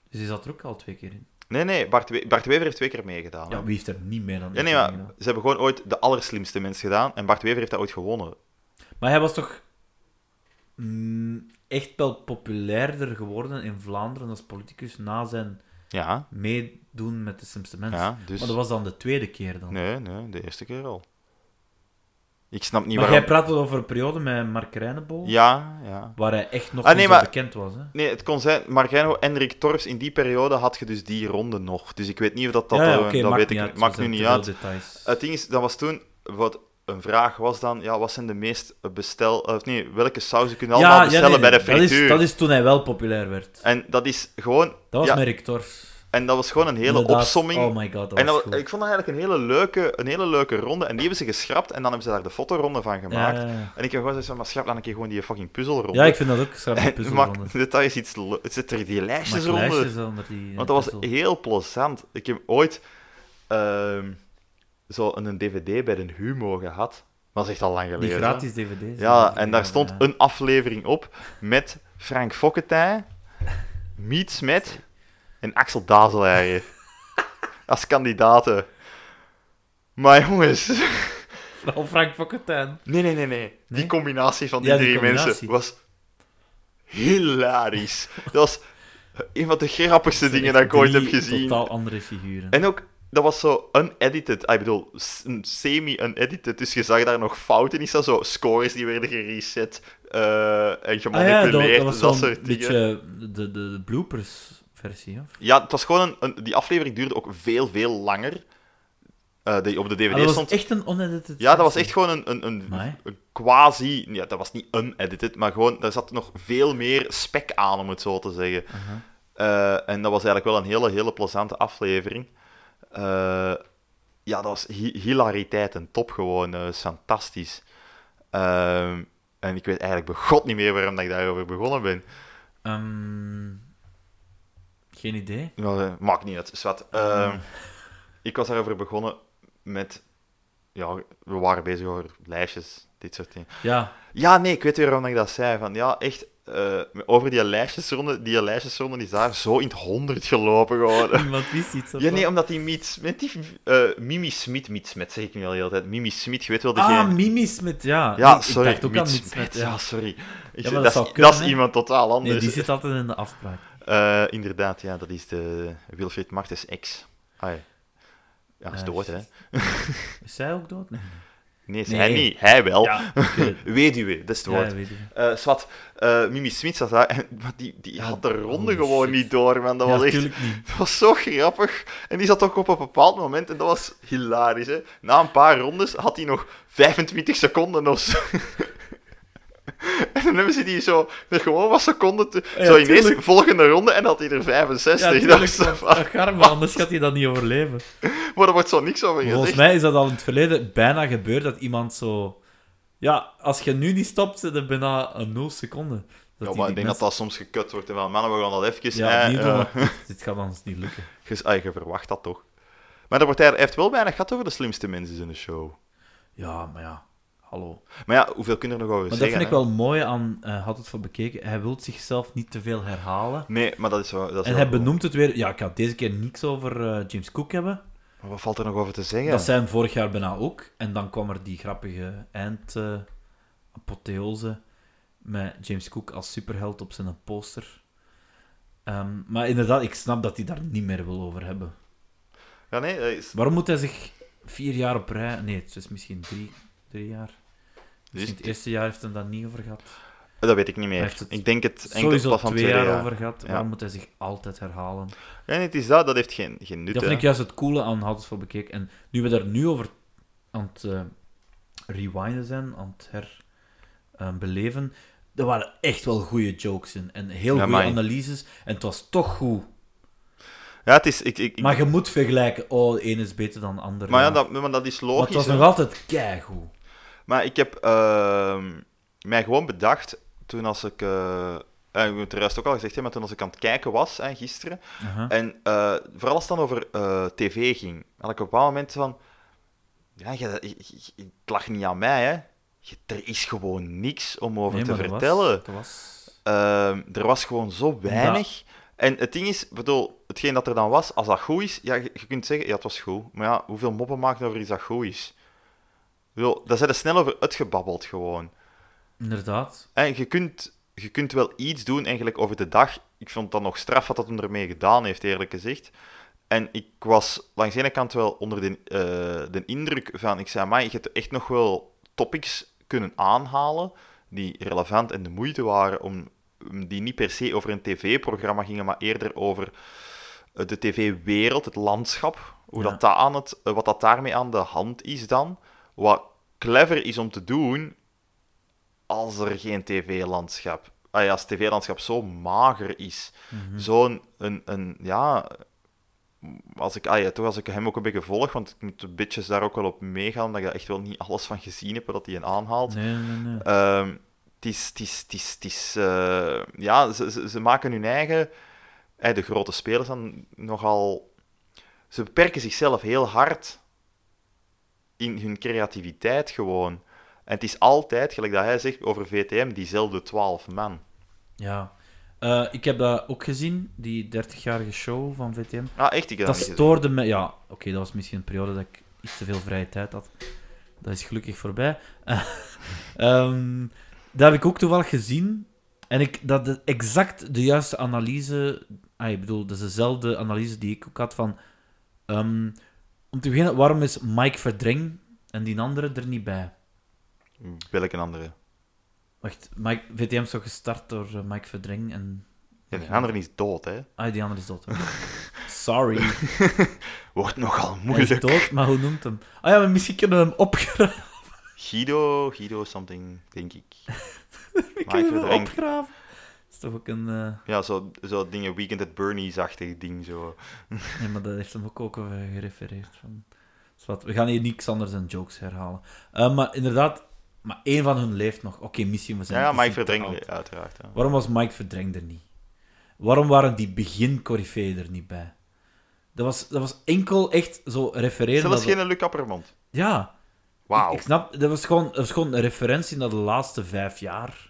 S1: Dus hij zat er ook al twee keer in.
S2: Nee, nee, Bart, We- Bart Wever heeft twee keer meegedaan. hè.
S1: Ja, wie heeft er niet meer dan
S2: ja, nee,
S1: één
S2: maar
S1: keer gedaan?
S2: ze hebben gewoon ooit de allerslimste mens gedaan en Bart Wever heeft dat ooit gewonnen.
S1: Maar hij was toch mm, echt wel populairder geworden in Vlaanderen als politicus na zijn
S2: Ja,
S1: meedoen met de slimste mensen.
S2: ja dus...
S1: Maar dat was dan de tweede keer dan.
S2: Nee, nee, de eerste keer al. Ik snap niet
S1: maar jij
S2: waarom...
S1: praat over een periode met Mark Reineboom,
S2: Ja, ja.
S1: waar hij echt nog
S2: Ah,
S1: niet
S2: nee,
S1: zo
S2: maar-
S1: bekend was. Hè?
S2: Nee, het kon zijn, Margeno en Rick Torfs, in die periode had je dus die ronde nog. Dus ik weet niet of dat... dat
S1: ja, ja,
S2: eh,
S1: oké,
S2: dat
S1: maakt
S2: weet
S1: niet
S2: ik,
S1: uit.
S2: Maakt
S1: er
S2: nu
S1: zijn
S2: niet
S1: te veel
S2: uit. Eh,
S1: Details.
S2: Het ding is, dat was toen... Wat een vraag was dan, ja, wat zijn de meest bestel... eh, Of nee, welke sauzen kunnen we allemaal bestellen
S1: nee,
S2: bij de
S1: dat is-
S2: frituur?
S1: Dat is, toen hij wel populair werd.
S2: En dat is gewoon...
S1: Dat was
S2: ja,
S1: met Rick Torfs.
S2: En dat was gewoon een hele
S1: Inderdaad.
S2: opsomming.
S1: Oh my god, dat
S2: en
S1: was
S2: dat-
S1: goed.
S2: ik vond dat eigenlijk een hele, leuke, een hele leuke ronde. En die hebben ze geschrapt en dan hebben ze daar de fotoronde van gemaakt.
S1: Ja, ja, ja.
S2: En ik heb gewoon gezegd, maar schrap dan een keer gewoon die fucking puzzelronde. <laughs>
S1: Ja, ik vind dat ook schrap
S2: En
S1: een puzzelronde.
S2: maak- dit- dat is iets... le- Het zit er die
S1: Maak
S2: lijstjesronde.
S1: lijstjes onder die... eh,
S2: Want dat
S1: puzzel.
S2: was heel plezant. Ik heb ooit ehm, zo een dvd bij de Humo gehad. Maar dat is echt al lang
S1: Die
S2: geleden. hè.
S1: gratis dvd's.
S2: Ja, en daar stond
S1: ja.
S2: een aflevering op met Frank Fokketij, Miet Smet en Axel Dazelaar als kandidaten. Maar jongens,
S1: Vooral Frank Fokkentijn.
S2: nee, nee, nee, nee.
S1: Nee?
S2: Die combinatie van die
S1: Ja, die
S2: drie mensen
S1: combinatie.
S2: was hilarisch. Dat was een van de grappigste dingen dat ik ooit heb gezien.
S1: totaal andere figuren.
S2: En ook, dat was zo unedited. Ah, Ik bedoel, s- een semi-unedited. Dus je zag daar nog fouten in staan. Zo scores die werden gereset eh, en
S1: Ah ja, dat,
S2: gemanipuleerd.
S1: dat
S2: en
S1: was
S2: dat
S1: zo'n
S2: soort dingen.
S1: beetje de, de, de bloopers-versie, of?
S2: Ja, het was gewoon een, een- Die aflevering duurde ook veel, veel langer. eh, die op de DVD
S1: Ah, dat
S2: stond.
S1: was echt een unedited
S2: Ja, dat was
S1: versie.
S2: echt gewoon een, een, een,
S1: Amai.
S2: een quasi... Ja, dat was niet unedited, maar gewoon... Daar zat nog veel meer spek aan, om het zo te zeggen.
S1: Aha.
S2: Eh, en dat was eigenlijk wel een hele, hele plezante aflevering. Eh, ja, dat was hi- hilariteit en top gewoon. eh, is fantastisch. Ehm, en ik weet eigenlijk bij god niet meer waarom dat ik daarover begonnen ben.
S1: Ehm, geen idee.
S2: Maar, eh, maakt niet uit. Zwat. Ehm, Ik was daarover begonnen met... Ja, we waren bezig over lijstjes, dit soort dingen.
S1: Ja,
S2: Ja, nee, ik weet weer waarom ik dat zei. Van, ja, echt, eh, over die lijstjesronde, die lijstjesronde is daar zo in het honderd gelopen
S1: <laughs>
S2: geworden.
S1: iemand wist iets. of
S2: Ja,
S1: wat?
S2: nee, omdat die Miet Smit, die, eh, Mimi Smit, Miet Smit zeg ik nu al de hele tijd. Mimi Smit, je weet wel degene...
S1: Ah, Mimi Smit, ja.
S2: ja,
S1: Ik-
S2: sorry,
S1: Ik dacht ook
S2: Miet
S1: aan Mimi
S2: Smit,
S1: Smit,
S2: ja.
S1: ja.
S2: sorry. Ik,
S1: dat
S2: dat,
S1: zou
S2: is,
S1: kunnen,
S2: dat is
S1: hè.
S2: iemand totaal anders.
S1: Nee, die zit altijd in de afspraak.
S2: Eh, inderdaad, ja, dat is de Wilfried Martens ex. Ai. Ja, dat is
S1: Ah,
S2: dood, hè.
S1: shit. Is zij ook dood? Nee.
S2: Nee,
S1: Nee.
S2: hij niet. Hij wel.
S1: Ja, ik weet het.
S2: <laughs> Weduwe, dat is het
S1: Ja,
S2: woord.
S1: ik weet het.
S2: Eh, Swat, eh, Mimi Smits zat daar, en- <laughs> maar die, die
S1: Ja,
S2: had de ronde
S1: holy
S2: gewoon
S1: shit.
S2: niet door, man. Dat,
S1: Ja,
S2: was echt,
S1: tuurlijk niet.
S2: <laughs> dat was zo grappig. En die zat ook op een bepaald moment, en dat was hilarisch, hè. Na een paar rondes had hij nog 25 seconden of zo. <laughs> En dan hebben ze die zo er gewoon wat seconden... Te,
S1: Ja,
S2: zo ineens,
S1: tuurlijk.
S2: volgende ronde, en had hij er
S1: Ja,
S2: 65. dat
S1: tuurlijk,
S2: is zo
S1: want-
S2: van-
S1: ach, arme, anders gaat hij dat niet
S2: <laughs>
S1: overleven.
S2: maar er wordt zo niks over
S1: Volgens
S2: gezegd.
S1: mij is dat al in het verleden bijna gebeurd dat iemand zo... Ja, als je nu niet stopt, zit er bijna een 0 seconden.
S2: Ja,
S1: die-
S2: maar
S1: die
S2: ik denk dat
S1: mensen-
S2: dat soms gekut wordt. En van, mannen, we gaan dat even...
S1: Ja,
S2: eh,
S1: opnieuw
S2: eh,
S1: doen, want <laughs> dit gaat anders niet lukken.
S2: Dus, ah, je verwacht dat toch. Maar er wordt hij heeft wel weinig gehad over de slimste mensen in de show.
S1: Ja, maar ja. Hallo.
S2: Maar ja, hoeveel kunnen er nog over
S1: Maar dat
S2: zeggen?
S1: vind ik
S2: hè?
S1: wel mooi aan... eh, had het van bekeken. Hij wil zichzelf niet te veel herhalen.
S2: Nee, maar dat is wel... Dat is
S1: En
S2: wel
S1: hij
S2: goed.
S1: benoemt het weer... Ja, ik ga deze keer niks over eh, James Cook hebben.
S2: Maar wat valt er nog over te zeggen?
S1: Dat zijn vorig jaar bijna ook. En dan kwam er die grappige eind eh, apotheose met James Cook als superheld op zijn poster. Ehm, maar inderdaad, ik snap dat hij daar niet meer wil over hebben.
S2: Ja, nee, dat is...
S1: Waarom moet hij zich vier jaar op rij... Nee, het is misschien drie, drie jaar.
S2: Dus-
S1: Misschien het eerste jaar heeft hij daar niet over gehad.
S2: dat weet ik niet meer.
S1: Hij heeft het
S2: Ik denk het enkel
S1: Sowieso
S2: pas van
S1: twee jaar, over gehad.
S2: Ja.
S1: Waarom moet hij zich altijd herhalen?
S2: Ja, nee, het is dat. Dat heeft geen, geen nut,
S1: Dat vind
S2: hè.
S1: ik juist het coole aan Houders voor Bekeken. En nu we daar nu over aan het eh, rewinden zijn, aan het herbeleven, er waren echt wel goede jokes in. En heel
S2: Ja,
S1: goede
S2: amai.
S1: analyses. En het was toch goed.
S2: Ja, het is... Ik, ik, ik-
S1: Maar je moet vergelijken. Oh, de ene is beter dan de andere.
S2: maar ja, dat, maar dat is
S1: Maar het
S2: logisch.
S1: was
S2: hè.
S1: nog altijd keigoed.
S2: Maar ik heb ehm, mij gewoon bedacht, toen als ik... eh eh, ik heb het er juist ook al gezegd, hè, maar toen als ik aan het kijken was, hè, gisteren,
S1: Aha.
S2: En eh, vooral als het dan over eh, tv ging, had ik op een bepaald moment van... Ja, je, je- je- het lag niet aan mij, hè. Je- er is gewoon niks om over
S1: Nee,
S2: te
S1: maar dat was-
S2: vertellen.
S1: dat was...
S2: Ehm, er was gewoon zo weinig. En het ding is, bedoel, hetgeen dat er dan was, als dat goed is, ja, je, je kunt zeggen, ja, het was goed. Maar ja, hoeveel moppen maken over iets dat goed is? Ik Bedoel, daar zijn er snel over uitgebabbeld gewoon.
S1: Inderdaad.
S2: En je kunt, je kunt wel iets doen eigenlijk over de dag. Ik vond dat nog straf wat dat hem ermee gedaan heeft, eerlijk gezegd. En ik was langs de ene kant wel onder de, eh, de indruk van, ik zei, maar je hebt echt nog wel topics kunnen aanhalen die relevant en de moeite waren om om- die niet per se over een tv-programma gingen, maar eerder over eh, de tv-wereld, het landschap, hoe
S1: Ja.
S2: dat dat aan het, eh, wat dat daarmee aan de hand is dan. Wat clever is om te doen, als er geen tv-landschap, ah ja, als het tv-landschap zo mager is, zo'n, een, een, ja, als ik, ah ja, toch als ik hem ook een beetje volg, want ik moet de bitches daar ook wel op meegaan, omdat ik daar echt wel niet alles van gezien heb wat hij een aanhaalt.
S1: Nee, nee, nee.
S2: Ehm, Het is, het is, het is, het is, eh, ja, ze, ze, ze maken hun eigen, eh, de grote spelers dan nogal, ze beperken zichzelf heel hard in hun creativiteit gewoon. En het is altijd, gelijk dat hij zegt over VTM, diezelfde twaalf man.
S1: Ja. Eh, ik heb dat ook gezien, die 30-jarige show van VTM.
S2: Ah, echt?
S1: Dat
S2: Ik heb dat niet gezien.
S1: stoorde me. Ja, oké, dat was misschien een periode dat ik iets te veel vrije tijd had. Dat is gelukkig voorbij. <laughs> Ehm, dat heb ik ook toevallig gezien. En ik, dat de- exact de juiste analyse. Ah, ik bedoel, dat is dezelfde analyse die ik ook had van. ehm, om te beginnen, waarom is Mike Verdreng en die andere er niet bij?
S2: Welke andere?
S1: Wacht, Mike, VTM is toch gestart door eh, Mike Verdreng en.
S2: Ja, die andere is dood, hè?
S1: Ah, die andere is dood. Sorry.
S2: Wordt nogal
S1: Hij is
S2: moeilijk.
S1: dood, maar hoe noemt hem? Ah ja, maar misschien kunnen we hem opgraven.
S2: Guido, Guido something, denk ik.
S1: We
S2: Mike
S1: kunnen hem
S2: Verdrenk.
S1: opgraven. Dat is toch ook een... eh,
S2: Ja, zo, zo dingen, Weekend at Bernie's-achtig ding, zo.
S1: Nee, maar dat heeft hem ook, ook over gerefereerd. Van... Dus wat, we gaan hier niks anders dan jokes herhalen. Eh, maar inderdaad, maar één van hun leeft nog. Oké, misschien we zijn...
S2: Ja, ja
S1: we
S2: Mike
S1: zijn te
S2: Verdreng,
S1: oud.
S2: uiteraard. Ja.
S1: Waarom was Mike Verdreng er niet? Waarom waren die begin er niet bij? Dat was, dat was enkel echt zo refereren...
S2: Zelfs
S1: naar de-
S2: geen Luc Appermond.
S1: Ja.
S2: Wauw.
S1: Ik, ik snap, dat was, gewoon, dat was gewoon een referentie naar de laatste vijf jaar.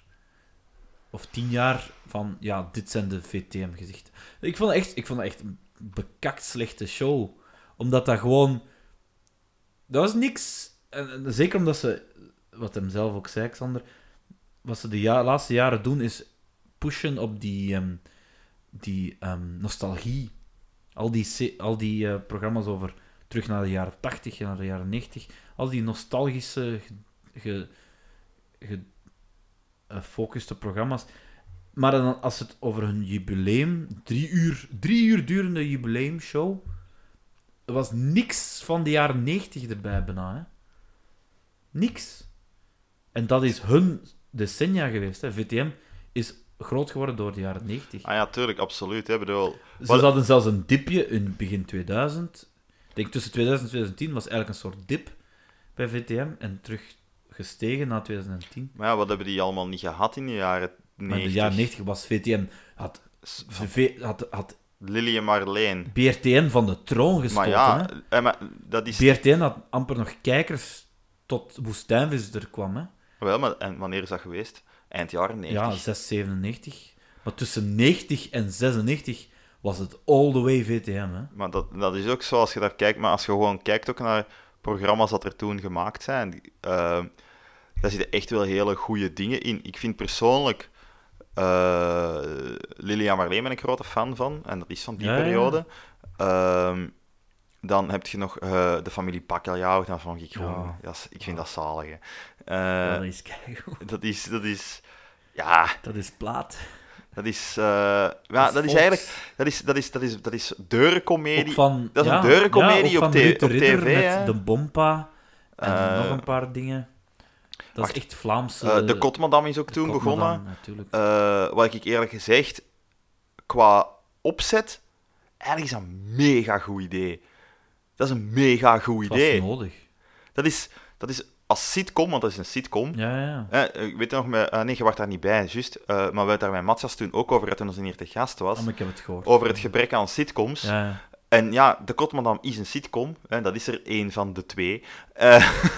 S1: Of tien jaar van, ja, dit zijn de VTM-gezichten. Ik vond het echt, ik vond het echt een bekakt slechte show. Omdat dat gewoon... Dat was niks... En, en zeker omdat ze, wat hem zelf ook zei, Xander... Wat ze de ja- laatste jaren doen, is pushen op die, ehm, die ehm, nostalgie. Al die, se- al die eh, programma's over terug naar de jaren 80, naar de jaren 90. Al die nostalgische, ge- ge- gefocuste programma's. Maar dan, als het over hun jubileum, drie uur, drie uur durende jubileumshow, er was niks van de jaren 90 erbij bijna. Hè? Niks. En dat is hun decennia geweest. Hè? VTM is groot geworden door de jaren 90.
S2: Ah ja, tuurlijk, absoluut. Hè. Ik bedoel,
S1: Ze
S2: Wat-
S1: hadden zelfs een dipje in begin 2000. Ik denk tussen 2000 en 2010 was eigenlijk een soort dip bij VTM. En terug gestegen na 2010.
S2: maar ja, wat hebben die allemaal niet gehad in de jaren 90?
S1: Maar in de jaren 90 was VTM... Had,
S2: S-
S1: v, had, had
S2: Lily en Marleen.
S1: BRTN van de troon
S2: Maar
S1: gestoten.
S2: ja,
S1: hè?
S2: eh, maar dat is...
S1: BRTN had amper nog kijkers tot Woestijnvis er kwam. Hè?
S2: Wel, maar en wanneer is dat geweest? Eind jaren 90.
S1: Ja, 6, 97. Maar tussen 90 en 96 was het all the way VTM. Hè?
S2: Maar dat, dat is ook zo als je daar kijkt, maar als je gewoon kijkt ook naar programma's dat er toen gemaakt zijn, eh, daar zitten echt wel hele goede dingen in. Ik vind persoonlijk eh Lilia Marleen ben ik grote fan van, en dat is van die
S1: Ja, ja.
S2: periode. Ehm, dan heb je nog eh, de familie Bakkeljauw, dan van ik gewoon,
S1: Ja.
S2: dat is- ik vind dat zalig. hè.
S1: Ja, dat
S2: Eh,
S1: is keigoed.
S2: dat is, dat is, ja,
S1: Dat is plaat.
S2: dat is, eh, ja, dat is
S1: volks.
S2: eigenlijk, dat is, dat is, dat is, dat is deurencomedie.
S1: Ook van,
S2: dat is een
S1: ja,
S2: deurencomedie
S1: ja, ook van
S2: op t-
S1: Ruud de
S2: op
S1: Ridder
S2: TV,
S1: Met
S2: hè.
S1: de Bompa en
S2: Eh,
S1: nog een paar dingen. Dat
S2: wacht.
S1: is echt Vlaamse...
S2: Eh, de Kotmadam is ook
S1: de
S2: toen
S1: Kotmadam,
S2: begonnen.
S1: Natuurlijk.
S2: Eh, wat ik eerlijk gezegd, qua opzet, eigenlijk is dat een mega goed idee. Dat is een mega goed
S1: Het was
S2: idee.
S1: nodig.
S2: Dat is, dat is als sitcom, want dat is een sitcom.
S1: Ja, ja.
S2: Eh, eh, weet je nog, met, ah, nee, je was daar niet bij, juist. Eh, maar we hebben het daar met Matsas toen ook over, gehad, toen ze hier te gast was.
S1: Ah, maar ik heb het gehoord.
S2: over het gebrek aan sitcoms.
S1: Ja, ja.
S2: En ja, De Kotmadam is een sitcom. Hè, dat is er één van de twee. eh, <laughs>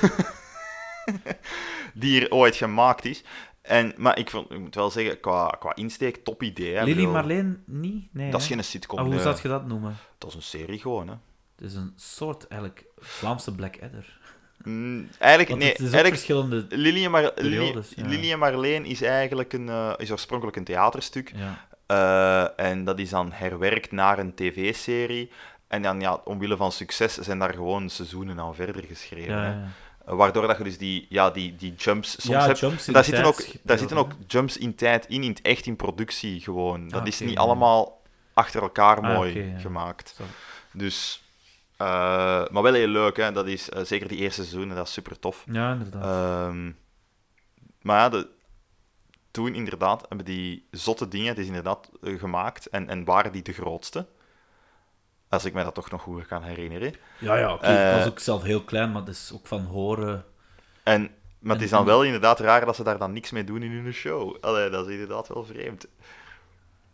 S2: die hier ooit gemaakt is. En, maar ik, vond, ik moet wel zeggen, qua, qua insteek, top idee. Hè,
S1: Lily
S2: bedoel,
S1: Marleen niet? Nee,
S2: Dat is
S1: hè?
S2: geen sitcom.
S1: Ah, hoe
S2: nee.
S1: zou je dat noemen?
S2: Dat is een serie gewoon. Hè.
S1: Het is een soort, eigenlijk, Vlaamse Blackadder.
S2: Mm, eigenlijk,
S1: Want
S2: nee,
S1: het is ook
S2: eigenlijk,
S1: verschillende...
S2: Lily en, Mar- Lily-
S1: periodes, ja.
S2: Lily en Marleen is eigenlijk een, eh, is oorspronkelijk een theaterstuk.
S1: Ja.
S2: Eh, en dat is dan herwerkt naar een tv-serie. En dan, ja, omwille van succes zijn daar gewoon seizoenen aan verder geschreven.
S1: Ja,
S2: hè.
S1: ja, ja.
S2: Uh, Waardoor dat je dus die, ja, die, die jumps soms
S1: Ja,
S2: hebt.
S1: jumps in
S2: daar
S1: de
S2: zitten,
S1: tijd
S2: ook, daar
S1: gebeuren,
S2: zitten ook jumps in tijd in, in het echt in productie gewoon. Dat
S1: Ah,
S2: is
S1: oké,
S2: niet
S1: ja.
S2: allemaal achter elkaar
S1: Ah,
S2: mooi
S1: oké, ja.
S2: gemaakt.
S1: Zo.
S2: Dus, eh, maar wel heel leuk, hè. Dat is, eh, zeker die eerste seizoenen, dat is super tof.
S1: Ja, inderdaad.
S2: Ehm, maar ja, de- toen inderdaad hebben die zotte dingen, het is inderdaad eh, gemaakt, en, en waren die de grootste? Als ik mij dat toch nog goed kan herinneren.
S1: ja, ja, oké.
S2: eh,
S1: ik was ook zelf heel klein, maar dat is ook van horen...
S2: En, maar het
S1: En-
S2: is dan
S1: en-
S2: wel inderdaad raar dat ze daar dan niks mee doen in hun show. Allee, dat is inderdaad wel vreemd.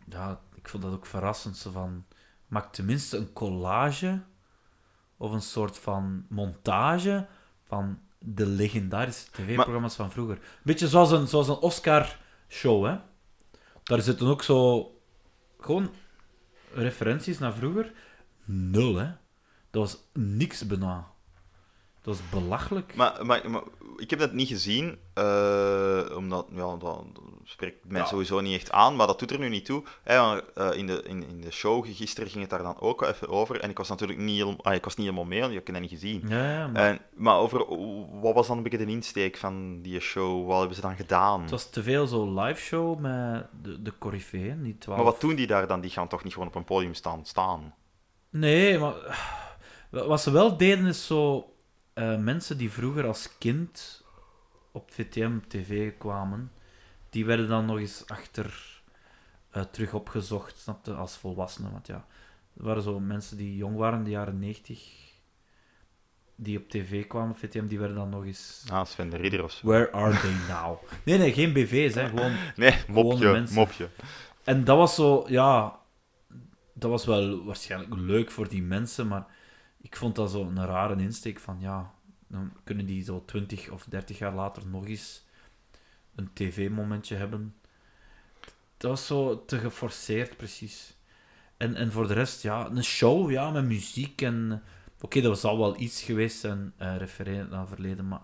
S1: Ja, ik vond dat ook verrassend. Zo van, maak tenminste een collage of een soort van montage van de legendarische tv-programma's van vroeger. Beetje zoals een, zoals een Oscar-show, hè. Daar zitten ook zo... Gewoon referenties naar vroeger. Nul, hè. Dat was niks bijna. Dat was belachelijk.
S2: Maar, maar, maar ik heb dat niet gezien, eh, omdat ja, dat spreekt mij
S1: Ja.
S2: sowieso niet echt aan, maar dat doet er nu niet toe. Hè, maar, eh, in, de, in, in de show gisteren ging het daar dan ook wel even over en ik was natuurlijk niet, helemaal- ah, ik was niet helemaal mee, want ik heb dat niet gezien.
S1: Ja, ja, maar
S2: En, maar over wat was dan een beetje de insteek van die show? Wat hebben ze dan gedaan?
S1: het was te veel zo'n live show met de, de coryfeeën, die twaalf
S2: Maar wat doen die daar dan? Die gaan toch niet gewoon op een podium staan? staan?
S1: Nee, maar wat ze wel deden is zo eh, mensen die vroeger als kind op VTM TV kwamen, die werden dan nog eens achter eh, terug opgezocht, snapte, als volwassenen. Want ja, er waren zo mensen die jong waren in de jaren 90, die op tv kwamen op VTM, die werden dan nog eens.
S2: Ah, Sven de Ridder of zo.
S1: Where are <laughs> they now? Nee, nee, geen BV's, hè, <laughs> gewoon
S2: Nee, mopje,
S1: mensen.
S2: mopje.
S1: en dat was zo, ja, dat was wel waarschijnlijk leuk voor die mensen, maar ik vond dat zo een rare insteek van ja, dan kunnen die zo 20 of 30 jaar later nog eens een tv-momentje hebben. Dat was zo te geforceerd, precies. En, en voor de rest, ja, een show, ja, met muziek en... Oké, dat zal wel iets geweest zijn, eh refererend naar het verleden, maar...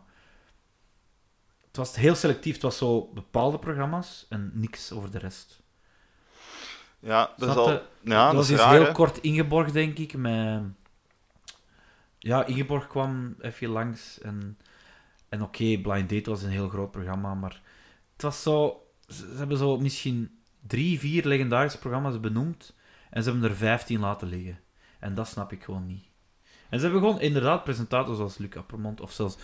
S1: Het was heel selectief. Het was zo bepaalde programma's en niks over de rest.
S2: Ja, dat is
S1: Snap
S2: al...
S1: je?
S2: Ja,
S1: dat
S2: dat
S1: was
S2: is
S1: iets
S2: raar,
S1: heel
S2: hè.
S1: kort ingeborgd, denk ik, met ja, Ingeborg kwam even langs. En, en oké, Blind Date was een heel groot programma, maar het was zo... Ze, ze hebben zo misschien drie, vier legendarische programma's benoemd en ze hebben er vijftien laten liggen. En dat snap ik gewoon niet. En ze hebben gewoon inderdaad presentators als Luc Appermond of zelfs...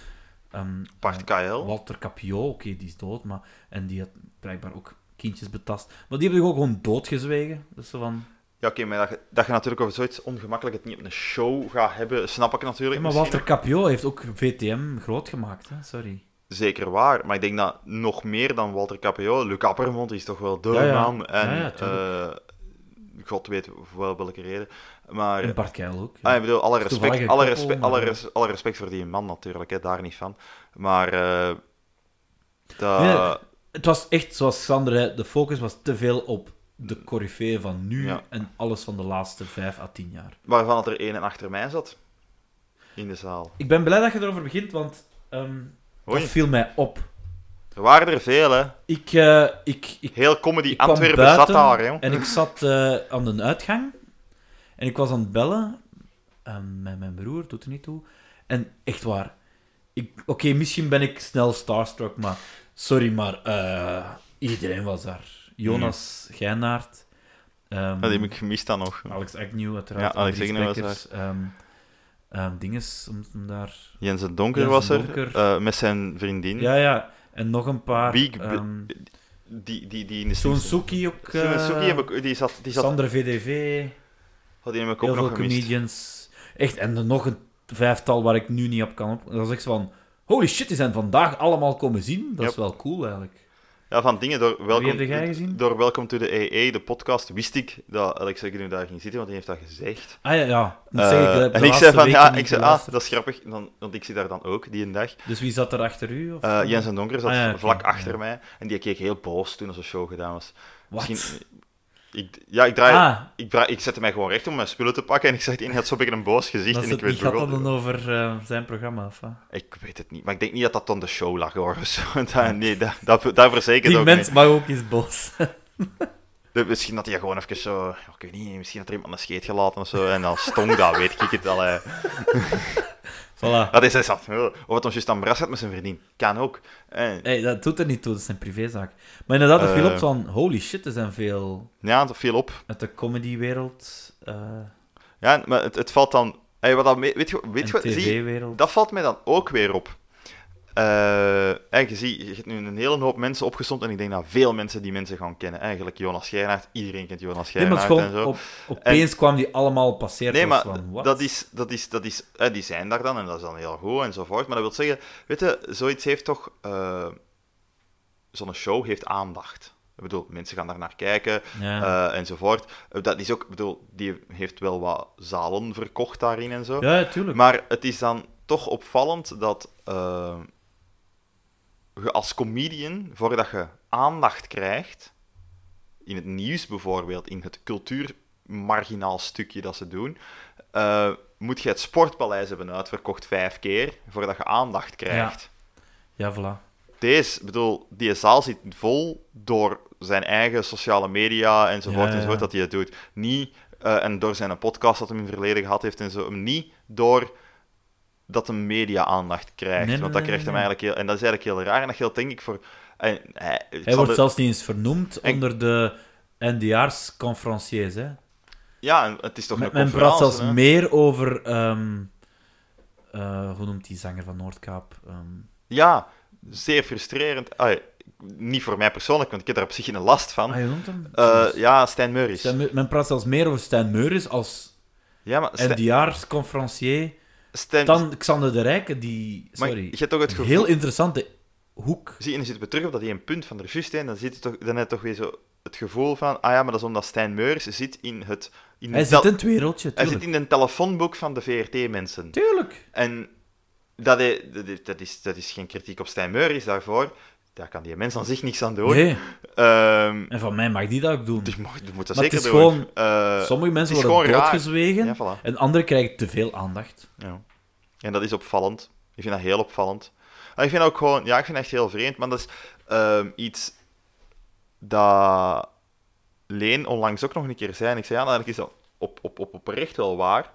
S1: ehm,
S2: Bart KL.
S1: Walter Capio, oké, die is dood, maar... En die had blijkbaar ook kindjes betast. Maar die hebben ook gewoon doodgezwegen. Dus zo van...
S2: Ja, oké, maar dat je, dat je natuurlijk over zoiets ongemakkelijk het niet op een show gaat hebben, snap ik
S1: Ja,
S2: natuurlijk.
S1: maar
S2: misschien.
S1: Walter Capio heeft ook VTM groot gemaakt, hè? Sorry.
S2: Zeker waar, maar ik denk dat nog meer dan Walter Capello, Luc Appermond is toch wel de
S1: Ja, ja.
S2: naam. En
S1: Ja, ja, tuurlijk.
S2: eh, God weet wel welke reden. Maar
S1: En Bart Keil ook.
S2: ah, ik bedoel, alle respect,
S1: Toevallig
S2: alle,
S1: een koppel,
S2: respect,
S1: maar-
S2: alle, res- alle respect voor die man natuurlijk, hè, daar niet van. Maar eh, dat,
S1: Nee, Het was echt, zoals Sander zei, de focus was te veel op de coryfeeën van nu
S2: Ja.
S1: en alles van de laatste vijf à tien jaar.
S2: waarvan het er één en achter mij zat in de zaal.
S1: Ik ben blij dat je erover begint, want ehm, dat
S2: Oei,
S1: viel mij op.
S2: er waren er veel, hè.
S1: Ik, eh, ik, ik,
S2: Heel comedy
S1: ik kwam
S2: Antwerpen
S1: buiten
S2: zat daar, hè.
S1: en ik zat eh, aan de uitgang en ik was aan het bellen ehm, met mijn broer, doet er niet toe. En echt waar, ik- oké, misschien ben ik snel starstruck, maar sorry, maar eh, iedereen was daar. Jonas
S2: Hmm.
S1: Geinaert. ehm,
S2: Dat heb ik gemist dan nog.
S1: Alex Agnew, uiteraard.
S2: Ja, Alex
S1: Andries
S2: Agnew was
S1: Bekkers, ehm, ehm, dinges, om, om daar...
S2: Jens het Donker
S1: Jens
S2: was
S1: den
S2: er,
S1: Donker.
S2: eh, met zijn vriendin.
S1: Ja, ja. En nog een paar.
S2: Hmm. Wie ik be-
S1: ehm,
S2: Die, die, die in de
S1: Zo'n
S2: Simpsons-
S1: Suki ook.
S2: Zo'n
S1: eh,
S2: Suki heb ik, die zat, die zat,
S1: Sander VDV.
S2: oh, die heb ik ook
S1: Heel veel
S2: nog gemist.
S1: comedians. Echt, en er nog een vijftal waar ik nu niet op kan. Op. Dat is echt van... Holy shit, die zijn vandaag allemaal komen zien. Dat is
S2: Yep.
S1: wel cool, eigenlijk.
S2: Ja, van dingen door welkom,
S1: heb jij gezien?
S2: door welkom to the EE, de podcast, wist ik dat Alex Agnew daar ging zitten, want die heeft dat gezegd.
S1: Ah ja, ja. Ik moet
S2: Eh,
S1: zeggen, ik heb de
S2: en ik zei
S1: laatste
S2: van,
S1: weken
S2: ja,
S1: niet
S2: ik zei, ah,
S1: geluisterd.
S2: dat is grappig, dan, want ik zit daar dan ook, die een dag.
S1: Dus wie zat er achter u? Of...
S2: Eh, Jens en Donker zat
S1: Ah, ja, oké,
S2: vlak
S1: ja.
S2: achter mij, en die keek heel boos toen onze show gedaan was.
S1: Wat?
S2: Misschien- Ik, ja, ik draai...
S1: Ah,
S2: Ik, draai- ik zette mij gewoon recht om mijn spullen te pakken en ik zag die een had zo'n beetje een boos gezicht.
S1: dat
S2: en
S1: is
S2: ik
S1: het,
S2: weet
S1: die gaat
S2: wel-
S1: dat dan over eh, zijn programma, of wat?
S2: Ik weet het niet, maar ik denk niet dat dat dan de show lag hoor. of zo. <laughs> Dat- nee, dat, dat, dat verzeker ik
S1: Die
S2: ook
S1: mens
S2: niet.
S1: mag ook eens boos. <laughs>
S2: De- Misschien dat hij gewoon even zo, ja, ik weet niet, misschien had er iemand een scheet gelaten of zo en dan stonk dat, weet ik het al. hè.
S1: voilà.
S2: Dat is hij zat. oh, Of het ons juist aan bras had met zijn vriendin. Kan ook. Eh, En,
S1: Hey, dat doet er niet toe, dat is een privézaak. Maar inderdaad, dat viel
S2: Eh.
S1: op van... Holy shit, er zijn veel
S2: ja, dat viel op.
S1: uit de comedywereld eh
S2: Ja, maar het, het valt dan, hey, wat dat, me- weet je,
S1: en
S2: weet je, wat- zie,
S1: tv-wereld.
S2: Dat valt mij dan ook weer op. Eh, en je ziet, je hebt nu een hele hoop mensen opgezond en ik denk dat veel mensen die mensen gaan kennen. Eigenlijk Jonas Geirnaert, iedereen kent Jonas
S1: Nee, maar
S2: Geirnaert
S1: het is
S2: en zo.
S1: gewoon... Op, opeens kwamen die allemaal passeren.
S2: Nee, maar
S1: van, wat?
S2: dat is, dat is, dat is, eh, die zijn daar dan en dat is dan heel goed enzovoort. Maar dat wil zeggen, weet je, zoiets heeft toch, eh, zo'n show heeft aandacht. Ik bedoel, mensen gaan daar naar kijken
S1: Ja.
S2: eh, enzovoort. Eh, Dat is ook, ik bedoel, die heeft wel wat zalen verkocht daarin en zo.
S1: ja, ja, tuurlijk.
S2: Maar het is dan toch opvallend dat eh, je als comedian, voordat je aandacht krijgt, in het nieuws bijvoorbeeld, in het cultuurmarginaal stukje dat ze doen, eh, moet je het Sportpaleis hebben uitverkocht vijf keer voordat je aandacht krijgt.
S1: Ja, voilà.
S2: Deze, ik bedoel, die zaal zit vol door zijn eigen sociale media enzovoort,
S1: Ja, ja, ja.
S2: enzovoort dat hij het doet. Niet, eh, en door zijn podcast dat hij in het verleden gehad heeft en zo. Niet door dat de media aandacht krijgt.
S1: Nee, nee,
S2: want dat
S1: nee,
S2: krijgt
S1: nee, nee.
S2: hem eigenlijk heel... En dat is eigenlijk heel raar. En dat geldt denk ik voor... En, hij ik
S1: Hij
S2: zal
S1: wordt
S2: de-
S1: zelfs niet eens vernoemd
S2: En-
S1: onder de NDR's conferenciers. Hè.
S2: Ja, en het is toch
S1: Men,
S2: een
S1: men praat zelfs
S2: conferentie, hè?
S1: meer over... ehm, eh, hoe noemt die zanger van Noordkaap? Ehm,
S2: Ja, zeer frustrerend. Ai, niet voor mij persoonlijk, want ik heb daar op zich geen last van.
S1: ah, je noemt hem?
S2: Eh, ja, Stijn Murrays.
S1: Stijn Meur- men praat zelfs meer over Stijn Meuris als
S2: Ja, maar Stijn...
S1: NDR-conferencier
S2: Stijn-
S1: dan Xander de Rijke, die...
S2: Maar
S1: Sorry.
S2: je hebt toch het
S1: Een
S2: gevoel...
S1: heel interessante hoek.
S2: Zie, en dan zitten we terug op dat één punt van de juiste. En dan, zit je toch, dan heb je toch weer zo het gevoel van... Ah ja, maar dat is omdat Stijn Meurs zit in het... In
S1: Hij
S2: de
S1: zit
S2: tel-
S1: in het wereldje,
S2: hij
S1: tuurlijk.
S2: zit in een telefoonboek van de VRT-mensen.
S1: Tuurlijk.
S2: En dat, hij- dat, is- dat, is, dat is geen kritiek op Stijn Meurs daarvoor. Daar kan die mens aan zich niks aan doen.
S1: Nee,
S2: Ehm,
S1: en van mij mag die dat ook doen.
S2: dus je mag- je moet dat
S1: Maar het
S2: zeker
S1: is
S2: doen.
S1: gewoon-
S2: Eh,
S1: Sommige mensen
S2: het is
S1: worden
S2: gewoon raar.
S1: doodgezwegen
S2: ja, voilà.
S1: en anderen krijgen te veel aandacht.
S2: Ja. En dat is opvallend. Ik vind dat heel opvallend. En ik vind ook gewoon, ja, ik vind het echt heel vreemd, maar dat is ehm, iets dat Leen onlangs ook nog een keer zei. En ik zei, ja, eigenlijk is dat op, op, op, oprecht wel waar.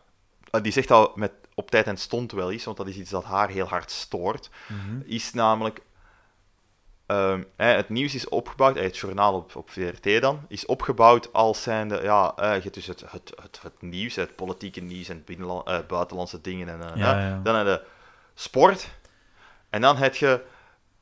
S2: Eh, Die zegt dat met op tijd en stond wel is, want dat is iets dat haar heel hard stoort,
S1: Mhm.
S2: is namelijk... ehm, hè, het nieuws is opgebouwd, eh, het journaal op, op VRT dan, is opgebouwd als zijnde, ja, eh, je hebt dus het, het, het, het nieuws, het politieke nieuws en binnenla- eh, buitenlandse dingen. En, eh,
S1: Ja,
S2: hè.
S1: ja.
S2: Dan heb je sport, en dan heb je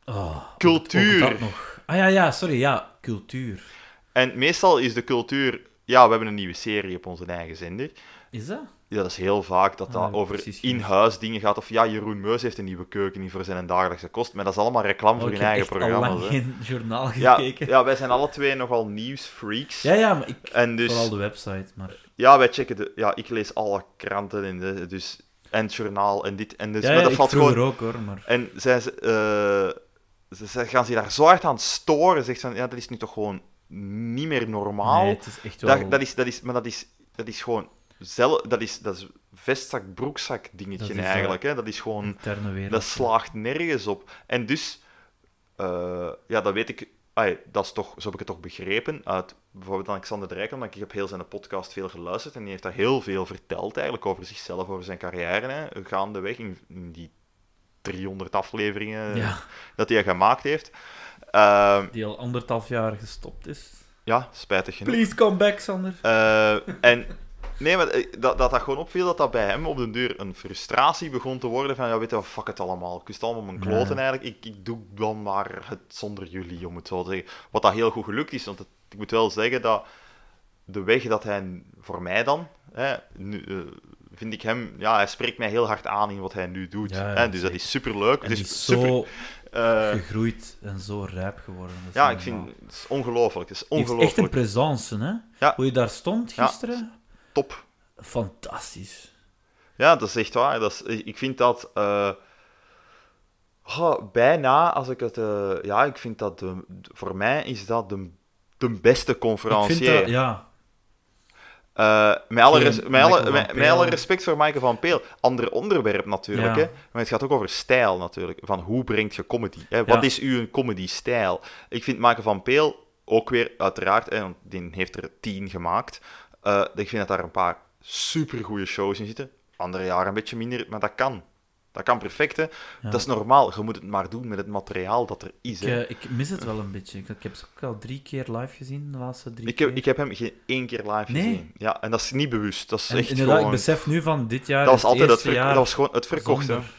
S1: Oh,
S2: cultuur.
S1: ook dat nog. Ah ja, ja, sorry, ja, cultuur.
S2: En meestal is de cultuur, ja, we hebben een nieuwe serie op onze eigen zender.
S1: Is dat?
S2: Ja, dat is heel vaak dat
S1: Ah,
S2: dat
S1: dat heb ik
S2: over
S1: precies gemist.
S2: in-huis dingen gaat. Of ja, Jeroen Meus heeft een nieuwe keuken die voor zijn dagelijkse kost. Maar dat is allemaal reclame voor
S1: Oh, ik
S2: hun
S1: heb
S2: eigen
S1: echt al
S2: programma's.
S1: lang
S2: hè.
S1: geen journaal
S2: Ja,
S1: gekeken. Ja,
S2: ja, wij zijn alle twee nogal nieuwsfreaks.
S1: ja, maar ik...
S2: En dus,
S1: Vooral de website, maar...
S2: ja, wij checken de... Ja, ik lees alle kranten en, de- dus, en het journaal en dit. En dus,
S1: ja,
S2: maar
S1: ja,
S2: dat
S1: ik
S2: valt
S1: vroeger
S2: gewoon...
S1: ook, hoor, maar...
S2: En zij, ze, eh, ze, ze gaan zich daar zo hard aan storen. Zegt van, ja, dat is nu toch gewoon niet meer normaal.
S1: Nee, het is echt wel...
S2: Dat, dat, is, dat is, maar dat is, dat is gewoon zelf, dat is, dat is vestzak, broekzak dingetje
S1: Dat is, eh,
S2: eigenlijk. Hè? Dat is gewoon,
S1: interne wereld.
S2: dat slaagt nergens op. En dus, eh, ja, dat weet ik, ai, dat is toch, zo heb ik het toch begrepen uit bijvoorbeeld Alexander de Rijkman, want ik heb heel zijn podcast veel geluisterd en die heeft daar heel veel verteld eigenlijk over zichzelf, over zijn carrière, hè, gaandeweg in, in die 300 afleveringen
S1: Ja,
S2: dat hij gemaakt heeft. Ehm,
S1: die al anderhalf jaar gestopt is.
S2: ja, spijtig genoeg.
S1: Please come back, Sander.
S2: Eh, en nee, maar eh, dat, dat dat gewoon opviel dat dat bij hem op den duur een frustratie begon te worden van, ja, weet je wat, fuck het allemaal. Ik kust allemaal mijn kloten eigenlijk. Ik, ik doe dan maar het zonder jullie, om het zo te zeggen. Wat dat heel goed gelukt is, want het- ik moet wel zeggen dat de weg dat hij, voor mij dan, hè, nu, eh, vind ik hem, ja, hij spreekt mij heel hard aan in wat hij nu doet.
S1: Ja, ja,
S2: hè, dus dat is superleuk.
S1: En
S2: Het is,
S1: die is
S2: super...
S1: zo
S2: eh,
S1: gegroeid en zo rijp geworden. Dat is
S2: ja,
S1: niet
S2: ik vind,
S1: normaal.
S2: het is ongelooflijk. Het is
S1: Die heeft echt een
S2: ongelooflijk.
S1: presence, hè?
S2: Ja.
S1: Hoe je daar stond
S2: Ja.
S1: gisteren.
S2: Top.
S1: Fantastisch.
S2: Ja, dat is echt waar. Dat is, ik vind dat eh, oh, bijna, als ik het. eh, ja, ik vind dat. De, voor mij is dat de, de beste
S1: Ik vind dat,
S2: conferencier.
S1: ja.
S2: Eh, met, alle
S1: Tegen
S2: res- met, alle,
S1: Michael van
S2: met, met alle
S1: Peel.
S2: respect voor Michael van Peel. Ander onderwerp natuurlijk.
S1: Ja.
S2: Hè? Maar het gaat ook over stijl natuurlijk. Van hoe brengt je comedy? Hè? Wat
S1: Ja.
S2: is uw comedy-stijl? Ik vind Michael van Peel ook weer, uiteraard, hè, want die heeft er tien gemaakt. Eh, ik vind dat daar een paar supergoeie shows in zitten. Andere jaren een beetje minder, maar dat kan. Dat kan perfect, hè.
S1: Ja.
S2: Dat is normaal. Je moet het maar doen met het materiaal dat er is,
S1: Ik,
S2: hè.
S1: eh, ik mis het wel een beetje. Ik, ik heb ze ook al drie keer live gezien, de laatste drie
S2: Ik
S1: keer.
S2: heb, ik heb hem geen één keer live
S1: Nee.
S2: gezien. Ja, en dat is niet bewust. Dat is
S1: En
S2: echt
S1: inderdaad,
S2: gewoon...
S1: ik besef nu van dit jaar.
S2: Dat
S1: is
S2: was altijd het,
S1: eerste
S2: verk-
S1: jaar
S2: dat was gewoon het verkochte.
S1: zonder.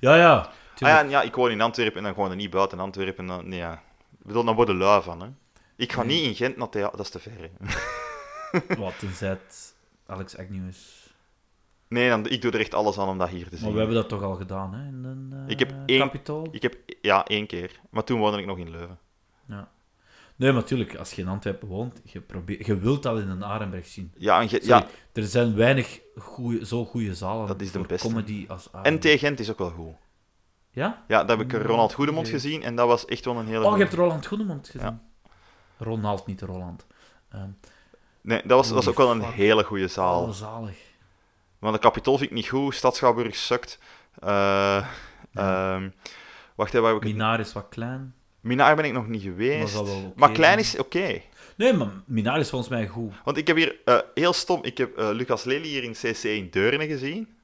S1: Ja, ja.
S2: Ah ja,
S1: tuurlijk.
S2: en ja, ik woon in Antwerpen en dan gewoon er niet buiten Antwerpen. en Dan, nee, ja. Ik bedoel, dan worden lui van, hè. Ik ga
S1: Nee.
S2: niet in Gent naar theater, dat is te ver. hè.
S1: Wat, tenzij het Alex Agnew is.
S2: Nee, dan, ik doe er echt alles aan om dat hier te zien.
S1: Maar we hebben dat toch al gedaan, hè? In een, eh,
S2: Ik heb één-
S1: Capitool.
S2: Ik heb, ja, één keer. Maar toen woonde ik nog in Leuven.
S1: Nee, maar natuurlijk, als je in Antwerpen woont, je, probeert, je wilt dat in een Arenberg zien.
S2: Ja, en, ge-
S1: Sorry,
S2: ja,
S1: Er zijn weinig goeie, zo goede zalen
S2: Dat is de
S1: voor
S2: beste.
S1: comedy als Arenberg.
S2: en tegen Gent is ook wel goed.
S1: Ja?
S2: Ja, daar heb ik Ronald Goedemond
S1: Nee.
S2: gezien en dat was echt wel een hele...
S1: Oh, je
S2: goeie.
S1: hebt Roland Goedemond gezien. Ronald, niet Roland. Ehm
S2: Nee, dat was, dat was ook wel een
S1: Oh, Fuck.
S2: hele goede zaal.
S1: oh, zalig.
S2: Maar de Capitool vind ik niet goed, Stadschouwburg sukt. Eh, ehm, wacht, hè, waar heb ik...
S1: Minaar is wat klein.
S2: Minaar ben ik nog niet geweest.
S1: zal wel oké
S2: maar Klein
S1: zijn.
S2: is oké.
S1: Nee, maar Minaar is volgens mij goed.
S2: Want ik heb hier, eh, heel stom, ik heb eh, Lucas Lely hier in CC in Deurne gezien.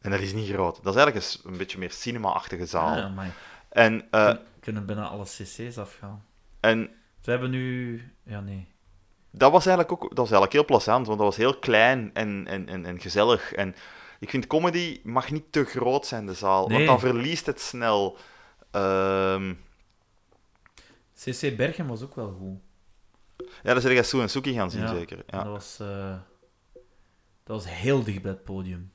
S2: En dat is niet groot. Dat is eigenlijk een, s- een beetje meer cinema-achtige zaal.
S1: Ja, amai.
S2: En, eh,
S1: Kun- kunnen bijna alle cc's afgaan.
S2: en
S1: Ze hebben nu... Ja, nee.
S2: dat was eigenlijk ook dat was eigenlijk heel plezant, want dat was heel klein en, en, en, en gezellig. En ik vind comedy mag niet te groot zijn, de zaal.
S1: Nee.
S2: Want dan verliest het snel. Ehm,
S1: CC Bergen was ook wel goed.
S2: ja, dan zit jij Sue en Suki gaan zien,
S1: Ja.
S2: zeker. Ja.
S1: Dat was... eh, dat was heel dicht bij het podium.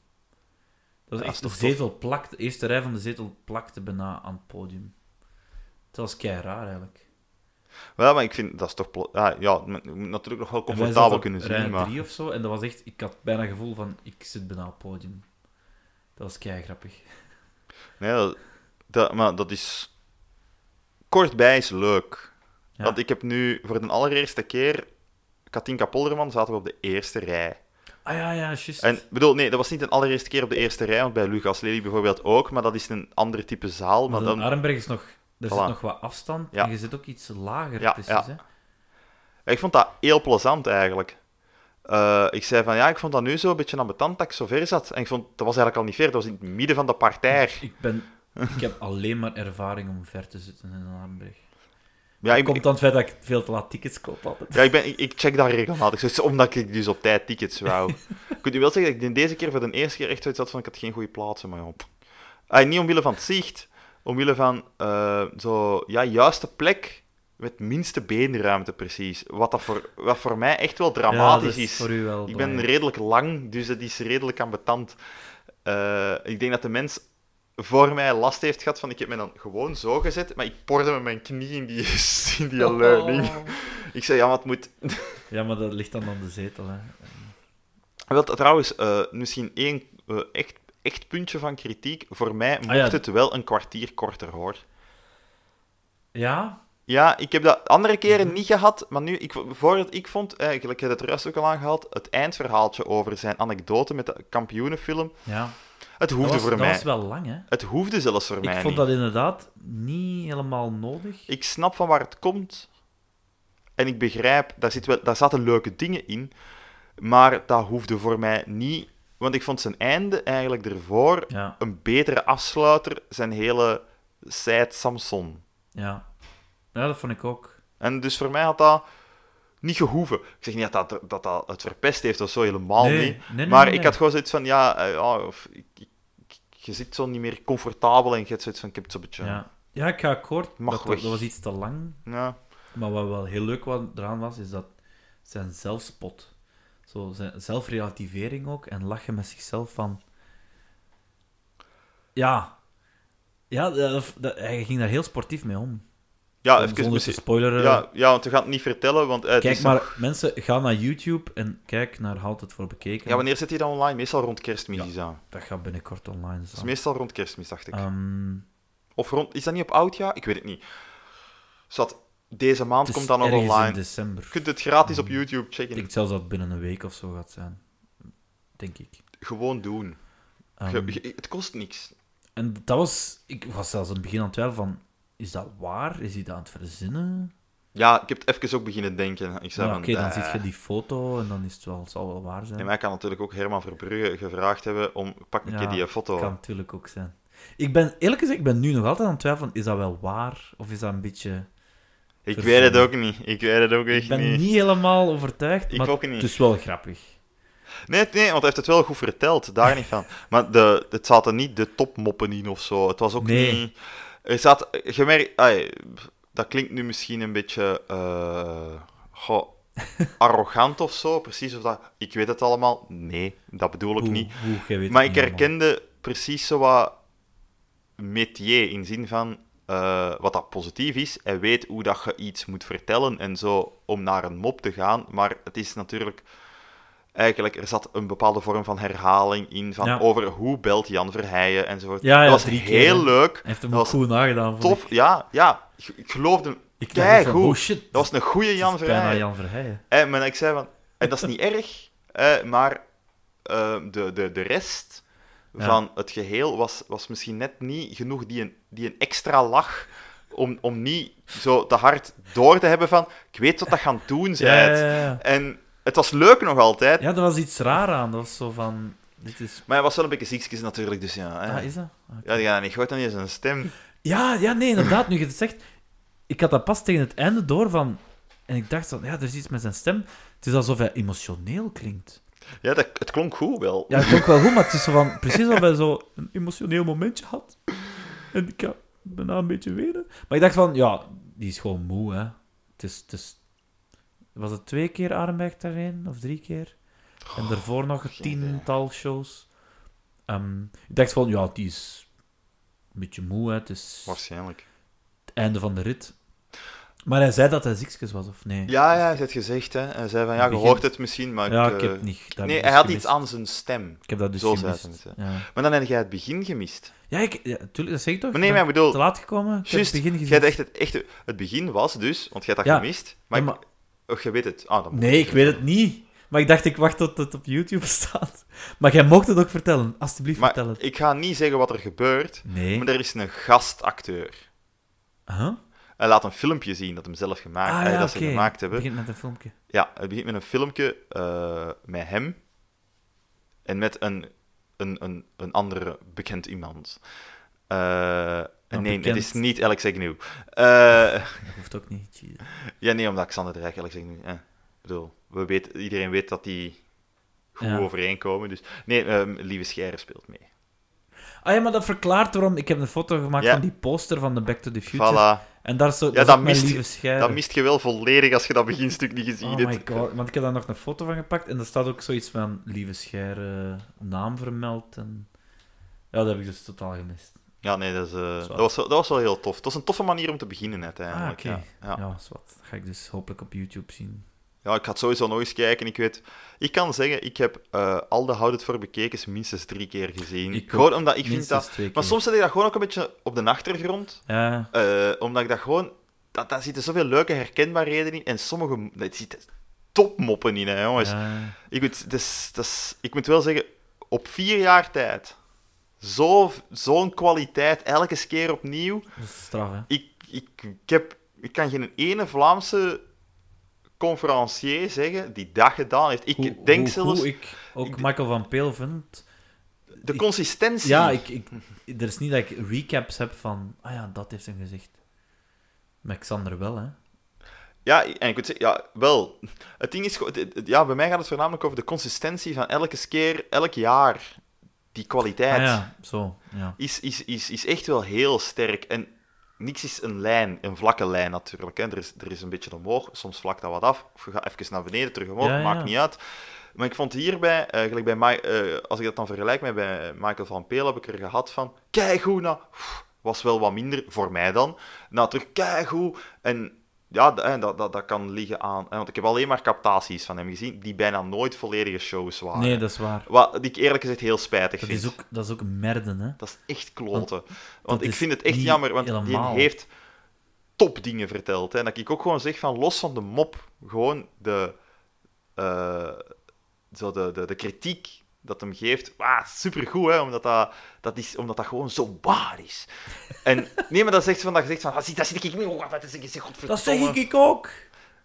S1: Dat was
S2: Dat is
S1: echt...
S2: toch
S1: de zetel plakte... De eerste rij van de zetel plakte bijna aan het podium. Dat was kei raar, eigenlijk.
S2: Wel, maar ik vind, dat is toch... pla- Ja, ja, men- je moet natuurlijk nog wel
S1: En wij
S2: comfortabel
S1: zaten op
S2: kunnen
S1: rij
S2: zien, maar...
S1: drie of zo, en dat was echt... Ik had bijna het gevoel van... Ik zit bijna op het podium. Dat was kei grappig.
S2: Nee, dat, dat- maar dat is... Kortbij is leuk.
S1: Ja.
S2: Want ik heb nu voor de allereerste keer... Katinka Polderman zaten we op de eerste rij.
S1: Ah ja, ja, juist.
S2: En bedoel, nee, dat was niet de allereerste keer op de eerste rij, want bij Lucas Lely bijvoorbeeld ook, maar dat is een ander type zaal. Maar
S1: Maar
S2: dan,
S1: Arenberg is nog... Er
S2: Voilà.
S1: zit nog wat afstand,
S2: Ja.
S1: en je zit ook iets lager,
S2: Ja,
S1: precies,
S2: ja.
S1: hè.
S2: Ik vond dat heel plezant eigenlijk. Eh, ik zei van ja, ik vond dat nu zo een beetje ambetant dat ik zo ver zat. En ik vond dat was eigenlijk al niet ver, dat was in het midden van de partij.
S1: Ik, ben, ik heb alleen maar ervaring om ver te zitten in Arenberg.
S2: Ja, ik,
S1: Komt
S2: ik,
S1: dan het feit dat ik veel te laat tickets koop altijd.
S2: ja, ik, ben, ik, ik check dat regelmatig, zoiets, omdat ik dus op tijd tickets wou. Kun je wel zeggen dat ik deze keer voor de eerste keer echt zoiets had van ik had geen goede plaatsen, maar ja. pff. Eh, niet omwille van het zicht, omwille van eh, zo, ja, juiste plek met minste beenruimte precies. Wat, dat voor, wat voor mij echt wel
S1: Ja,
S2: dramatisch
S1: dat is
S2: is.
S1: voor u wel eh,
S2: Ik ben
S1: belangrijk.
S2: redelijk lang, dus dat is redelijk ambetant. Eh, ik denk dat de mens voor mij last heeft gehad van ik heb me dan gewoon zo gezet, maar ik porde met mijn knie in die, <laughs> in die leuning.
S1: Oh.
S2: Ik zei, ja, maar het moet...
S1: Ja, maar dat ligt dan aan de zetel. Hè.
S2: Wel, trouwens, eh, misschien één eh, echt, echt puntje van kritiek. Voor mij mocht
S1: Ah, ja.
S2: het wel een kwartier korter, hoor.
S1: Ja?
S2: Ja, ik heb dat andere
S1: Mhm.
S2: keren niet gehad, maar nu, ik, voordat ik vond, eh, gelijk je het rest ook al aangehaald, het eindverhaaltje over zijn anekdote met de kampioenenfilm,
S1: ja. Dat,
S2: het hoefde
S1: was,
S2: voor
S1: dat
S2: mij.
S1: was wel lang, hè?
S2: Het hoefde zelfs voor mij
S1: Ik
S2: niet.
S1: vond dat inderdaad niet helemaal nodig.
S2: Ik snap van waar het komt. En ik begrijp, daar, zit wel, daar zaten leuke dingen in. Maar dat hoefde voor mij niet. Want ik vond zijn einde eigenlijk ervoor
S1: Ja,
S2: een betere afsluiter. Zijn hele Said Samson.
S1: ja. Ja, dat vond ik ook.
S2: En dus voor mij had dat niet gehoeven. Ik zeg niet dat dat, dat, dat het verpest heeft of zo, helemaal
S1: Nee,
S2: niet.
S1: nee, nee,
S2: maar
S1: nee,
S2: ik
S1: nee.
S2: had gewoon zoiets van, ja, eh, ja, of, ik, ik- ik- je zit zo niet meer comfortabel. En je hebt zoiets van, ik heb het zo'n beetje...
S1: Ja, ja ik ga akkoord.
S2: Mag
S1: dat,
S2: weg.
S1: dat was iets te lang.
S2: ja.
S1: Maar wat wel heel leuk wa- eraan was, is dat zijn zelfspot. Zo, zijn zelfrelativering ook. En lachen met zichzelf van... Ja. Ja, dat, dat- hij ging daar heel sportief mee om.
S2: ja
S1: Om
S2: even
S1: Zonder te
S2: misschien-
S1: spoileren.
S2: Ja, ja, want we gaan het niet vertellen, want eh, het
S1: Eh. Kijk
S2: is
S1: maar,
S2: nog-
S1: mensen, ga naar YouTube en kijk naar Houd het voor bekeken.
S2: Ja, wanneer zit hij dan online? Meestal rond kerstmis is dat.
S1: Dat gaat binnenkort online
S2: Dat is
S1: staan.
S2: meestal rond kerstmis, dacht ik.
S1: Ehm,
S2: Of rond... Is dat niet op oudjaar? Ik weet het niet. Zat, deze maand
S1: het
S2: komt
S1: is
S2: dat nog
S1: ergens in
S2: online.
S1: december.
S2: Je kunt het gratis op YouTube checken.
S1: Ik denk zelfs dat het binnen een week of zo gaat zijn. Denk ik.
S2: Gewoon doen.
S1: Ehm,
S2: Je- je- het kost niks.
S1: En dat was... Ik was zelfs aan het begin aan het twijfelen van... Is dat waar? Is hij dat aan het verzinnen?
S2: Ja, ik heb het even ook beginnen denken. Ik zei
S1: Maar
S2: van...
S1: Oké, dan
S2: eh.
S1: ziet je die foto en dan is het wel, het zal wel waar zijn.
S2: En mij kan natuurlijk ook Herman Verbrugge gevraagd hebben om... Pak een
S1: Ja,
S2: keer die foto.
S1: Kan natuurlijk ook zijn. Ik ben, eerlijk gezegd, ik ben nu nog altijd aan het twijfelen. Is dat wel waar? Of is dat een beetje...
S2: Ik
S1: verzonnen.
S2: weet het ook niet. Ik weet het ook echt
S1: Ik ben
S2: niet.
S1: niet helemaal overtuigd,
S2: Ik
S1: maar
S2: ook niet.
S1: het is wel grappig.
S2: Nee, nee, want hij heeft het wel goed verteld, daar niet van. Maar de, het zaten niet de topmoppen in of zo. Het was ook
S1: Nee.
S2: niet. Er zat, je merkt, ai, dat klinkt nu misschien een beetje eh, goh, arrogant of zo. Precies of dat. Ik weet het allemaal. Nee, dat bedoel ik
S1: Hoe,
S2: niet.
S1: hoe, jij weet
S2: Maar
S1: het
S2: ik
S1: niet allemaal.
S2: herkende precies zo wat métier in zin van eh, wat dat positief is. Hij weet hoe dat je iets moet vertellen en zo om naar een mop te gaan. Maar het is natuurlijk eigenlijk er zat een bepaalde vorm van herhaling in van
S1: Ja.
S2: over hoe belt Jan Verheijen enzovoort.
S1: Ja, ja,
S2: dat was
S1: drie keer,
S2: heel
S1: hè.
S2: leuk.
S1: Hij heeft hem
S2: Dat
S1: ook
S2: was
S1: goed nagedaan. vond
S2: tof.
S1: Ik,
S2: Ja, ja. Ik, ik geloofde
S1: ik dacht echt
S2: Kijk,
S1: van,
S2: goed.
S1: oh shit.
S2: Dat was een goede
S1: het is
S2: Jan
S1: Bijna
S2: Verheijen.
S1: Jan Verheijen.
S2: En, maar ik zei van, en dat is niet erg, eh, maar eh, de, de, de rest
S1: Ja.
S2: van het geheel was, was misschien net niet genoeg die een, die een extra lach om, om niet zo te hard door te hebben van, ik weet wat dat gaan doen
S1: Ja,
S2: zijt.
S1: ja, ja.
S2: En het was leuk nog altijd,
S1: Ja, er was iets raar aan. Dat was zo van... Dit is...
S2: maar hij was wel een beetje ziekjes natuurlijk, dus ja. eh.
S1: Ah, is dat? Ah, oké.
S2: Ja, die gaan niet goed, dan is een stem.
S1: Ja, ja, nee, inderdaad. Nu je het zegt... Ik had dat pas tegen het einde door van... En ik dacht van, ja, er is iets met zijn stem. Het is alsof hij emotioneel klinkt.
S2: Ja, dat, het klonk goed wel.
S1: Ja, het klonk wel goed, maar het is zo van... Precies alsof hij zo een emotioneel momentje had. En ik ja, daarna een beetje wenen. Maar ik dacht van, ja, die is gewoon moe, hè. Het is... Het is was het twee keer Arenberg daarheen? Of drie keer? En daarvoor nog een
S2: geen idee.
S1: tiental shows. Ehm, ik dacht van, ja, die is... Een beetje moe, hè. Het is...
S2: Waarschijnlijk.
S1: het einde van de rit. Maar hij zei dat hij ziekjes was, of nee?
S2: Ja, ja, hij heeft gezegd, hè. Hij zei van, ja, je
S1: Begin-
S2: hoort het misschien, maar
S1: Ja,
S2: ik...
S1: ik
S2: eh,
S1: heb het niet. dat
S2: Nee,
S1: heb
S2: hij
S1: ik
S2: had
S1: dus
S2: iets
S1: gemist.
S2: aan zijn stem.
S1: Ik heb dat dus
S2: Zo zei
S1: gemist.
S2: hij het,
S1: ja.
S2: Maar dan heb jij het begin gemist.
S1: ja, ik, ja, tuurlijk, dat zeg ik toch?
S2: Maar nee,
S1: Ik
S2: maar
S1: ben
S2: ik bedoel,
S1: te laat gekomen. Ik heb
S2: Juist,
S1: het begin gezien.
S2: jij hebt echt het, echte het begin was dus, want jij hebt dat
S1: Ja.
S2: gemist, maar,
S1: Ja,
S2: ik- och, je weet het. Ah, dan moet
S1: Nee, ik weet het niet. Maar ik dacht, ik wacht tot het op YouTube <laughs> staat. Maar jij mocht het ook vertellen. Alsjeblieft,
S2: Maar
S1: vertel het.
S2: ik ga niet zeggen wat er gebeurt,
S1: Nee.
S2: maar er is een gastacteur.
S1: Huh?
S2: En Hij laat een filmpje zien dat, hem zelf gemaakt,
S1: Ah,
S2: eh,
S1: ja,
S2: dat ze
S1: oké.
S2: gemaakt hebben.
S1: begint met een filmpje.
S2: Ja, het begint met een filmpje eh, met hem en met een, een, een, een andere bekend iemand. Eh,
S1: Een
S2: nee,
S1: bekend-
S2: het is niet Alex Agnew. Eh,
S1: Dat hoeft ook niet. Jezus.
S2: ja, nee, omdat Xander de Rijk, Alex Agnew... eh, ik bedoel, we weten, iedereen weet dat die goed
S1: Ja.
S2: overeenkomen. Dus, nee, ehm, Lieve Scheire speelt mee.
S1: Ah ja, maar dat verklaart waarom. Ik heb een foto gemaakt
S2: Ja.
S1: van die poster van de Back to the Future.
S2: Voilà.
S1: En daar zo,
S2: Ja,
S1: dat is ook
S2: dat
S1: mijn
S2: mist,
S1: lieve
S2: je,
S1: schijf.
S2: dat mist je wel volledig als je dat beginstuk niet gezien
S1: Oh
S2: hebt.
S1: my god, want ik heb daar nog een foto van gepakt en daar staat ook zoiets van lieve Scher eh, naam vermeld. En... Ja, dat heb ik dus totaal gemist.
S2: Ja, nee, dat, is, eh,
S1: is waar.
S2: dat, was, wel- dat was wel heel tof. Dat was een toffe manier om te beginnen, uiteindelijk.
S1: Ah, oké.
S2: ja. Ja.
S1: Ja, is wat. Dat ga ik dus hopelijk op YouTube zien.
S2: Ja, ik ga het sowieso nog eens kijken. Ik weet, ik kan zeggen, ik heb eh, al de Houd het voor bekekens minstens drie keer gezien.
S1: Ik
S2: gewoon
S1: ook.
S2: omdat ik vind
S1: Minstens
S2: dat.
S1: twee keer.
S2: Maar soms zet ik dat gewoon ook een beetje op de achtergrond.
S1: Ja,
S2: eh, omdat ik dat gewoon. Dat, daar zitten zoveel leuke herkenbaarheden in. En sommige. Het zitten topmoppen in, hè, jongens.
S1: ja.
S2: Ik, moet, het is- het is- ik moet wel zeggen, op vier jaar tijd. zo- Zo'n kwaliteit, elke keer opnieuw.
S1: dat is straf, hè.
S2: Ik, ik, ik, heb, ik kan geen ene Vlaamse conferencier zeggen die dat gedaan heeft. Ik
S1: Hoe-
S2: denk
S1: hoe-
S2: zelfs
S1: Hoe ik ook
S2: ik-
S1: Michael van Peel vind...
S2: de
S1: ik-
S2: consistentie.
S1: Ja, ik, ik, er is niet dat ik recaps heb van... Ah ja, dat heeft een gezicht. Met Xander wel, hè.
S2: Ja, en ik moet zeggen, ja, wel. Het ding is, gewoon- het- het- ja, bij mij gaat het voornamelijk over de consistentie van elke keer, elk jaar. Die kwaliteit
S1: Ah ja, zo. Ja.
S2: is, is, is, is echt wel heel sterk. En niks is een lijn, een vlakke lijn natuurlijk. Hè. Er, is, er is een beetje omhoog, soms vlakt dat wat af. Of je gaat even naar beneden, terug omhoog,
S1: Ja, ja.
S2: maakt niet uit. Maar ik vond hierbij, eh, gelijk bij Mi- eh, als ik dat dan vergelijk met bij Michael van Peel, heb ik er gehad van, keigoed, nou, pff, was wel wat minder, voor mij dan. Nou, terug keigoed. En ja, d- eh, dat, dat, dat kan liggen aan... hè, Want ik heb alleen maar captaties van hem gezien, die bijna nooit volledige shows waren.
S1: Nee, dat is waar.
S2: Wat ik eerlijk gezegd heel spijtig
S1: Dat
S2: vind.
S1: is ook, dat is ook merden, hè.
S2: Dat is echt kloten. Want,
S1: dat
S2: ik
S1: is
S2: vind het echt
S1: niet
S2: jammer, want die
S1: helemaal.
S2: heeft topdingen verteld. Hè. En dat ik ook gewoon zeg van los van de mop, gewoon de, eh, zo de, de, de kritiek dat hem geeft. Wauw, supergoed, hè, omdat dat, dat is, omdat dat gewoon zo waar is. En <laughs> nee, maar dat zegt van dat je zegt van, ah, zie, dat zit ik niet, oh, dat is, is
S1: Dat zeg ik ook.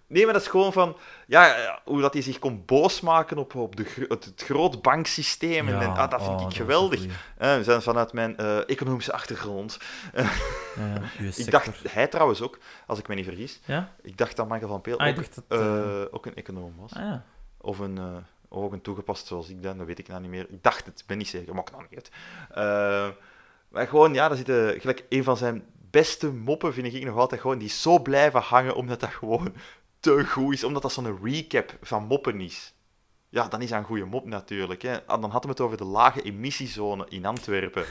S2: Nee, maar dat is gewoon van, ja, eh, hoe dat hij zich kon boosmaken op, op de, gro- het, het groot banksysteem. en, en, ah, dat
S1: Oh,
S2: vind ik geweldig. Eh, we zijn vanuit mijn eh, economische achtergrond. Ik dacht, hij trouwens ook, als ik me niet vergis.
S1: Ja?
S2: Ik dacht dat Michael van Peel
S1: Ah, ik
S2: ook,
S1: dacht dat, eh,
S2: eh, ook een econoom was.
S1: Ah, ja.
S2: Of een, eh, of ook een toegepast zoals ik dan, dat weet ik nou niet meer. Ik dacht het, ik ben niet zeker, maar ik nou niet uit. Eh, maar gewoon, ja, daar zitten gelijk een van zijn beste moppen, vind ik nog altijd gewoon, die is zo blijven hangen omdat dat gewoon te goed is. Omdat dat zo'n recap van moppen is. Ja, dan is dat een goede mop natuurlijk. Hè. Ah, Dan hadden we het over de lage emissiezone in Antwerpen.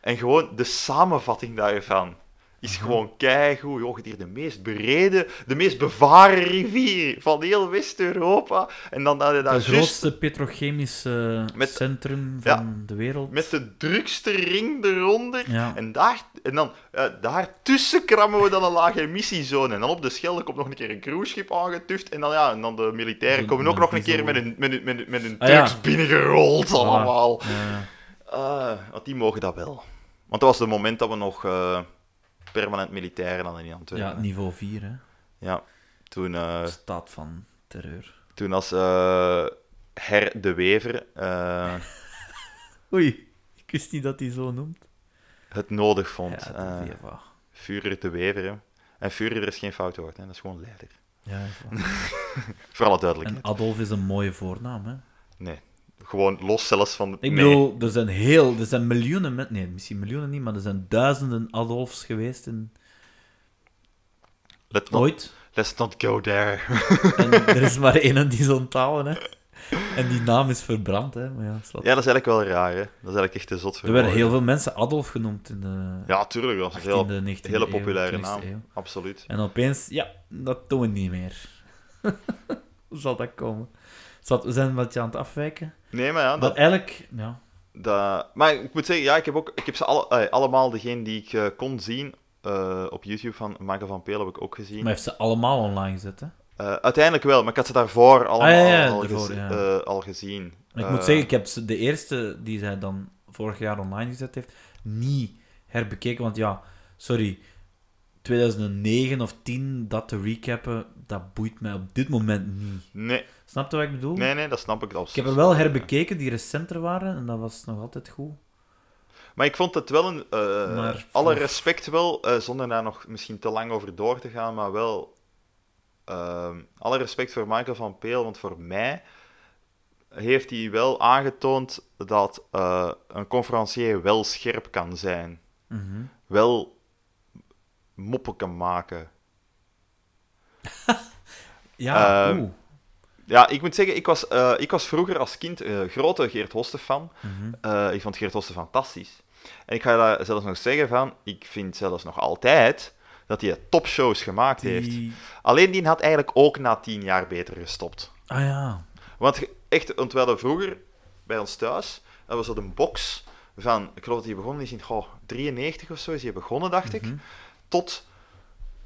S2: En gewoon de samenvatting daarvan is gewoon keigoed. Joh, je hebt hier de meest bereden, de meest bevaren rivier van heel West-Europa. En dan had je daar
S1: Het
S2: Ah, juist
S1: grootste petrochemische
S2: Met-
S1: centrum
S2: Ja.
S1: van de wereld.
S2: met de drukste ring eronder.
S1: Ja.
S2: En, daar, en dan eh, daartussen krammen we dan een lage emissiezone. En dan op de Schelde komt nog een keer een cruiseschip aangetuft. En dan, ja, en dan de militairen
S1: Zo'n-
S2: komen ook
S1: een
S2: nog een keer
S1: diesel.
S2: met een, met een, met een, met een
S1: Ah, ja.
S2: Turks binnengerold
S1: Voilà.
S2: allemaal.
S1: Ja.
S2: Ah, want die mogen dat wel. Want dat was het moment dat we nog eh, permanent militairen hadden in Antwerpen.
S1: ja, niveau 4, hè.
S2: Ja. Toen, eh,
S1: Staat van terreur.
S2: toen als eh, Her de Wever eh,
S1: Oei, ik wist niet dat hij zo noemt.
S2: het nodig
S1: Ja,
S2: vond.
S1: de
S2: Eh,
S1: VFA.
S2: Führer de Wever. Hè. En Führer is geen fout woord, hè. dat is gewoon leider.
S1: Ja,
S2: <laughs>
S1: voilà.
S2: Voor alle duidelijkheid.
S1: en Adolf is een mooie voornaam, hè.
S2: Nee. Gewoon los zelfs van...
S1: Ik
S2: nee.
S1: bedoel, er zijn heel... Er zijn miljoenen... men- Nee, misschien miljoenen niet, maar er zijn duizenden Adolfs geweest in,
S2: Let not,
S1: ooit.
S2: Let's not go there. <laughs>
S1: En er is maar één die zo'n taal, hè. En die naam is verbrand, hè. Maar ja, slaat.
S2: Ja, dat is eigenlijk wel raar, hè. Dat is eigenlijk echt te zot voor
S1: er werden
S2: woorden.
S1: heel veel mensen Adolf genoemd in de
S2: Ja, tuurlijk. Dat is een
S1: 18e,
S2: heel,
S1: 19e e, eeuw,
S2: hele populaire
S1: 20e
S2: naam.
S1: eeuw.
S2: Absoluut.
S1: En opeens, ja, dat doen we niet meer. Hoe <laughs> zal dat komen? Zat, we zijn een beetje aan het afwijken.
S2: Nee, maar ja,
S1: Maar
S2: dat,
S1: eigenlijk, ja.
S2: dat... Maar ik moet zeggen, ja, ik heb, ook, ik heb ze alle, eh, allemaal, degene die ik eh, kon zien eh, op YouTube van Michael van Peel, heb ik ook gezien.
S1: Maar heeft ze allemaal online gezet, hè.
S2: Eh, uiteindelijk wel, maar ik had ze daarvoor allemaal
S1: Ah, ja, ja,
S2: al,
S1: daarvoor,
S2: gez-
S1: ja.
S2: eh, al gezien.
S1: Maar ik
S2: Eh,
S1: moet zeggen, ik heb ze, de eerste die zij dan vorig jaar online gezet heeft, niet herbekeken. Want ja, sorry, 2009 of 10 dat te recappen, dat boeit mij op dit moment niet.
S2: Eh, Nee,
S1: Snap je wat ik bedoel?
S2: nee, nee, dat snap ik. Dat
S1: Ik heb er wel herbekeken die recenter waren en dat was nog altijd goed.
S2: Maar ik vond het wel een... eh,
S1: Maar-
S2: Alle respect wel, eh, zonder daar nog misschien te lang over door te gaan, maar wel... ehm, alle respect voor Michael van Peel, want voor mij heeft hij wel aangetoond dat eh, een conferencier wel scherp kan zijn.
S1: Mhm.
S2: Wel moppen kan maken.
S1: Ja,
S2: Ehm,
S1: oeh.
S2: Ja, ik moet zeggen, ik was, eh, ik was vroeger als kind eh, grote Geert Hosten fan.
S1: Mhm.
S2: Eh, ik vond Geert Hosten fantastisch. En ik ga daar zelfs nog zeggen van, ik vind zelfs nog altijd dat hij topshows gemaakt heeft.
S1: Die...
S2: Alleen die had eigenlijk ook na tien jaar beter gestopt.
S1: Ah ja.
S2: Want ge- echt, want we hadden vroeger bij ons thuis, dat was dat een box van, ik geloof dat hij begonnen is in goh, 93 of zo, is hij begonnen, dacht ik,
S1: Mhm.
S2: tot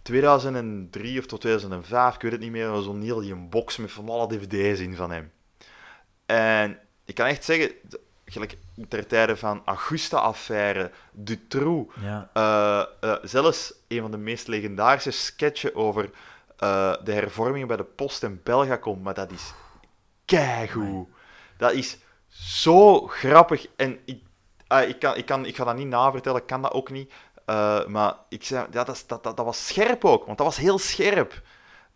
S2: 2003 of tot 2005, ik weet het niet meer, was zo'n heel die box met van alle dvd's in van hem. En ik kan echt zeggen, d- gelijk ter tijde van Augusta-affaire, Dutroux,
S1: ja.
S2: eh, eh, zelfs een van de meest legendarische sketchen over eh, de hervormingen bij de Post en Belga komt, maar dat is keigoed. Dat is zo grappig en ik, ah, ik, kan, ik, kan, ik ga dat niet navertellen, ik kan dat ook niet. Eh, maar ik zei, ja, dat, is- dat, dat, dat was scherp ook, want dat was heel scherp.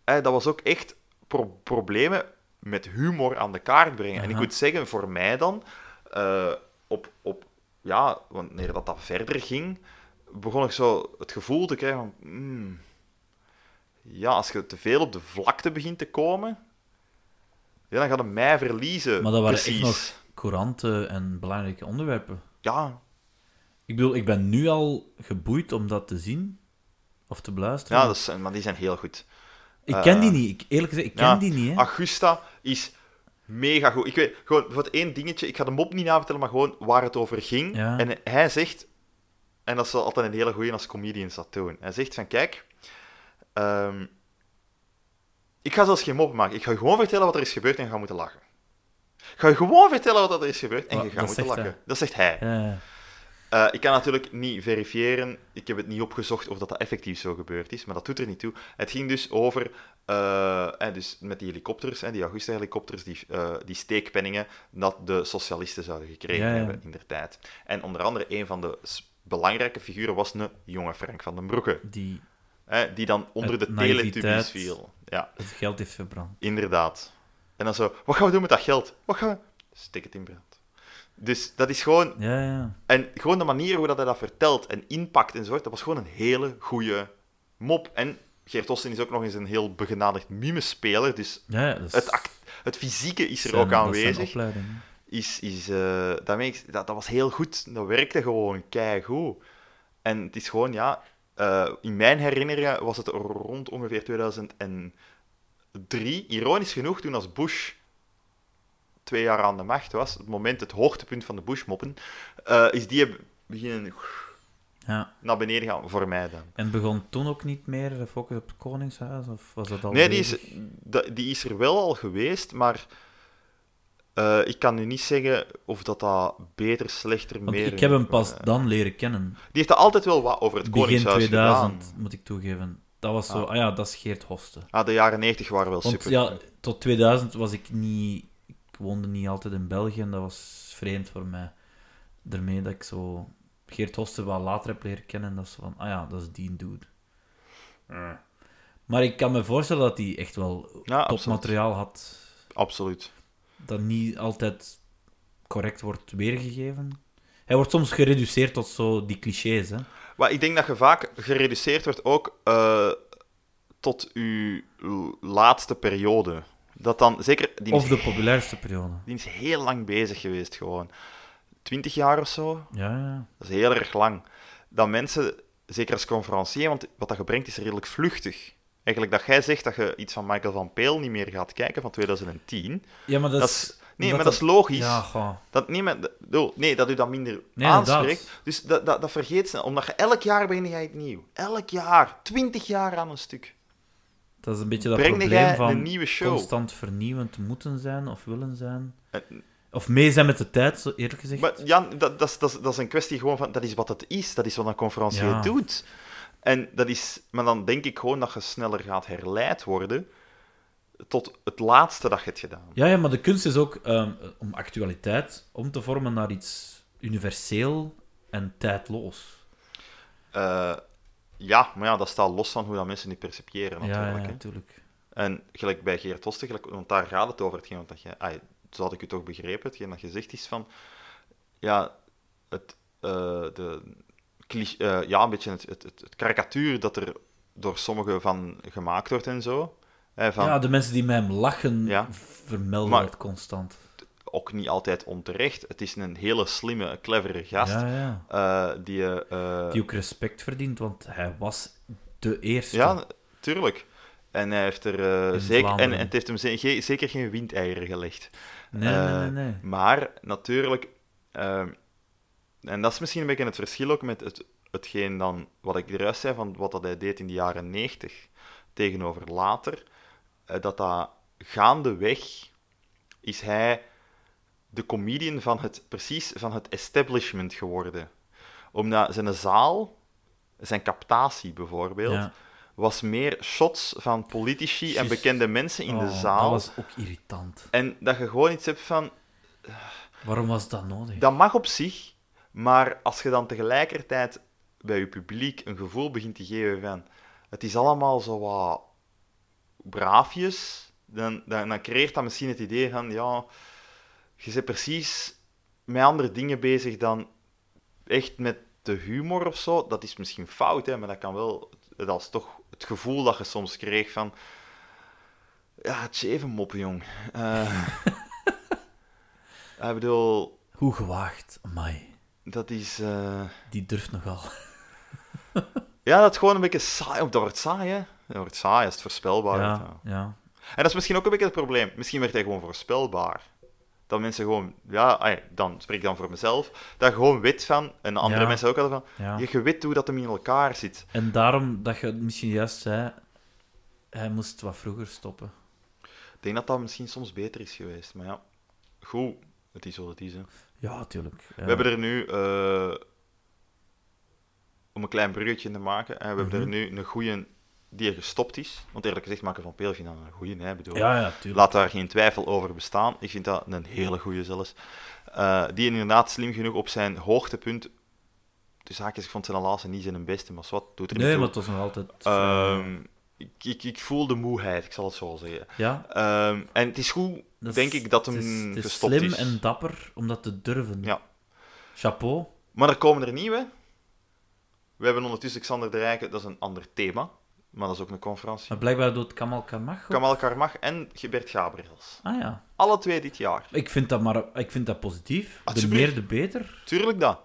S2: Eh, dat was ook echt pro- problemen met humor aan de kaart brengen. En ik
S1: Aha.
S2: moet zeggen, voor mij dan, eh, op, op, ja, wanneer dat, dat verder ging, begon ik zo het gevoel te krijgen van... hmm, ja, als je te veel op de vlakte begint te komen, ja, dan gaat het mij verliezen.
S1: Maar dat waren echt
S2: precies.
S1: nog- Couranten en belangrijke onderwerpen.
S2: Ja,
S1: Ik bedoel, ik ben nu al geboeid om dat te zien of te beluisteren.
S2: ja dat zijn- maar die zijn heel goed.
S1: ik ken die
S2: eh,
S1: niet. Ik, eerlijk gezegd, ik ken
S2: ja,
S1: die niet. Hè.
S2: Augusta is mega goed. Ik weet, gewoon, wat één dingetje, ik ga de mop niet navertellen, maar gewoon waar het over ging.
S1: Ja.
S2: En hij zegt, en dat is wel altijd een hele goeie als comedians dat doen. Hij zegt van, kijk, ehm, ik ga zelfs geen mop maken. Ik ga je gewoon vertellen wat er is gebeurd en je gaat moeten lachen. Ik ga je gewoon vertellen wat er is gebeurd en
S1: Wa-
S2: je gaat
S1: dat
S2: moeten
S1: zegt
S2: lachen.
S1: hij.
S2: Dat zegt hij.
S1: Ja, ja.
S2: Eh, ik kan natuurlijk niet verifiëren, ik heb het niet opgezocht of dat, dat effectief zo gebeurd is, maar dat doet er niet toe. Het ging dus over, eh, eh, dus met die helikopters, eh, die Augusta-helikopters, die, eh, die steekpenningen, dat de socialisten zouden gekregen
S1: Ja, ja.
S2: hebben in der tijd. En onder andere een van de s- belangrijke figuren was een jonge Frank van den Broeke,
S1: Die
S2: eh, die dan onder
S1: Uit
S2: de teletubbies
S1: naïviteit.
S2: viel. Ja,
S1: het geld heeft verbrand.
S2: inderdaad. En dan zo, wat gaan we doen met dat geld? Wat gaan we... Stik het in brand. Dus dat is gewoon
S1: Ja, ja.
S2: en gewoon de manier hoe dat hij dat vertelt en impact enzovoort, dat was gewoon een hele goede mop. En Geert Osten is ook nog eens een heel begenadigd mimespeler, dus
S1: ja, ja dat is
S2: het, act- het fysieke is er
S1: zijn-
S2: ook
S1: Dat zijn
S2: aanwezig.
S1: opleidingen.
S2: Is, is, eh, dat, meen ik- dat, dat was heel goed, dat werkte gewoon keigoed. En het is gewoon, ja, eh, in mijn herinneringen was het rond ongeveer 2003, ironisch genoeg, toen als Bush twee jaar aan de macht was, het moment, het hoogtepunt van de Bush-moppen, eh, is die beginnen
S1: Ja.
S2: naar beneden gaan, voor mij dan.
S1: En begon toen ook niet meer de focus op het Koningshuis? Of was dat al
S2: Nee, die is,
S1: bezig?
S2: da- die is er wel al geweest, maar eh, ik kan nu niet zeggen of dat, dat beter, slechter,
S1: Want
S2: meer...
S1: ik heb hem pas
S2: eh,
S1: dan leren kennen.
S2: Die heeft er altijd wel wat over het
S1: Begin
S2: Koningshuis
S1: 2000,
S2: gedaan.
S1: moet ik toegeven. Dat was zo,
S2: Ah.
S1: ah, ja, dat is Geert Hosten.
S2: Ah, de jaren 90 waren wel
S1: Want
S2: super.
S1: ja, tot 2000 was ik niet... Ik woonde niet altijd in België en dat was vreemd voor mij. Daarmee dat ik zo Geert Hosten wat later heb leren kennen. Dat is van, ah ja, dat is die dude. Maar ik kan me voorstellen dat hij echt wel
S2: Mm. Ja, absoluut.
S1: topmateriaal had.
S2: absoluut.
S1: Dat niet altijd correct wordt weergegeven. Hij wordt soms gereduceerd tot zo die clichés, hè.
S2: Maar ik denk dat je vaak gereduceerd wordt ook eh, tot uw l- laatste periode. Dat dan, zeker, die
S1: Of
S2: is,
S1: de populairste periode.
S2: die is heel lang bezig geweest gewoon. Twintig jaar of zo,
S1: Ja, ja.
S2: dat is heel erg lang. Dat mensen, zeker als conferencier, want wat dat je brengt is redelijk vluchtig. Eigenlijk dat jij zegt dat je iets van Michael van Peel niet meer gaat kijken van 2010.
S1: Ja, maar dat,
S2: Dat
S1: is...
S2: is, nee,
S1: omdat
S2: maar dat is logisch.
S1: Ja, goh.
S2: Dat, nee, maar, dat- oh, nee, dat u dat minder
S1: Nee,
S2: aanspreekt.
S1: inderdaad.
S2: Dus dat, dat, dat vergeet ze. Omdat je elk jaar begin jij het nieuw. Elk jaar. Twintig jaar aan een stuk.
S1: Dat is een beetje dat
S2: Breng jij
S1: probleem
S2: een
S1: van
S2: nieuwe show. Eh,
S1: constant vernieuwend moeten zijn of willen zijn.
S2: En-
S1: Of mee zijn met de tijd, zo eerlijk gezegd.
S2: Maar Jan, dat, dat, is- dat, is- dat is een kwestie gewoon van... Dat is wat het is. Dat is wat een conferentie
S1: Ja.
S2: doet. En dat is, maar dan denk ik gewoon dat je sneller gaat herleid worden tot het laatste dat je het gedaan hebt.
S1: Ja, ja, maar de kunst is ook ehm, om actualiteit om te vormen naar iets universeel en tijdloos.
S2: Eh, ja, maar ja, dat staat los van hoe dat mensen die percipiëren natuurlijk.
S1: ja, ja,
S2: hè.
S1: natuurlijk.
S2: En gelijk bij Geert Osten, gelijk, want daar gaat het over, hetgeen dat je, ah, zo had ik u toch begrepen, hetgeen dat gezegd is van, ja, het, eh, de, cli- eh, ja een beetje het, het, het, het karikatuur dat er door sommigen van gemaakt wordt en zo. Hè, van,
S1: Ja, de mensen die met hem lachen,
S2: Ja.
S1: vermelden
S2: Maar-
S1: dat constant.
S2: Ook niet altijd onterecht. Het is een hele slimme, clevere gast.
S1: Ja, ja.
S2: eh, die, eh,
S1: Die ook respect verdient, want hij was de eerste.
S2: Ja, tuurlijk. En hij heeft er eh,
S1: In
S2: zeker, en,
S1: Vlaanderen.
S2: en het heeft hem ze- ge- zeker geen windeieren gelegd.
S1: nee,
S2: eh,
S1: nee, nee, nee.
S2: Maar natuurlijk, ehm, en dat is misschien een beetje het verschil ook met het, hetgeen dan, wat ik eruit zei, van wat dat hij deed in de jaren 90 tegenover later, eh, dat dat gaandeweg is hij de comedian van het, precies van het establishment geworden. Omdat zijn zaal, zijn captatie bijvoorbeeld,
S1: Ja.
S2: was meer shots van politici en
S1: Juist.
S2: bekende mensen in de
S1: Oh,
S2: zaal.
S1: Dat was ook irritant.
S2: En dat je gewoon iets hebt van,
S1: Waarom was dat nodig?
S2: dat mag op zich, maar als je dan tegelijkertijd bij je publiek een gevoel begint te geven van het is allemaal zo wat braafjes, dan, dan, dan creëert dat misschien het idee van ja, je bent precies met andere dingen bezig dan echt met de humor of zo. Dat is misschien fout, hè, maar dat kan wel, dat is toch het gevoel dat je soms kreeg van ja, het is even moppen, jong. Eh, <laughs> ik bedoel,
S1: Hoe gewaagd, Mai.
S2: dat is. eh,
S1: Die durft nogal.
S2: Ja, dat is gewoon een beetje saai. Dat wordt saai, hè? Dat wordt saai als het voorspelbaar wordt,
S1: Ja,
S2: ja.
S1: ja.
S2: En dat is misschien ook een beetje het probleem. Misschien werd hij gewoon voorspelbaar. Dat mensen gewoon, ja, ai, dan spreek ik dan voor mezelf, dat je gewoon weet van, en andere
S1: Ja.
S2: mensen ook hadden van,
S1: ja.
S2: je, je weet hoe dat hem in elkaar zit.
S1: En daarom dat je het misschien juist zei, hij moest wat vroeger stoppen.
S2: Ik denk dat dat misschien soms beter is geweest, maar ja, goed, het is wat het is. Hè.
S1: Ja, tuurlijk.
S2: We hebben er nu, eh, om een klein bruggetje te maken, hè, we hebben
S1: Mhm.
S2: er nu een goeie die er gestopt is. Want eerlijk gezegd maken van Peel vind ik dan een goeie, hè, ik bedoel.
S1: Ja, ja, tuurlijk.
S2: Laat daar geen twijfel over bestaan. Ik vind dat een hele goede zelfs. Eh, die inderdaad slim genoeg op zijn hoogtepunt. De zaak is, ik vond zijn laatste niet zijn beste, maar wat doet er
S1: Nee,
S2: niet
S1: maar
S2: toe.
S1: het eh, was nog altijd...
S2: Ehm, ik, ik, ik voel de moeheid, ik zal het zo zeggen.
S1: ja,
S2: Ehm, en het is goed,
S1: dat
S2: denk
S1: is-
S2: ik, dat hem
S1: het is, het is
S2: gestopt
S1: slim
S2: is.
S1: en dapper om dat te durven.
S2: Ja.
S1: Chapeau.
S2: Maar er komen er nieuwe. We hebben ondertussen Xander de Rijken, dat is een ander thema. Maar dat is ook een conferentie.
S1: Maar blijkbaar doet Kamal Kamach ook.
S2: Kamal Karmach en Gilbert Gabriels.
S1: Ah ja.
S2: Alle twee dit jaar.
S1: Ik vind dat, maar, ik vind dat positief. De
S2: Alsjeblieft.
S1: meer, de beter.
S2: Tuurlijk dat.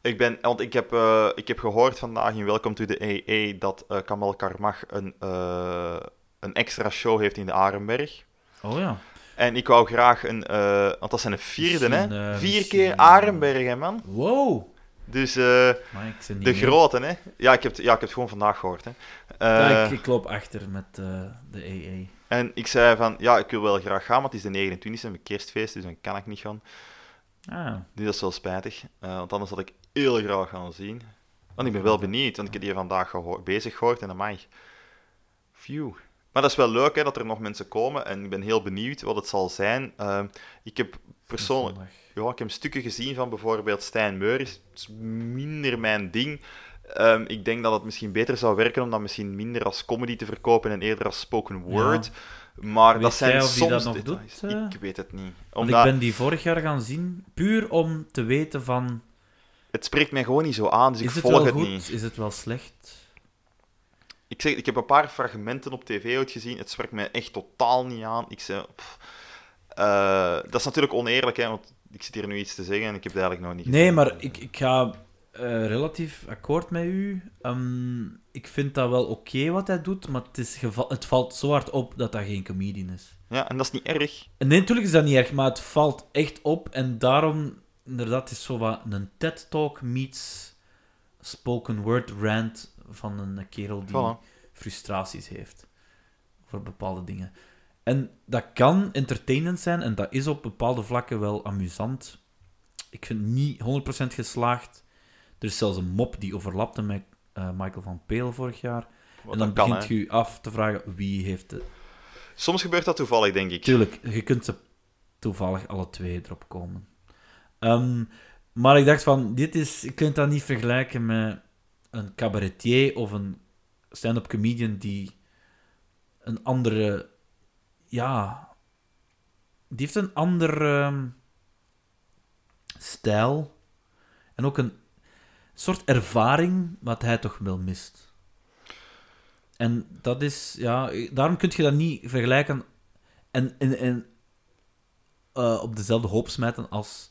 S2: Ik ben, want ik heb, eh, ik heb gehoord vandaag in Welcome to the EE dat eh, Kamal Karmach een, eh, een extra show heeft in de Arenberg.
S1: Oh ja.
S2: En ik wou graag een, eh, want dat zijn een vierde, hè?
S1: Misschien, eh,
S2: Vier
S1: misschien,
S2: keer
S1: eh,
S2: Arenberg, hè, man?
S1: Wow.
S2: Dus eh,
S1: Maar ik zit niet
S2: de
S1: mee.
S2: grote, hè? Ja ik, heb, het- ja, ik heb het gewoon vandaag gehoord, hè? Eh,
S1: Ja, ik, ik loop achter met eh, de EE.
S2: En ik zei van, ja, ik wil wel graag gaan, maar het is de 29e, mijn kerstfeest, dus dan kan ik niet gaan.
S1: Ah, ja.
S2: Dus dat is wel spijtig, eh, want anders had ik heel graag gaan zien. Want ik ben wel benieuwd, want ik heb die vandaag gehoor- bezig gehoord en amai. Phew. Maar dat is wel leuk hè, dat er nog mensen komen en ik ben heel benieuwd wat het zal zijn. Ehm, ik heb persoonlijk
S1: Zondag.
S2: ja, ik heb stukken gezien van bijvoorbeeld Stijn Meuris. Het is minder mijn ding. Ehm, ik denk dat het misschien beter zou werken om dat misschien minder als comedy te verkopen en eerder als spoken word. Maar
S1: Weet
S2: dat zijn
S1: jij of die
S2: soms
S1: dat nog
S2: details.
S1: doet, eh?
S2: Ik weet het niet.
S1: Want
S2: Omdat
S1: ik ben die vorig jaar gaan zien, puur om te weten van...
S2: Het spreekt mij gewoon niet zo aan, dus ik
S1: is het
S2: volg
S1: wel
S2: het
S1: goed?
S2: niet.
S1: Is het wel slecht?
S2: Ik, zeg, ik heb een paar fragmenten op tv ooit gezien. Het spreekt mij echt totaal niet aan. Ik zei, pff. Eh, dat is natuurlijk oneerlijk, hè, want ik zit hier nu iets te zeggen en ik heb het eigenlijk nog niet
S1: Nee,
S2: gezien.
S1: maar ik, ik ga eh, relatief akkoord met u. Ehm, ik vind dat wel oké wat hij doet, maar het, is geva- het valt zo hard op dat dat geen comedian is.
S2: Ja, en dat is niet erg.
S1: Nee, natuurlijk is dat niet erg, maar het valt echt op. En daarom, inderdaad, het is zo wat een TED-talk meets spoken word rant van een kerel die
S2: Voilà.
S1: frustraties heeft voor bepaalde dingen. En dat kan entertainend zijn en dat is op bepaalde vlakken wel amusant. Ik vind het niet 100% geslaagd. Er is zelfs een mop die overlapte met eh, Michael van Peel vorig jaar.
S2: Wat
S1: en dan
S2: dat kan,
S1: begint
S2: hè.
S1: je je af te vragen wie heeft het.
S2: Soms gebeurt dat toevallig, denk ik.
S1: Tuurlijk, je kunt ze toevallig alle twee erop komen. Ehm, maar ik dacht van, dit is, je kunt dat niet vergelijken met een cabaretier of een stand-up comedian die een andere, ja, die heeft een ander ehm, stijl en ook een soort ervaring wat hij toch wel mist. En dat is, ja, daarom kun je dat niet vergelijken en, en, en eh, op dezelfde hoop smijten als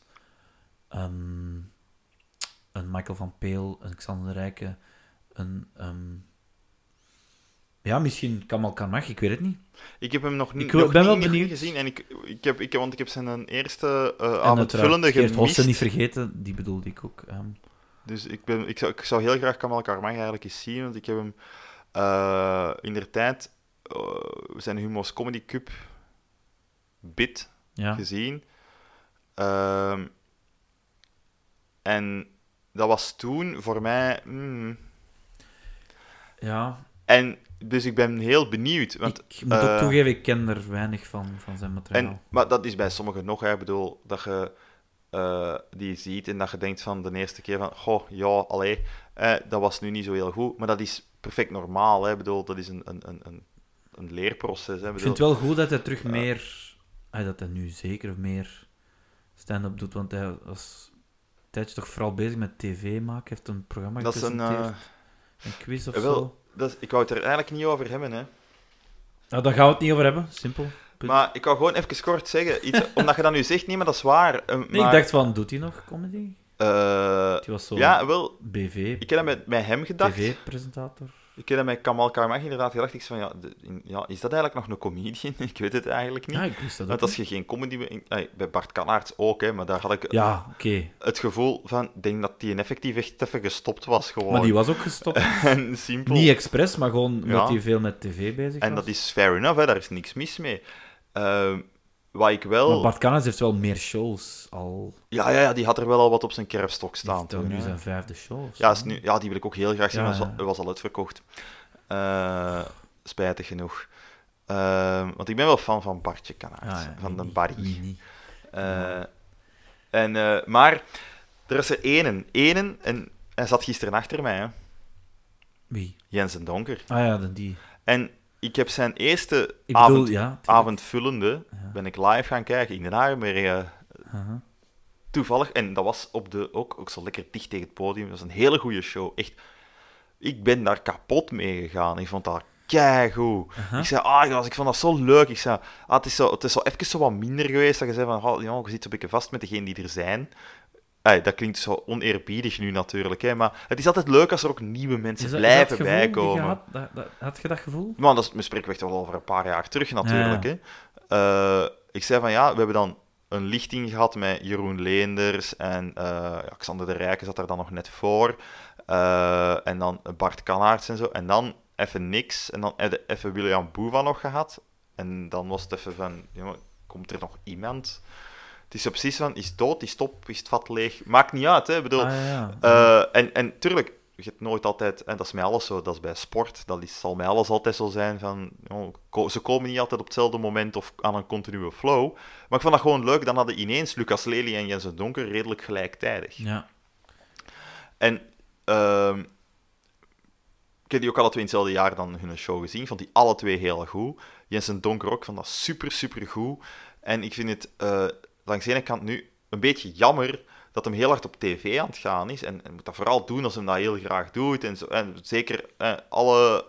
S1: ehm, een Michael van Peel, een Xander de Rijke, een... ehm, ja, misschien Kamal Karmach, ik weet het niet.
S2: Ik heb hem nog niet,
S1: Ik wil-
S2: nog
S1: ben
S2: niet-
S1: wel
S2: nog niet
S1: benieuwd.
S2: gezien. En ik, ik heb, ik, heb- want ik heb zijn eerste eh
S1: en
S2: avondvullende
S1: uiteraard Geert Hofse
S2: gemist.
S1: niet vergeten, die bedoelde ik ook. ehm.
S2: Dus ik, ben, ik, zou, ik zou heel graag Kamal Karmang eigenlijk eens zien, want ik heb hem eh, in de tijd eh, zijn Humo's Comedy Cup bit
S1: ja.
S2: gezien. Ehm, en dat was toen voor mij. mm.
S1: ja,
S2: En dus ik ben heel benieuwd. Want,
S1: ik moet ook
S2: eh,
S1: toegeven, ik ken er weinig van, van zijn materiaal.
S2: en, maar dat is bij sommigen nog. Hè. Ik bedoel, dat je eh, die ziet en dat je denkt van de eerste keer van, goh, ja, allee, eh, dat was nu niet zo heel goed. Maar dat is perfect normaal. Hè. Ik bedoel, dat is een, een, een- een, een leerproces. Hè. Ik
S1: Ik
S2: Bedoel,
S1: vind het wel goed dat hij terug meer... ah, dat hij nu zeker meer stand-up doet, want hij was een tijdje toch vooral bezig met tv maken. heeft een programma
S2: dat is een.
S1: gepresenteerd.
S2: eh,
S1: Een quiz of
S2: eh, wel.
S1: zo.
S2: dat is- ik wou het er eigenlijk niet over hebben. Hè.
S1: Nou, daar gaan we het niet over hebben. Simpel. Punt.
S2: Maar ik wou gewoon even kort zeggen, iets,
S1: <laughs>
S2: omdat je dat nu zegt, nee, maar dat is waar. Eh,
S1: nee,
S2: maar,
S1: ik dacht van, doet hij nog comedy?
S2: eh,
S1: Die was zo
S2: ja, wel,
S1: BV,
S2: ik heb dat met, met hem gedacht.
S1: tv-presentator.
S2: Ik heb dat met Kamal Karmach inderdaad gedacht. Ik zei van, ja, de- in- ja, is dat eigenlijk nog een comedian? <laughs> Ik weet het eigenlijk niet.
S1: Ja, ik wist dat ook.
S2: Want als je geen comedy... be- in- ay, bij Bart Kanaerts ook, hè, maar daar had ik
S1: niet. Ja, oké.
S2: het gevoel van... Ik denk dat die in effectief echt even gestopt was, gewoon.
S1: Maar die was ook gestopt.
S2: <laughs> En simpel.
S1: Niet expres, maar gewoon omdat
S2: Ja.
S1: hij veel met tv bezig was.
S2: En dat is fair enough, hè, daar is niks mis mee. Ehm, wat ik
S1: Maar
S2: wel...
S1: Bart Cannes heeft wel meer shows al.
S2: Ja, ja, ja, die had er wel al wat op zijn kerfstok
S1: Hij
S2: staan.
S1: heeft dan
S2: toen,
S1: nu
S2: hè.
S1: zijn vijfde show. of
S2: ja,
S1: zo.
S2: is nu, ja, die wil ik ook heel graag zien,
S1: Ja,
S2: maar was,
S1: ja.
S2: al- was al uitverkocht. Eh, spijtig genoeg. Ehm, want ik ben wel fan van Bartje Kanaerts,
S1: Ah, ja,
S2: van
S1: ik
S2: de
S1: niet,
S2: Barry.
S1: ik niet.
S2: Eh, en, eh, maar er is er één. Eén, en hij zat gisteren achter mij, hè.
S1: Wie?
S2: Jens en Donker.
S1: Ah ja, dan die.
S2: En ik heb zijn eerste
S1: Ik bedoel,
S2: avond,
S1: ja. tuurlijk.
S2: avondvullende,
S1: Ja.
S2: ben ik live gaan kijken in Den Haag, maar eh,
S1: Aha.
S2: toevallig, en dat was op de, ook, ook zo lekker dicht tegen het podium, dat was een hele goede show, echt. Ik ben daar kapot mee gegaan, ik vond dat keigoed.
S1: Aha.
S2: Ik zei, ah, gast, ik vond dat zo leuk. Ik zei, ah, het, is zo, het is zo even zo wat minder geweest dat je zei van, oh, ja, je zit een beetje vast met degenen die er zijn. Ey, dat klinkt zo oneerbiedig nu natuurlijk, hè, maar het is altijd leuk als er ook nieuwe mensen
S1: Is dat- is dat het
S2: blijven
S1: gevoel die je
S2: bijkomen.
S1: had? Dat- dat- Had je dat gevoel?
S2: Maar dat is, we spreken echt wel over een paar jaar terug natuurlijk.
S1: Ja.
S2: Hè. Eh, ik zei van ja, we hebben dan een lichting gehad met Jeroen Leenders en eh, ja, Xander de Rijken zat daar dan nog net voor. Eh, en dan Bart Kanaerts en zo. En dan even niks. En dan hadden we even William Boeva nog gehad. En dan was het even van, jongen, komt er nog iemand? Het is zo precies van, is het dood, is het op, is het vat leeg? Maakt niet uit, hè. Ik bedoel,
S1: Ah, ja.
S2: eh, en, en tuurlijk, je hebt nooit altijd, en dat is bij alles zo, dat is bij sport, dat is, zal bij alles altijd zo zijn van, joh, ko- ze komen niet altijd op hetzelfde moment of aan een continue flow. Maar ik vond dat gewoon leuk, dan hadden ineens Lucas Lely en Jensen Donker redelijk gelijktijdig.
S1: ja.
S2: En ehm, ik heb die ook alle twee in hetzelfde jaar dan hun show gezien. Ik vond die alle twee heel goed. Jensen Donker ook, ik vond dat super, super goed. En ik vind het eh, langs de ene kant nu een beetje jammer dat hem heel hard op tv aan het gaan is. En, en moet dat vooral doen als hem dat heel graag doet. En, zo, en zeker eh, alle,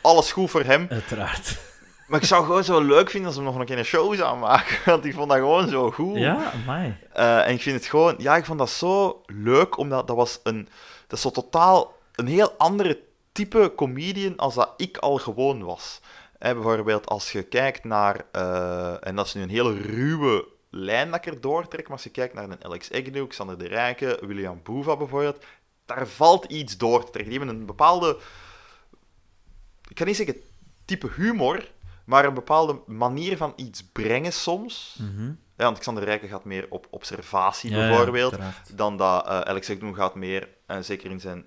S2: alles goed voor hem.
S1: Uiteraard.
S2: Maar ik zou gewoon zo leuk vinden als hem nog een keer een show zou maken. Want ik vond dat gewoon zo goed.
S1: Ja, amai.
S2: Eh, en ik vind het gewoon, ja, ik vond dat zo leuk, omdat dat was een, dat is zo totaal een heel andere type comedian als dat ik al gewoon was. Hè, bijvoorbeeld als je kijkt naar, eh, en dat is nu een hele ruwe lijn dat ik er doortrek, maar als je kijkt naar een Alex Agnew, Xander de Rijken, William Boeva bijvoorbeeld, daar valt iets door te trekken. Die hebben een bepaalde, ik kan niet zeggen type humor, maar een bepaalde manier van iets brengen soms.
S1: Mhm.
S2: Ja, want Xander Rijken gaat meer op observatie
S1: Ja, ja,
S2: bijvoorbeeld,
S1: uiteraard.
S2: eh, dan dat eh Alex Agnew gaat meer, en zeker in zijn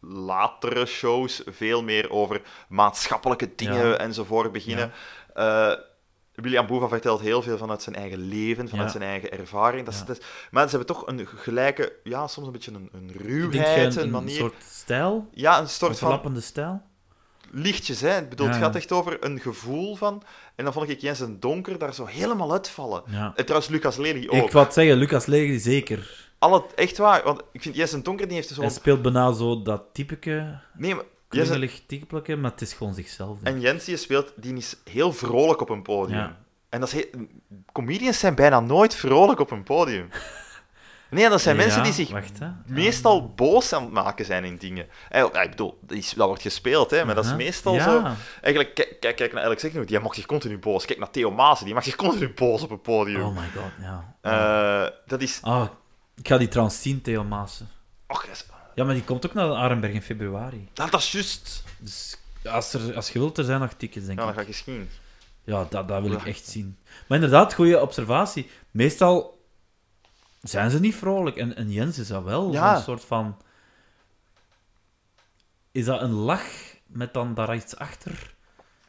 S2: latere shows veel meer over maatschappelijke dingen
S1: Ja.
S2: enzovoort beginnen. Eh, William Boeva vertelt heel veel vanuit zijn eigen leven, vanuit
S1: Ja.
S2: zijn eigen ervaring. Dat is,
S1: Ja.
S2: dat is- maar ze hebben toch een gelijke, ja, soms een beetje een, een
S1: Ik denk jij
S2: ruwheid,
S1: een,
S2: een,
S1: een
S2: manier.
S1: soort stijl,
S2: ja, een
S1: een
S2: soort van
S1: verlappende stijl.
S2: lichtjes, hè. Ik bedoel,
S1: Ja,
S2: het
S1: ja.
S2: gaat echt over een gevoel van... En dan vond ik Jens en Donker daar zo helemaal uitvallen.
S1: Ja.
S2: En trouwens, Lucas Lely ook.
S1: Ik wou het zeggen, Lucas Leger zeker.
S2: Alle, echt waar, want ik vind Jens en Donker die heeft zo'n...
S1: Hij speelt bijna zo dat typeke,
S2: Nee, maar Jens en...
S1: klingelig typeke, maar het is gewoon zichzelf. denk ik.
S2: en Jens die speelt, die is heel vrolijk op een podium.
S1: Ja.
S2: En dat is heel- comedians zijn bijna nooit vrolijk op een podium. Nee, dat zijn
S1: Ja,
S2: mensen die zich
S1: Wacht, hè.
S2: meestal boos aan het maken zijn in dingen. Eh, ja, Ik bedoel, dat is- dat wordt gespeeld, hè, maar dat is
S1: Aha.
S2: meestal
S1: Uh-huh. Ja.
S2: zo. Eigenlijk, kijk, kijk, kijk naar Alex Zegnoot, die mag zich continu boos. Kijk naar Theo Maassen, die mag zich continu boos op een podium.
S1: Oh my god, ja.
S2: Eh, dat is...
S1: Ah, ik ga die trouwens zien, Theo Maassen.
S2: Och, dat is...
S1: Ja, maar die komt ook naar Arenberg in februari.
S2: Dat, dat is juist.
S1: Dus als, er, als je wilt, er zijn nog tickets, denk
S2: Ja, dan
S1: ik.
S2: ga ik eens zien.
S1: Ja, dat, dat wil ik
S2: Ja.
S1: echt zien. Maar inderdaad, goede observatie. Meestal zijn ze niet vrolijk. En, en Jens is dat wel.
S2: Ja.
S1: Zo'n soort van... Is dat een lach met dan daar iets achter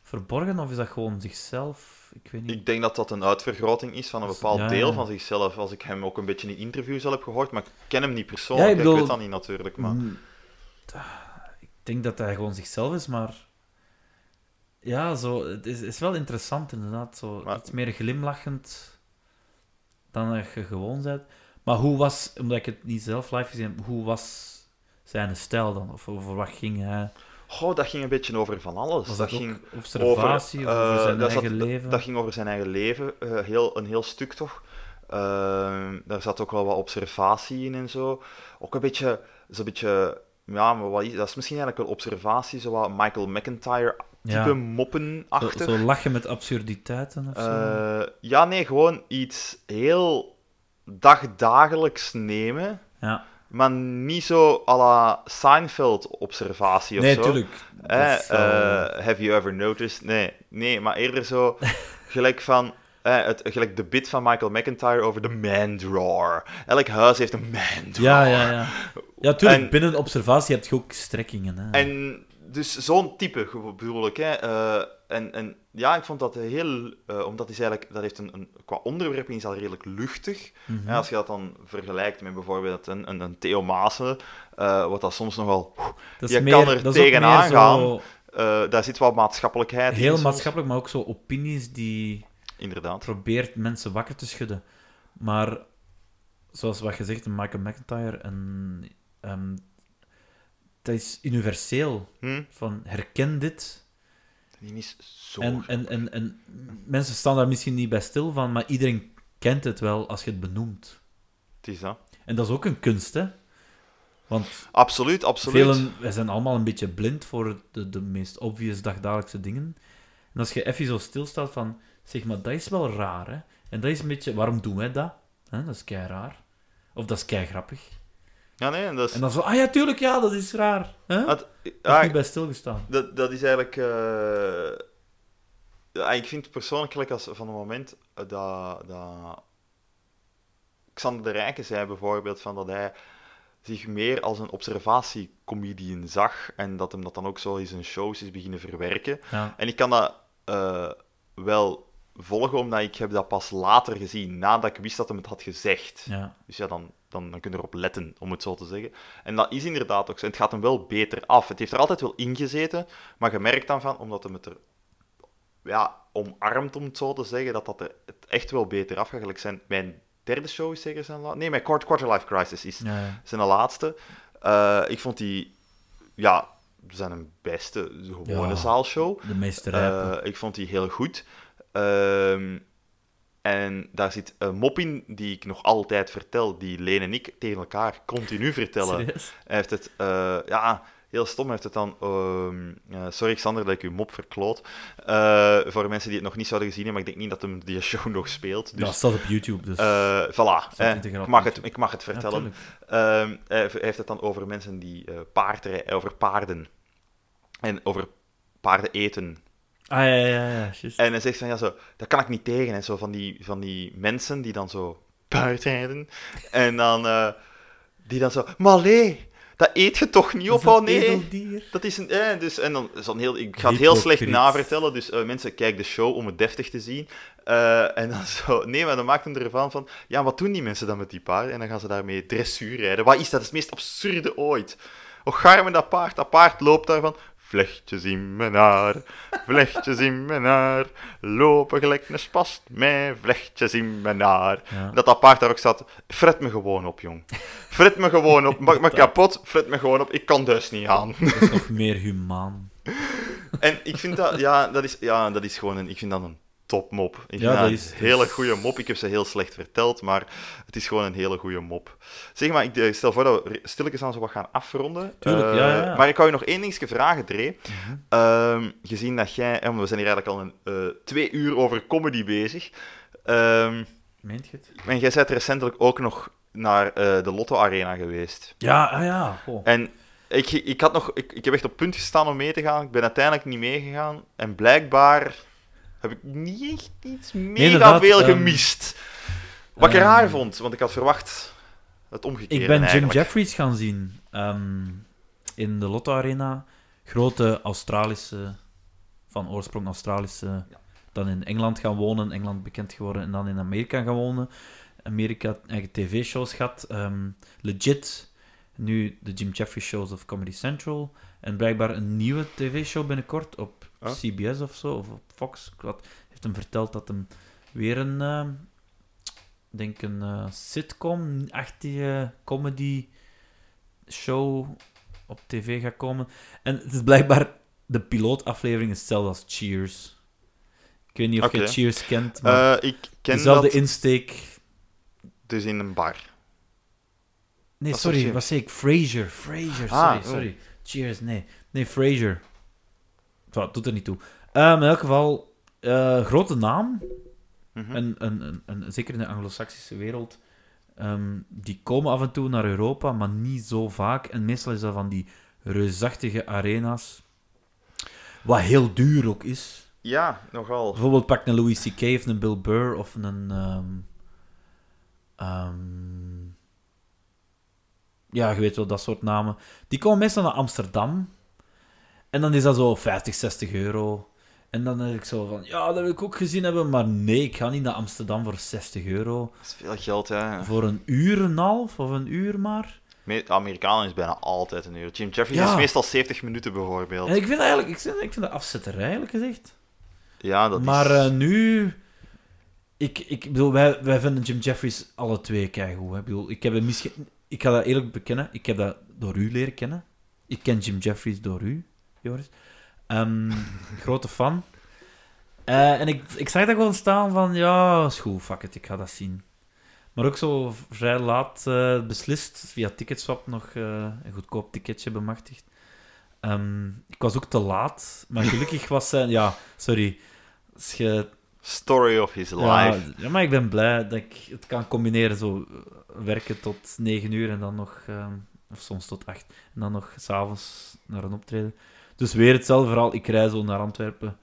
S1: verborgen? Of is dat gewoon zichzelf? Ik weet niet.
S2: Ik denk dat dat een uitvergroting is van een bepaald
S1: Ja,
S2: deel
S1: ja.
S2: van zichzelf. Als ik hem ook een beetje in interviews al heb gehoord, maar ik ken hem niet
S1: Ja,
S2: persoonlijk.
S1: ik
S2: hè,
S1: bedoel-
S2: Ik weet dat niet natuurlijk, maar...
S1: Mm. Ik denk dat hij gewoon zichzelf is, maar... Ja, zo, het is, is wel interessant inderdaad. Zo,
S2: Maar-
S1: Iets meer glimlachend dan dat je gewoon bent. Maar hoe was, omdat ik het niet zelf live gezien heb, hoe was zijn stijl dan? Of over wat ging hij?
S2: Goh, dat ging een beetje over van alles.
S1: Was dat,
S2: ging...
S1: ook observatie
S2: over,
S1: of over
S2: eh,
S1: zijn
S2: dat zat-
S1: eigen leven?
S2: Dat ging over zijn eigen leven, eh, heel, een heel stuk toch. Ehm, daar zat ook wel wat observatie in en zo. Ook een beetje, zo'n beetje, ja, maar wat is, dat is misschien eigenlijk een observatie, zo wat Michael McIntyre-type
S1: Ja.
S2: moppen-achtig.
S1: zo, zo lachen met absurditeiten of zo?
S2: Eh, ja, nee, gewoon iets heel dagdagelijks nemen,
S1: ja.
S2: maar niet zo à la Seinfeld-observatie of
S1: Nee,
S2: zo.
S1: tuurlijk. Dat
S2: Eh,
S1: is wel-
S2: eh, have you ever noticed? Nee, nee, maar eerder
S1: <laughs>
S2: zo gelijk van. eh, het, gelijk de bit van Michael McIntyre over de man-drawer. Elk huis heeft een man-drawer.
S1: ja, ja, ja. Ja, tuurlijk,
S2: oh. En-
S1: binnen observatie heb je ook strekkingen. Hè.
S2: En dus zo'n type ge- bedoel ik. Hè. Eh, en, en ja, ik vond dat heel. eh, omdat hij eigenlijk. Dat heeft een, een, qua onderwerp is al redelijk luchtig.
S1: Mhm.
S2: Ja, als je dat dan vergelijkt met bijvoorbeeld een, een, een Theo Maassen. eh, wat dat soms nogal.
S1: Dat
S2: Je kan er
S1: dat is ook
S2: tegenaan
S1: meer zo
S2: gaan. eh, daar zit wat maatschappelijkheid in.
S1: Heel
S2: soms.
S1: maatschappelijk, maar ook zo opinies die
S2: Inderdaad.
S1: probeert mensen wakker te schudden. Maar zoals wat gezegd, een Michael McIntyre, en, ehm, dat is universeel.
S2: Hm?
S1: Van herken dit.
S2: Die is zo.
S1: En, en, en, en mensen staan daar misschien niet bij stil van, maar iedereen kent het wel als je het benoemt.
S2: Het is dat.
S1: En dat is ook een kunst, hè? Want
S2: Absoluut, absoluut.
S1: velen, wij zijn allemaal een beetje blind voor de, de meest obvious dagdagelijkse dingen. En als je even zo stilstaat van, zeg maar, dat is wel raar, hè? En dat is een beetje, waarom doen wij dat? Hè, dat is kei raar. Of dat is kei grappig.
S2: Ja, nee, dat is.
S1: En dan zo, ah ja, tuurlijk, ja, dat is raar. Hè? Daar
S2: dat,
S1: heb
S2: ja,
S1: ik niet bij stilgestaan.
S2: dat, dat is eigenlijk. eh, ja, ik vind persoonlijk gelijk als van het moment dat, dat. Xander de Rijken zei bijvoorbeeld van dat hij zich meer als een observatiecomedian zag en dat hem dat dan ook zo in zijn shows is beginnen verwerken.
S1: Ja.
S2: En ik kan dat eh, wel volgen, omdat ik heb dat pas later gezien, nadat ik wist dat hem het had gezegd.
S1: Ja.
S2: Dus ja, dan, dan, dan kun je erop letten, om het zo te zeggen. En dat is inderdaad ook zo. Het gaat hem wel beter af. Het heeft er altijd wel ingezeten, maar je merkt dan van, omdat hem het er ja, omarmt, om het zo te zeggen, dat dat er het echt wel beter af gaat. Gelijk Zijn, mijn derde show is zeker zijn laatste. Nee, mijn Quart Quarterlife Crisis is
S1: Ja, ja.
S2: zijn laatste. Eh, ik vond die, ja, zijn beste gewone
S1: Ja.
S2: zaalshow.
S1: De meeste rijpen.
S2: Eh, ik vond die heel goed. Ehm, en daar zit een mop in die ik nog altijd vertel, die Leen en ik tegen elkaar
S1: <laughs>
S2: continu vertellen.
S1: Serieus?
S2: Hij heeft het, eh, ja, heel stom. Hij heeft het dan, ehm, eh, sorry Xander dat ik uw mop verkloot. Eh, voor mensen die het nog niet zouden gezien hebben, maar ik denk niet dat hem die show <laughs> nog speelt.
S1: Ja, dat
S2: Dus,
S1: staat op YouTube, dus...
S2: eh, voilà,
S1: Staat
S2: eh,
S1: integraal
S2: ik,
S1: op
S2: mag het,
S1: YouTube.
S2: ik mag het
S1: Ja,
S2: vertellen.
S1: tuurlijk.
S2: Ehm, hij heeft het dan over mensen die eh paardrij- over paarden en over paarden eten.
S1: Ah, ja, ja, ja, juist.
S2: En hij zegt van ja, zo, dat kan ik niet tegen. En zo van die, van die mensen die dan zo paard rijden. En dan, eh, die dan zo, maar allee, Dat eet je toch niet
S1: Is
S2: op?
S1: dat
S2: Oh nee.
S1: edeldier?
S2: Dat is een. Eh, dus, en dan is dat heel, ik ga het heel
S1: Hypocriet.
S2: slecht navertellen, dus eh, mensen, kijk de show om het deftig te zien. Eh, en dan <laughs> zo. Nee, maar dan maakt hem ervan van. Ja, wat doen die mensen dan met die paarden? En dan gaan ze daarmee dressuur rijden. Wat is dat? Dat is het meest absurde ooit. Och, garme dat paard. Dat paard loopt daarvan. Vlechtjes in mijn haar, vlechtjes in mijn haar, lopen gelijk een spast, mijn vlechtjes in mijn haar.
S1: Ja.
S2: Dat dat paard daar ook staat, fret me gewoon op, jong. Fret me gewoon
S1: <laughs>
S2: op, maak me kapot, fret me gewoon op, ik kan dus niet aan.
S1: Dat is nog meer humaan.
S2: En ik vind dat, ja, dat is, ja, dat is gewoon een, ik vind dat een topmop. Ik vind
S1: Ja, dat
S2: dat
S1: is-
S2: een hele
S1: dat is-
S2: goede mop. Ik heb ze heel slecht verteld, maar het is gewoon een hele goede mop. Zeg maar, ik eh, stel voor dat we stilletjes aan zo wat gaan afronden.
S1: Tuurlijk,
S2: Eh,
S1: ja, ja, Mhm. ja.
S2: Maar ik wou je nog één dingetje vragen, Dre. Ehm, gezien dat jij, eh, want we zijn hier eigenlijk al een, eh, twee uur over comedy bezig. Ehm,
S1: Meent je het?
S2: en jij bent recentelijk ook nog naar eh, de Lotto Arena geweest.
S1: Ja, ah ja. Oh.
S2: En ik, ik, had nog, ik, ik heb echt op punt gestaan om mee te gaan. Ik ben uiteindelijk niet meegegaan. En blijkbaar heb ik niet echt iets mega
S1: inderdaad,
S2: veel
S1: ehm,
S2: gemist. Wat ik
S1: ehm,
S2: raar vond, want ik had verwacht het omgekeerde
S1: Ik ben Jim
S2: eigenlijk.
S1: Jeffries gaan zien ehm, in de Lotto Arena. Grote Australische, van oorsprong Australische, dan in Engeland gaan wonen, Engeland bekend geworden en dan in Amerika gaan wonen. Amerika eigen tv-shows gehad. ehm, legit, nu de Jim Jeffries shows of Comedy Central. En blijkbaar een nieuwe tv-show binnenkort op
S2: Huh?
S1: CBS of zo, of op Fox. Ik had- heeft hem verteld dat hem weer een... ehm, ik denk een eh, sitcom-achtige comedy show op tv gaat komen. En het is blijkbaar de pilootaflevering is hetzelfde als Cheers. Ik weet niet of je
S2: Oké.
S1: Cheers kent, maar
S2: Eh, ik ken
S1: dezelfde
S2: dat
S1: insteek.
S2: dus in een bar.
S1: Nee,
S2: Wat
S1: sorry,
S2: was Cheers?
S1: wat zei ik? Frasier, Frasier,
S2: Ah,
S1: sorry,
S2: oh.
S1: sorry. Cheers, nee. Nee, Frasier. Wat, doet er niet toe. Ehm, in elk geval, eh, grote naam.
S2: Mhm.
S1: En, en, en, en zeker in de anglo-saxische wereld, ehm, die komen af en toe naar Europa, maar niet zo vaak. En meestal is dat van die reusachtige arena's. Wat heel duur ook is.
S2: Ja, nogal.
S1: Bijvoorbeeld pak een Louis C.K. of een Bill Burr of een... ehm, ehm, ja, je weet wel, dat soort namen. Die komen meestal naar Amsterdam. En dan is dat zo 50, 60 euro. En dan denk ik zo van, ja, dat wil ik ook gezien hebben, maar nee, ik ga niet naar Amsterdam voor 60 euro.
S2: Dat is veel geld, hè.
S1: Voor een uur en een half, of een uur maar.
S2: Me- Amerikanen is bijna altijd een uur. Jim Jeffries
S1: Ja.
S2: is meestal 70 minuten bijvoorbeeld.
S1: En ik vind eigenlijk, ik vind, ik vind dat afzetterij, eigenlijk gezegd.
S2: Ja, dat
S1: maar
S2: is...
S1: eh, nu... Ik, ik bedoel, wij, wij vinden Jim Jeffries alle twee keigoed. hè. Ik bedoel, ik heb hem misschien... Ik ga dat eerlijk bekennen. Ik heb dat door u leren kennen. Ik ken Jim Jeffries door u, Joris. Ehm, <laughs> grote fan. Eh, en ik, ik zag dat gewoon staan van... Ja, is goed, fuck it, ik ga dat zien. Maar ook zo vrij laat eh, beslist, via Ticketswap nog eh, een goedkoop ticketje bemachtigd. Ehm, ik was ook te laat, maar gelukkig was zijn... Ja, sorry. Als je
S2: Story of his
S1: ja,
S2: life.
S1: Ja, maar ik ben blij dat ik het kan combineren. Zo eh, werken tot 9 uur en dan nog, ehm, of soms tot 8, en dan nog s'avonds naar een optreden. Dus weer hetzelfde verhaal. Ik rij zo naar Antwerpen,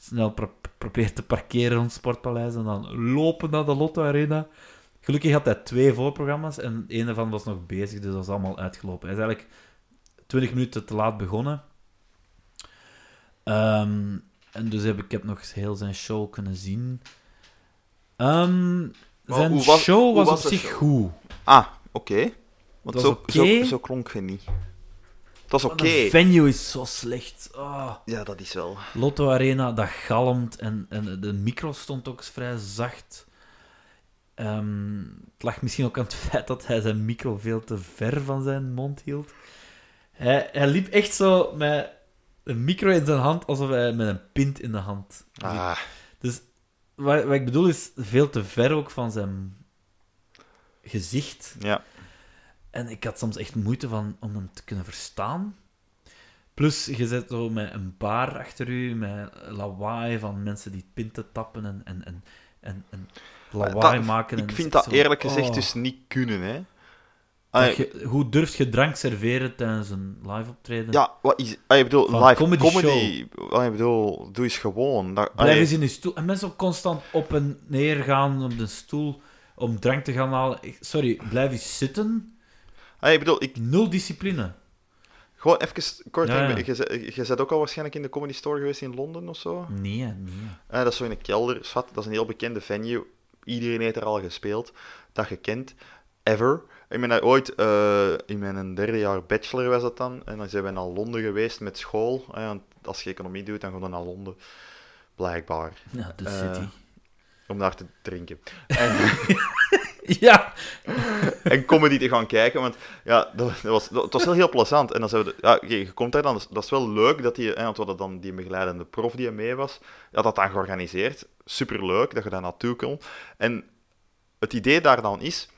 S1: snel pro- probeer te parkeren rond het Sportpaleis en dan lopen naar de Lotto Arena. Gelukkig had hij twee voorprogramma's en een ervan was nog bezig, dus dat is allemaal uitgelopen. Hij is eigenlijk 20 minuten te laat begonnen. Ehm, en dus heb ik ik heb nog eens heel zijn show kunnen zien. Ehm,
S2: Maar
S1: zijn
S2: hoe was-
S1: show
S2: hoe
S1: was,
S2: was
S1: op
S2: de
S1: zich
S2: show?
S1: goed.
S2: Ah, oké. Want
S1: Dat
S2: zo,
S1: was oké.
S2: zo, zo klonk je niet. Dat is
S1: Want
S2: oké.
S1: De venue is zo slecht. Ah.
S2: Ja, dat is wel.
S1: Lotto Arena, dat galmt en, en de micro stond ook vrij zacht. Ehm, het lag misschien ook aan het feit dat hij zijn micro veel te ver van zijn mond hield. Hij, hij liep echt zo met een micro in zijn hand, alsof hij met een pint in de hand. liep.
S2: Ah,
S1: Wat, wat ik bedoel is veel te ver ook van zijn gezicht.
S2: ja.
S1: En ik had soms echt moeite van, om hem te kunnen verstaan. Plus, je zit zo met een bar achter u, met lawaai van mensen die pinten tappen en, en, en, en, en lawaai
S2: Eh, Dat-
S1: maken. en
S2: Ik
S1: het
S2: vind
S1: is
S2: dat
S1: zo-
S2: eerlijk gezegd
S1: oh.
S2: dus niet kunnen, hè.
S1: Dat
S2: Ah,
S1: je- hoe durf je drank serveren tijdens een live optreden?
S2: ja, wat is... Ah, je bedoelt,
S1: Van
S2: live
S1: comedy
S2: comedy... Ah, je bedoelt, doe eens gewoon. Dat, ah,
S1: Blijf
S2: je-
S1: eens in je stoel. En mensen ook constant op en neer gaan op de stoel om drank te gaan halen. Ik- Sorry, blijf eens zitten.
S2: ah, je bedoelt, ik,
S1: Nul discipline.
S2: Gewoon even kort,
S1: Ja, ja.
S2: je, je, je bent ook al waarschijnlijk in de Comedy Store geweest in Londen of zo.
S1: Nee, nee.
S2: Eh, dat is zo in een kelder. Zwat, dat is een heel bekende venue. Iedereen heeft er al gespeeld. Dat je kent. Ever. Ik ben daar ooit, eh, in mijn derde jaar bachelor was dat dan. En dan zijn we naar Londen geweest met school. Eh, want als je economie doet, dan gaan we naar Londen. Blijkbaar.
S1: Ja, de
S2: Eh,
S1: city.
S2: Om daar te drinken. En,
S1: <laughs> Ja!
S2: <laughs> en comedy te gaan kijken. Want ja, dat, dat was, dat, het was wel heel plezant. En dan zijn we... de- Ja, oké, je komt daar dan. Dat is, dat is wel leuk dat die... Eh, want we hadden dan die begeleidende prof die er mee was. had dat dan georganiseerd. Superleuk dat je daar naartoe kon. En het idee daar dan is...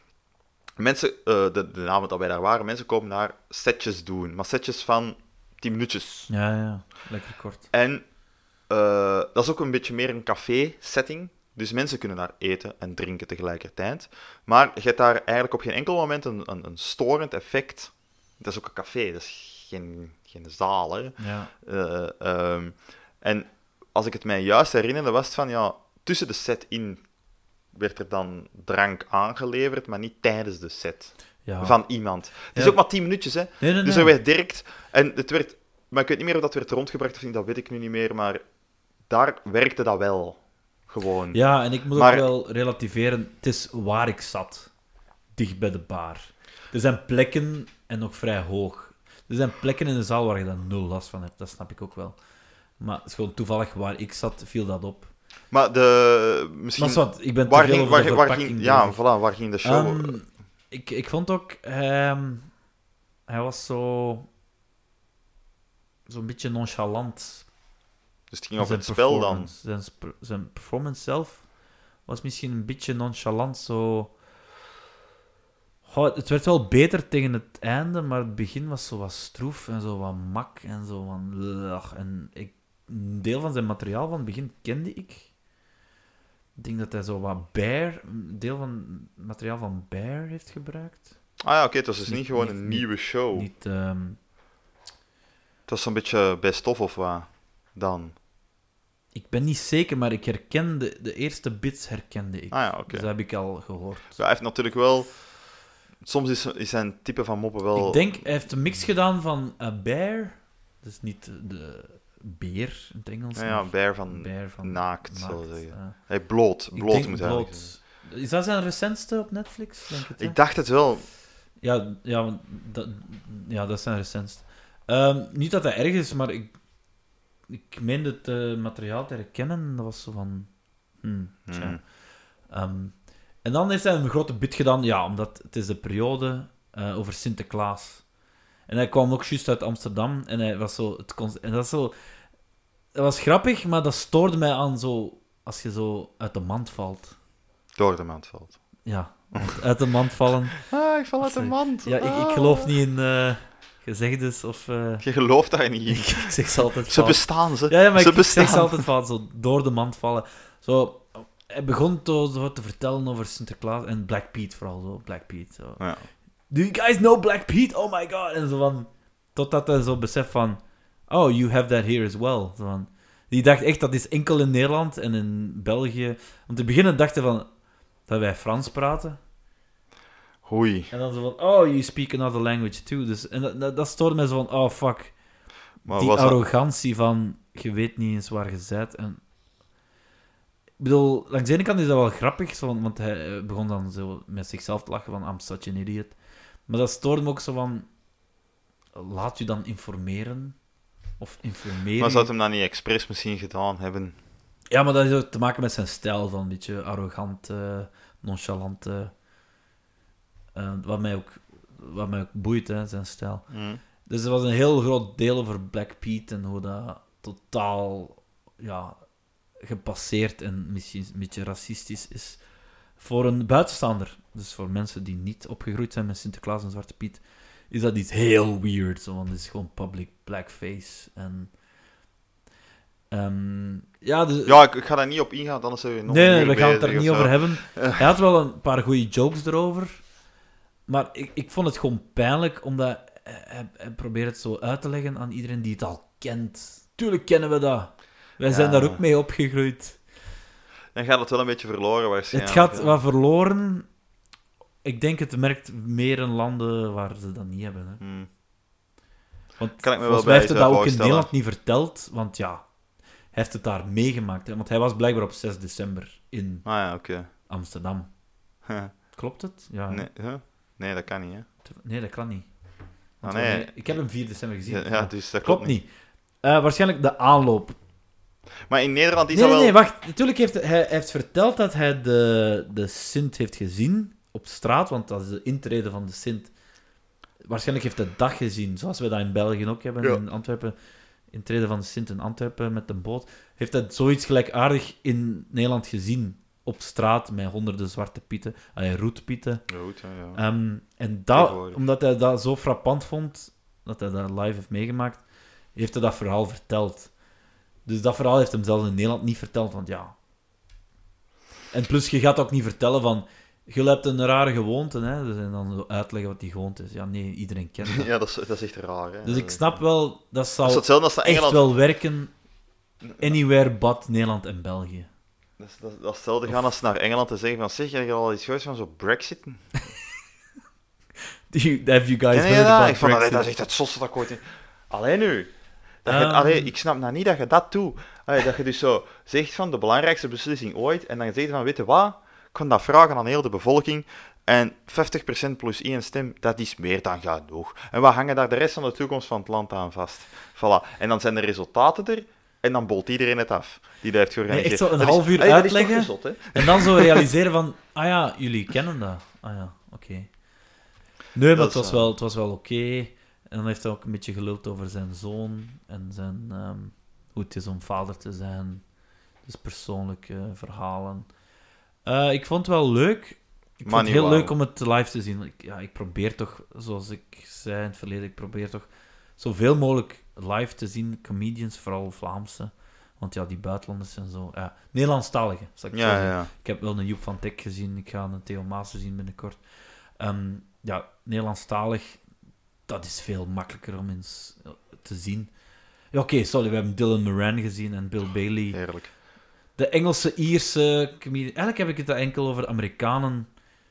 S2: Mensen, eh, de, de avond dat wij daar waren, mensen komen daar setjes doen. Maar setjes van 10 minuutjes.
S1: Ja, ja. Lekker kort.
S2: En eh, dat is ook een beetje meer een café-setting. Dus mensen kunnen daar eten en drinken tegelijkertijd. Maar je hebt daar eigenlijk op geen enkel moment een, een, een storend effect. Dat is ook een café, dat is geen, geen zaal. Hè.
S1: Ja.
S2: Eh, ehm, en als ik het mij juist herinner, dan was het van ja, tussen de set in werd er dan drank aangeleverd, maar niet tijdens de set
S1: ja.
S2: van iemand. Het is
S1: Ja.
S2: ook maar 10 minuutjes, hè?
S1: Nee, nee,
S2: Dus
S1: nee.
S2: er werd direct, en het werd, maar ik weet niet meer of dat werd rondgebracht of niet, dat weet ik nu niet meer, maar daar werkte dat wel. Gewoon.
S1: Ja, en ik moet
S2: Hmm. Maar-
S1: ook wel relativeren. Het is waar ik zat. Dicht bij de bar. Er zijn plekken, en nog vrij hoog. Er zijn plekken in de zaal waar je dan nul last van hebt. Dat snap ik ook wel. Maar het is gewoon toevallig waar ik zat, viel dat op.
S2: Maar de, misschien,
S1: Maar zwart, ik ben te
S2: waar,
S1: veel
S2: ging,
S1: over
S2: waar,
S1: de
S2: waar
S1: verpakking
S2: ging,
S1: bezig.
S2: ja, voilà, waar ging de show?
S1: Ehm, ik, ik vond ook... ehm, hij was zo... Zo'n beetje nonchalant.
S2: dus het ging over
S1: Zijn
S2: het spel dan.
S1: performance- Zijn, sp- zijn performance zelf was misschien een beetje nonchalant. Zo... Goh, het werd wel beter tegen het einde, maar het begin was zo wat stroef en zo wat mak en zo van... ugh. En ik, een deel van zijn materiaal van het begin kende ik. Ik denk dat hij zo wat Bear, een deel van het materiaal van Bear heeft gebruikt.
S2: Ah ja, oké, het was dus
S1: Niet-
S2: niet gewoon
S1: niet-
S2: een
S1: niet-
S2: nieuwe show.
S1: Niet, ehm,
S2: Het was zo'n beetje best of of wat dan.
S1: ik ben niet zeker, maar ik herkende... De eerste bits herkende ik.
S2: Ah ja, oké.
S1: Dus dat heb ik al gehoord.
S2: Ja, hij heeft natuurlijk wel. Soms is, is zijn type van moppen wel.
S1: Ik denk, hij heeft een mix gedaan van a bear, dus niet de beer in het Engels,
S2: ja, ja,
S1: maar
S2: bear van.
S1: bear van
S2: naakt,
S1: naakt,
S2: zal ik zeggen.
S1: ja.
S2: Hij bloot.
S1: Ik
S2: Bloot
S1: denk
S2: moet hij
S1: bloot.
S2: eigenlijk zeggen.
S1: Is dat zijn recentste op Netflix? Denk het, hè?
S2: Ik dacht het wel.
S1: Ja, ja, want dat, ja, dat is zijn recentste. Ehm, niet dat hij erg is, maar ik, ik meende het eh, materiaal te herkennen. Dat was zo van... hmm, tja.
S2: Hmm.
S1: Ehm, en dan heeft hij een grote bit gedaan, ja, omdat het is de periode eh, over Sinterklaas. En hij kwam ook juist uit Amsterdam en hij was zo... Het kon- en dat, is zo, dat was grappig, maar dat stoorde mij aan zo... Als je zo uit de mand valt.
S2: Door de maand valt.
S1: Ja, uit de mand vallen.
S2: Ah, ik val uit de
S1: Sorry.
S2: mand.
S1: Ja, ik, ik geloof niet in eh gezegdes of... eh,
S2: Je gelooft daar
S1: ik,
S2: niet.
S1: <laughs> ik zeg ze altijd
S2: Ze
S1: fout.
S2: bestaan, ze.
S1: Ja, ja, maar
S2: ze
S1: ik, ik
S2: bestaan.
S1: zeg ze altijd fout. Zo door de mand vallen. Zo, hij begon to, zo te vertellen over Sinterklaas en Black Pete vooral. Zo, Black Pete. Zo.
S2: Ja.
S1: Do you guys know Black Pete? Oh my god. En zo van... Totdat hij zo beseft van... Oh, you have that here as well. Zo van, die dacht echt, dat is enkel in Nederland en in België. Om te beginnen dachten van... Dat wij Frans praten.
S2: Oei.
S1: En dan zo van... Oh, you speak another language too. Dus, en dat, dat, dat stoorde mij zo van... Oh, fuck.
S2: Maar
S1: die
S2: was dat-
S1: arrogantie van je weet niet eens waar je bent. En... Ik bedoel, langs de ene kant is dat wel grappig, zo, want hij eh, begon dan zo met zichzelf te lachen van I'm such an idiot. Maar dat stoorde me ook zo van, laat je dan informeren. Of informeren.
S2: Maar zou het hem dan niet expres misschien gedaan hebben?
S1: Ja, maar dat heeft ook te maken met zijn stijl van een beetje arrogant, eh, nonchalant. eh, eh, wat, mij ook, wat mij ook boeit, hè, zijn stijl.
S2: Hm.
S1: Dus er was een heel groot deel over Black Pete en hoe dat totaal ja, gepasseerd en misschien een beetje racistisch is voor een buitenstaander. Dus voor mensen die niet opgegroeid zijn met Sinterklaas en Zwarte Piet, is dat iets heel weird. Zo, want het is gewoon public blackface. En, ehm, ja, dus,
S2: Ja, ik, ik ga daar niet op ingaan, anders zijn we nog
S1: nee,
S2: een
S1: nee,
S2: uur
S1: we gaan het
S2: bezig
S1: daar niet
S2: of zo.
S1: over
S2: <laughs>
S1: hebben. Hij had wel een paar goede jokes erover. Maar ik, ik vond het gewoon pijnlijk, omdat hij, hij- hij probeert het zo uit te leggen aan iedereen die het al kent. Tuurlijk kennen we dat. Wij
S2: Ja.
S1: zijn daar ook mee opgegroeid.
S2: Dan gaat het wel een beetje verloren
S1: het
S2: waarschijnlijk.
S1: gaat
S2: ja.
S1: wat verloren. Ik denk het merkt meer in landen waar ze dat niet hebben. Hè.
S2: Hm.
S1: Want
S2: Hmm. Kan ik me wel
S1: volgens
S2: bij
S1: mij heeft hij dat ook in
S2: voorstellen.
S1: Nederland niet verteld, want ja, hij heeft het daar meegemaakt. hè. Want hij was blijkbaar op 6 december in
S2: Ah ja, oké.
S1: Amsterdam.
S2: Huh.
S1: Klopt het? Ja.
S2: Nee, huh? nee, dat kan niet, hè?
S1: Nee, dat kan niet. Want
S2: Ah, nee.
S1: wanneer- Ik heb hem 4 december gezien. Ah,
S2: Ja, ja, dus dat
S1: klopt niet. Eh, waarschijnlijk de aanloop.
S2: Maar in Nederland is
S1: Nee, nee,
S2: dat
S1: nee,
S2: wel...
S1: wacht. Natuurlijk heeft hij, hij heeft verteld dat hij de, de Sint heeft gezien op straat, want dat is de intrede van de Sint. Waarschijnlijk heeft hij de dag gezien, zoals we dat in België ook hebben,
S2: Ja.
S1: in Antwerpen. Intrede van de Sint in Antwerpen met een boot. Heeft hij zoiets gelijkaardig in Nederland gezien? Op straat met honderden zwarte pieten, eh, roetpieten.
S2: Goed, ja, ja.
S1: Ehm, en dat,
S2: Tegenwoordig.
S1: omdat hij dat zo frappant vond, dat hij dat live heeft meegemaakt, heeft hij dat verhaal verteld. Dus dat verhaal heeft hem zelfs in Nederland niet verteld, want ja. En plus, je gaat ook niet vertellen van... Je hebt een rare gewoonte, hè. Dus, en dan zo uitleggen wat die gewoonte is. Ja, nee, iedereen
S2: <laughs>
S1: kent dat.
S2: Ja, dat is, dat is echt raar, hè?
S1: Dus ik snap wel, dat
S2: Dat is
S1: zou
S2: hetzelfde als naar
S1: echt
S2: Engeland.
S1: wel werken anywhere but Nederland en België. <laughs>
S2: Dat, is- dat, is- dat is hetzelfde gaan als naar Engeland te zeggen van... Zeg, heb je al iets gehoord van zo'n brexit? Nee,
S1: Have you guys
S2: nee,
S1: heard
S2: ja,
S1: about
S2: ik vond dat,
S1: Brexit?
S2: dat is echt het zotste dat ik ooit... in- Allee, nu. Dat je-
S1: Ehm.
S2: allee, ik snap nou niet dat je dat doet. Allee, dat je dus zo zegt van de belangrijkste beslissing ooit. En dan zegt van, weet je wat? Ik kan dat vragen aan heel de bevolking. En 50% plus één stem, dat is meer dan genoeg. En we hangen daar de rest van de toekomst van het land aan vast. Voilà. En dan zijn de resultaten er. En dan bolt iedereen het af. Die dat heeft georganiseerd.
S1: echt zo een
S2: Dat is-
S1: half uur
S2: allee, dat is toch
S1: uitleggen.
S2: gezot, hè?
S1: En dan zo realiseren van, ah ja, jullie kennen dat. Ah ja, oké. Nee, maar
S2: Dat
S1: het was
S2: is waar.
S1: wel, het was wel oké. En dan heeft hij ook een beetje geluld over zijn zoon en zijn, ehm, hoe het is om vader te zijn. Dus persoonlijke verhalen. Eh, ik vond het wel leuk. Ik
S2: Maar
S1: vond het
S2: niet
S1: heel
S2: waar.
S1: leuk om het live te zien. Ik, ja, ik probeer toch, zoals ik zei in het verleden, ik probeer toch zoveel mogelijk live te zien. Comedians, vooral Vlaamse. Want ja, die buitenlanders zijn zo... Ja, Nederlandstaligen, zal ik het zo
S2: Ja,
S1: zeggen.
S2: ja, ja.
S1: Ik heb wel een Joep van Teck gezien. Ik ga een Theo Maassen zien binnenkort. Ehm, ja, Nederlandstalig, dat is veel makkelijker om eens eh, te zien. Ja, Oké, sorry, we hebben Dylan Moran gezien en Bill Bailey.
S2: Heerlijk.
S1: De Engelse, Ierse comedian. Eigenlijk heb ik het daar enkel over Amerikanen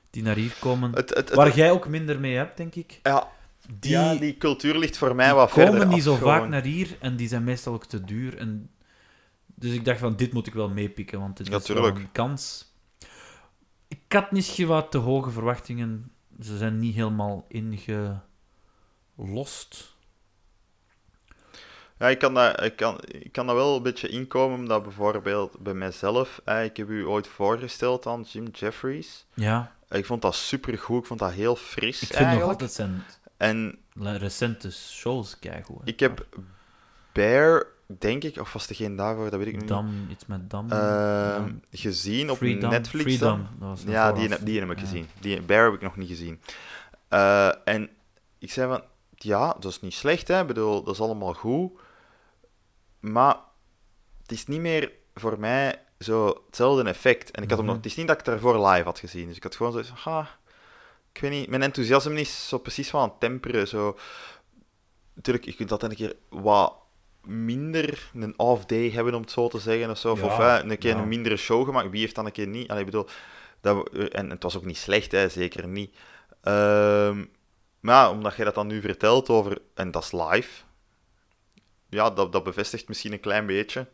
S1: die naar hier komen.
S2: Het, het, het-
S1: Waar jij ook minder mee hebt, denk ik.
S2: ja,
S1: Die,
S2: ja, die cultuur ligt voor mij
S1: die
S2: wat verder
S1: komen niet
S2: af,
S1: zo
S2: gewoon.
S1: vaak naar hier en die zijn meestal ook te duur. En... Dus ik dacht van, dit moet ik wel meepikken, want dit
S2: Ja,
S1: is wel
S2: tuurlijk.
S1: een kans. Ik had misschien wat te hoge verwachtingen. Ze zijn niet helemaal ingelost.
S2: Ja, ik kan, daar, ik, kan, ik kan daar wel een beetje inkomen, omdat bijvoorbeeld bij mezelf, eh, ik heb u ooit voorgesteld aan Jim Jeffries.
S1: Ja,
S2: Ik vond dat supergoed, ik vond dat heel fris
S1: ik vind nog
S2: eigenlijk.
S1: altijd zijn
S2: En
S1: recente shows keigoed. hè.
S2: ik heb Bear, denk ik, of was er geen daarvoor, dat weet ik nu niet,
S1: Dam, iets met Dam.
S2: eh,
S1: Dam.
S2: gezien op
S1: Freedom,
S2: Netflix dan.
S1: Freedom, dat was een
S2: Ja,
S1: vooraf.
S2: die, heb- die heb ik
S1: Ja.
S2: gezien. Die Bear heb ik nog niet gezien. Eh, en ik zei van, ja, dat is niet slecht, hè. Ik bedoel, dat is allemaal goed. Maar het is niet meer voor mij zo hetzelfde effect. En
S1: Mhm.
S2: ik had hem nog, het is niet dat ik daarvoor live had gezien. Dus ik had gewoon zoiets van, ha, ik weet niet, mijn enthousiasme is zo precies wel aan het temperen. Zo. Natuurlijk, je kunt dat een keer wat minder een off day hebben, om het zo te zeggen. Of, zo. Of-
S1: Ja,
S2: of hè, een keer
S1: ja.
S2: een mindere show gemaakt. Wie heeft dan een keer niet? Allee, ik bedoel, dat we- eh, en het was ook niet slecht, hè, zeker niet. Ehm, maar ja, omdat jij dat dan nu vertelt over, en dat is live, ja, dat, dat bevestigt misschien een klein beetje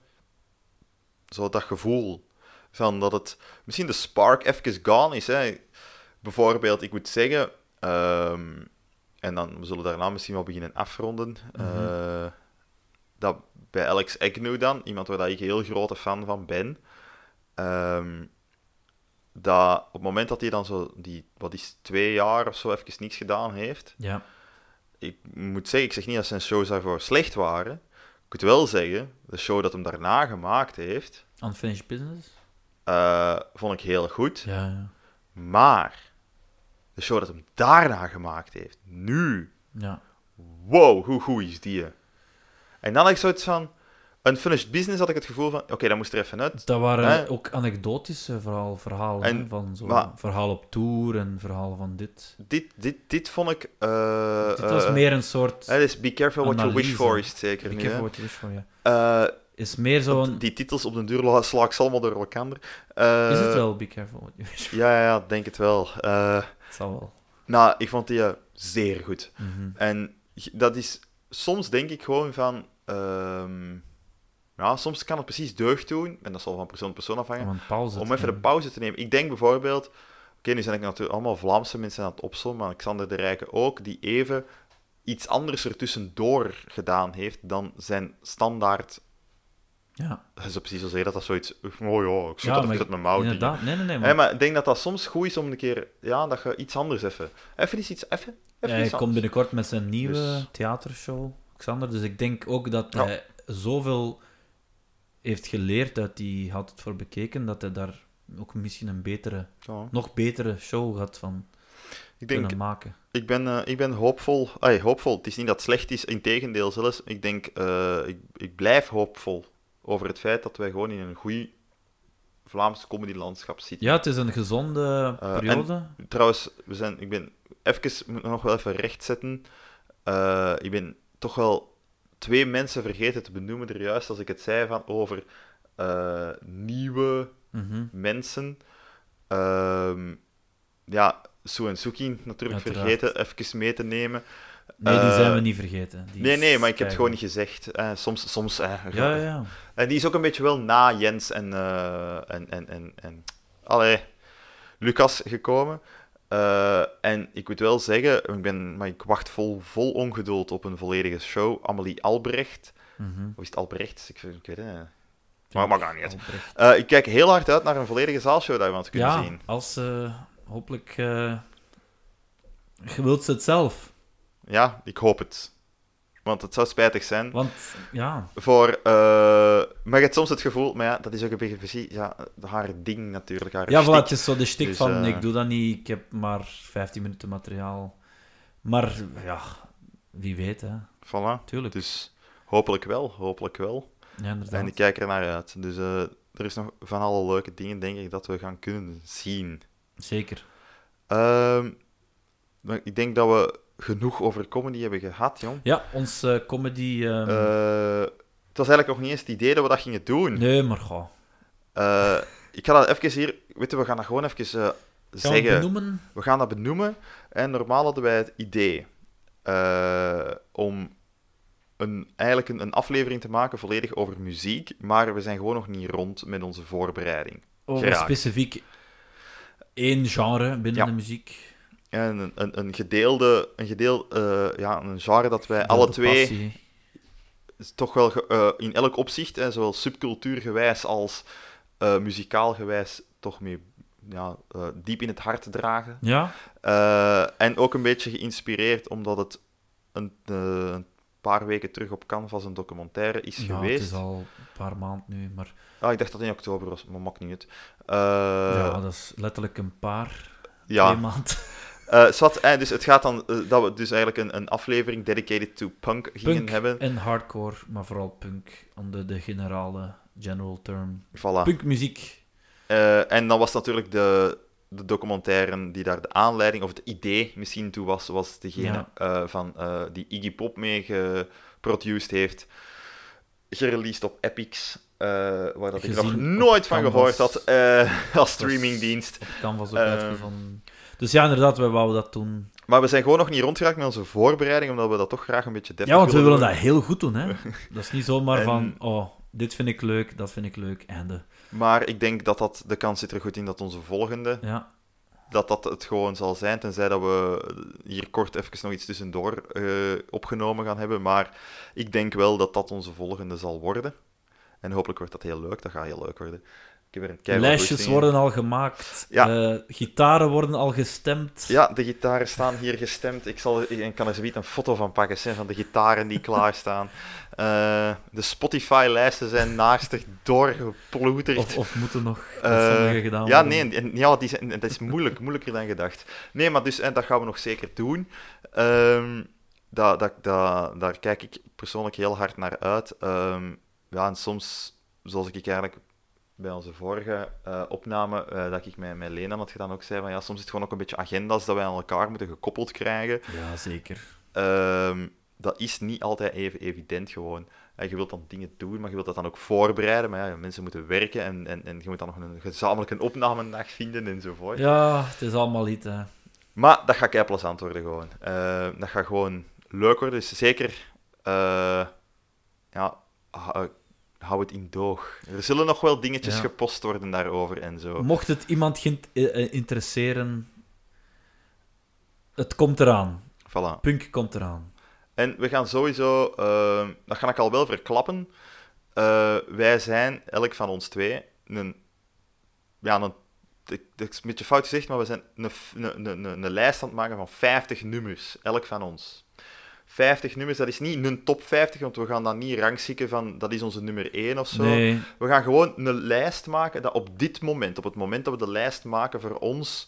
S2: zo dat gevoel van dat het misschien de spark even gone is. Hè. Bijvoorbeeld, ik moet zeggen, ehm, en dan we zullen daarna misschien wel beginnen afronden. eh, dat bij Alex Agnew dan, iemand waar dat ik heel grote fan van ben, ehm, dat op het moment dat hij dan zo die, wat is twee jaar of zo, even niets gedaan heeft,
S1: Ja.
S2: ik moet zeggen, ik zeg niet dat zijn shows daarvoor slecht waren. Ik moet wel zeggen, de show dat hem daarna gemaakt heeft,
S1: Unfinished Business.
S2: eh, vond ik heel goed.
S1: Ja, ja.
S2: Maar de show dat hem daarna gemaakt heeft, nu,
S1: ja.
S2: wow, hoe goed is die? En dan had ik zoiets van, unfinished business had ik het gevoel van, oké, dat moest er even uit.
S1: Dat waren
S2: Hè?
S1: ook anekdotische verhaal, verhalen. hè,
S2: En-
S1: van zo,
S2: maar-
S1: verhaal op tour en verhaal van dit.
S2: Dit, dit, dit vond ik... eh,
S1: dit was
S2: eh,
S1: meer een soort...
S2: hè, dus be careful what you wish
S1: analyse.
S2: for is het zeker
S1: ik
S2: niet.
S1: heb
S2: hè.
S1: wat je voor je.
S2: Eh,
S1: Is meer zo'n...
S2: Die titels op den duur la- sla ik ze allemaal door elkaar. Eh,
S1: is het wel Be Careful What You Wish For?
S2: Ja, ja, ja, denk het wel. Eh,
S1: Het zal wel.
S2: nou, ik vond die eh, zeer goed.
S1: Mhm.
S2: En g- dat is soms denk ik gewoon van... ehm, ja, soms kan het precies deugd doen, en dat zal van persoon tot persoon afhangen,
S1: Om een pauze
S2: om
S1: te
S2: even de
S1: nemen.
S2: pauze te nemen. Ik denk bijvoorbeeld, oké, nu zijn ik natuurlijk allemaal Vlaamse mensen aan het opzommen, maar Alexander de Rijke ook, die even iets anders ertussendoor gedaan heeft dan zijn standaard.
S1: Ja,
S2: Dat is precies zo zeggen dat dat zoiets. Oh ja, ik zit
S1: Ja,
S2: dat
S1: maar
S2: met mijn mouw. dingen.
S1: inderdaad. Nee, nee, nee.
S2: Hè,
S1: Maar,
S2: maar ik denk dat dat soms goed is om een keer, ja, dat je iets anders even. Even iets, even. even
S1: hij
S2: iets
S1: komt
S2: anders.
S1: binnenkort met zijn nieuwe
S2: Dus-
S1: theatershow, Xander. Dus ik denk ook dat
S2: Ja.
S1: hij zoveel heeft geleerd uit die had het voor bekeken, dat hij daar ook misschien een betere,
S2: Ja.
S1: nog betere show gaat van
S2: Ik denk,
S1: kunnen maken.
S2: Ik ben, eh, ik ben hoopvol. Ay, hoopvol. Het is niet dat het slecht is, integendeel zelfs. Ik denk, eh, ik, ik blijf hoopvol over het feit dat wij gewoon in een goed Vlaams comedylandschap zitten.
S1: Ja, het is een gezonde
S2: Eh,
S1: periode.
S2: Trouwens, we zijn, ik ben even, moet nog wel even rechtzetten. Eh ik ben toch wel twee mensen vergeten te benoemen er juist als ik het zei van over eh, nieuwe
S1: Mhm.
S2: mensen. Ehm ja, Sue en Suki natuurlijk
S1: Uiteraard.
S2: vergeten even mee te nemen.
S1: Nee, die zijn we
S2: Eh,
S1: niet vergeten. Die
S2: Nee,
S1: is
S2: nee, maar ik heb het gewoon
S1: keihard.
S2: niet gezegd. Eh, soms, soms. eh,
S1: Ja, ja, ja.
S2: En die is ook een beetje wel na Jens en. eh, en, en, en, en allee, Lucas gekomen. Eh, en ik moet wel zeggen, ik ben, maar ik wacht vol, vol ongeduld op een volledige show. Amelie Albrecht.
S1: Mhm.
S2: Of is het Albrecht? Ik, ik weet het niet. Maar maar maakt niet uit.
S1: Albrecht.
S2: Eh, ik kijk heel hard uit naar een volledige zaalshow daarvan te kunnen
S1: Ja,
S2: zien.
S1: als eh, hopelijk. eh je wilt ze het zelf.
S2: Ja, ik hoop het. Want het zou spijtig zijn.
S1: Want ja,
S2: Voor, eh, maar je hebt soms het gevoel, maar ja, dat is ook een beetje precies, ja, haar ding natuurlijk. Haar
S1: ja voilà,
S2: shtick.
S1: het is zo de stik
S2: Dus,
S1: van:
S2: eh,
S1: ik doe dat niet, ik heb maar 15 minuten materiaal. Maar ja, wie weet, hè?
S2: Voilà.
S1: Tuurlijk.
S2: Dus hopelijk wel, hopelijk wel.
S1: ja, inderdaad.
S2: En ik kijk er naar uit. Dus eh, er is nog van alle leuke dingen, denk ik, dat we gaan kunnen zien.
S1: Zeker.
S2: Ehm, maar ik denk dat we genoeg over comedy hebben gehad, jong.
S1: Ja, ons eh, comedy. ehm,
S2: Eh, het was eigenlijk nog niet eens het idee dat we dat gingen doen.
S1: nee, maar ga.
S2: Eh, ik ga dat even hier, weet je, we gaan dat gewoon even eh,
S1: Gaan we het
S2: zeggen.
S1: benoemen?
S2: We gaan dat benoemen. En normaal hadden wij het idee eh, om een, eigenlijk een, een aflevering te maken volledig over muziek. Maar we zijn gewoon nog niet rond met onze voorbereiding.
S1: Over
S2: Graag.
S1: specifiek één genre binnen
S2: Ja.
S1: de muziek.
S2: En een, een, een gedeelde, een gedeel, eh, ja, een genre dat wij Eh, alle
S1: De
S2: twee
S1: passie.
S2: is toch wel ge- eh, in elk opzicht, hè, zowel subcultuurgewijs als eh muzikaal gewijs, toch mee ja, eh, diep in het hart dragen.
S1: Ja,
S2: Eh, en ook een beetje geïnspireerd omdat het een, eh, een paar weken terug op Canvas een documentaire is
S1: ja het
S2: geweest.
S1: is al een paar maanden nu, maar
S2: Ah, ik dacht dat het in oktober was, maar maakt niet uit. Eh,
S1: ja,
S2: ja,
S1: dat is letterlijk een paar, twee
S2: ja.
S1: maanden.
S2: Eh, zwart, eh, dus het gaat dan eh, dat we dus eigenlijk een, een aflevering dedicated to punk gingen
S1: Punk
S2: hebben.
S1: en hardcore, maar vooral punk, onder de generale general term.
S2: Voilà.
S1: Punkmuziek.
S2: Eh, en dan was natuurlijk de, de documentaire die daar de aanleiding, of het idee misschien toe was, was degene
S1: Ja.
S2: eh, van, eh, die Iggy Pop mee geproduced heeft. Gereleased op Epix, eh, waar dat ik nog
S1: Gezien op
S2: nooit van
S1: Canvas.
S2: gehoord had eh, <laughs> als streamingdienst.
S1: Op Canvas ook
S2: Ehm.
S1: uitgevonden. Dus ja, inderdaad, wij wouden dat doen.
S2: Maar we zijn gewoon nog niet rondgeraakt met onze voorbereiding, omdat we dat toch graag een beetje deftig
S1: Ja, want we willen
S2: doen.
S1: dat heel goed doen,
S2: <laughs>
S1: hè. Dat is niet zomaar
S2: En-
S1: van, oh, dit vind ik leuk, dat vind ik leuk, einde.
S2: Maar ik denk dat, dat de kans zit er goed in dat onze volgende,
S1: Ja,
S2: dat dat het gewoon zal zijn, tenzij dat we hier kort even nog iets tussendoor eh, opgenomen gaan hebben. Maar ik denk wel dat dat onze volgende zal worden. En hopelijk wordt dat heel leuk. Dat gaat heel leuk worden. Ik heb er een keihard
S1: lijstjes
S2: goesting in.
S1: worden al gemaakt,
S2: Ja.
S1: eh, gitaren worden al gestemd.
S2: Ja, de gitaren staan hier gestemd. Ik, zal, ik kan er zoiets een foto van pakken, zijn van de gitaren die klaarstaan. Eh de Spotify-lijsten zijn naastig doorgeploeterd.
S1: Of, of moeten nog dat
S2: Eh,
S1: sommige gedaan
S2: Ja,
S1: worden.
S2: nee, en- ja, die zijn, en dat is moeilijk, moeilijker dan gedacht. Nee, maar dus, en dat gaan we nog zeker doen. Ehm dat, dat, dat, daar kijk ik persoonlijk heel hard naar uit. Ehm, ja, en soms, zoals ik eigenlijk bij onze vorige eh, opname, eh, dat ik met, met Lena had gedaan, ook zei van ja, soms is het gewoon ook een beetje agenda's dat wij aan elkaar moeten gekoppeld krijgen.
S1: Ja, zeker.
S2: Ehm, dat is niet altijd even evident gewoon. En je wilt dan dingen doen, maar je wilt dat dan ook voorbereiden. Maar ja, mensen moeten werken en, en, en je moet dan nog een gezamenlijke opnamendag vinden enzovoort.
S1: Ja, het is allemaal iets, hè.
S2: Ehm, Maar dat gaat kei plezant worden gewoon. Eh, dat gaat gewoon leuk worden. Dus zeker eh, eh, ja, hou, hou het in doog. Er zullen nog wel dingetjes
S1: Ja.
S2: gepost worden daarover en zo.
S1: Mocht het iemand geen- eh, eh, interesseren, het komt eraan.
S2: Voilà.
S1: Punk komt eraan.
S2: En we gaan sowieso, eh, dat ga ik al wel verklappen. Eh, wij zijn, elk van ons twee, een. Ja, een, ik- dat is een beetje fout gezegd, maar we zijn een, f- een, een, een, een lijst aan het maken van 50 nummers. Elk van ons. 50 nummers, dat is niet een top 50, want we gaan dat niet rangschikken van dat is onze nummer 1 of zo.
S1: Nee,
S2: We gaan gewoon een lijst maken dat op dit moment, op het moment dat we de lijst maken voor ons,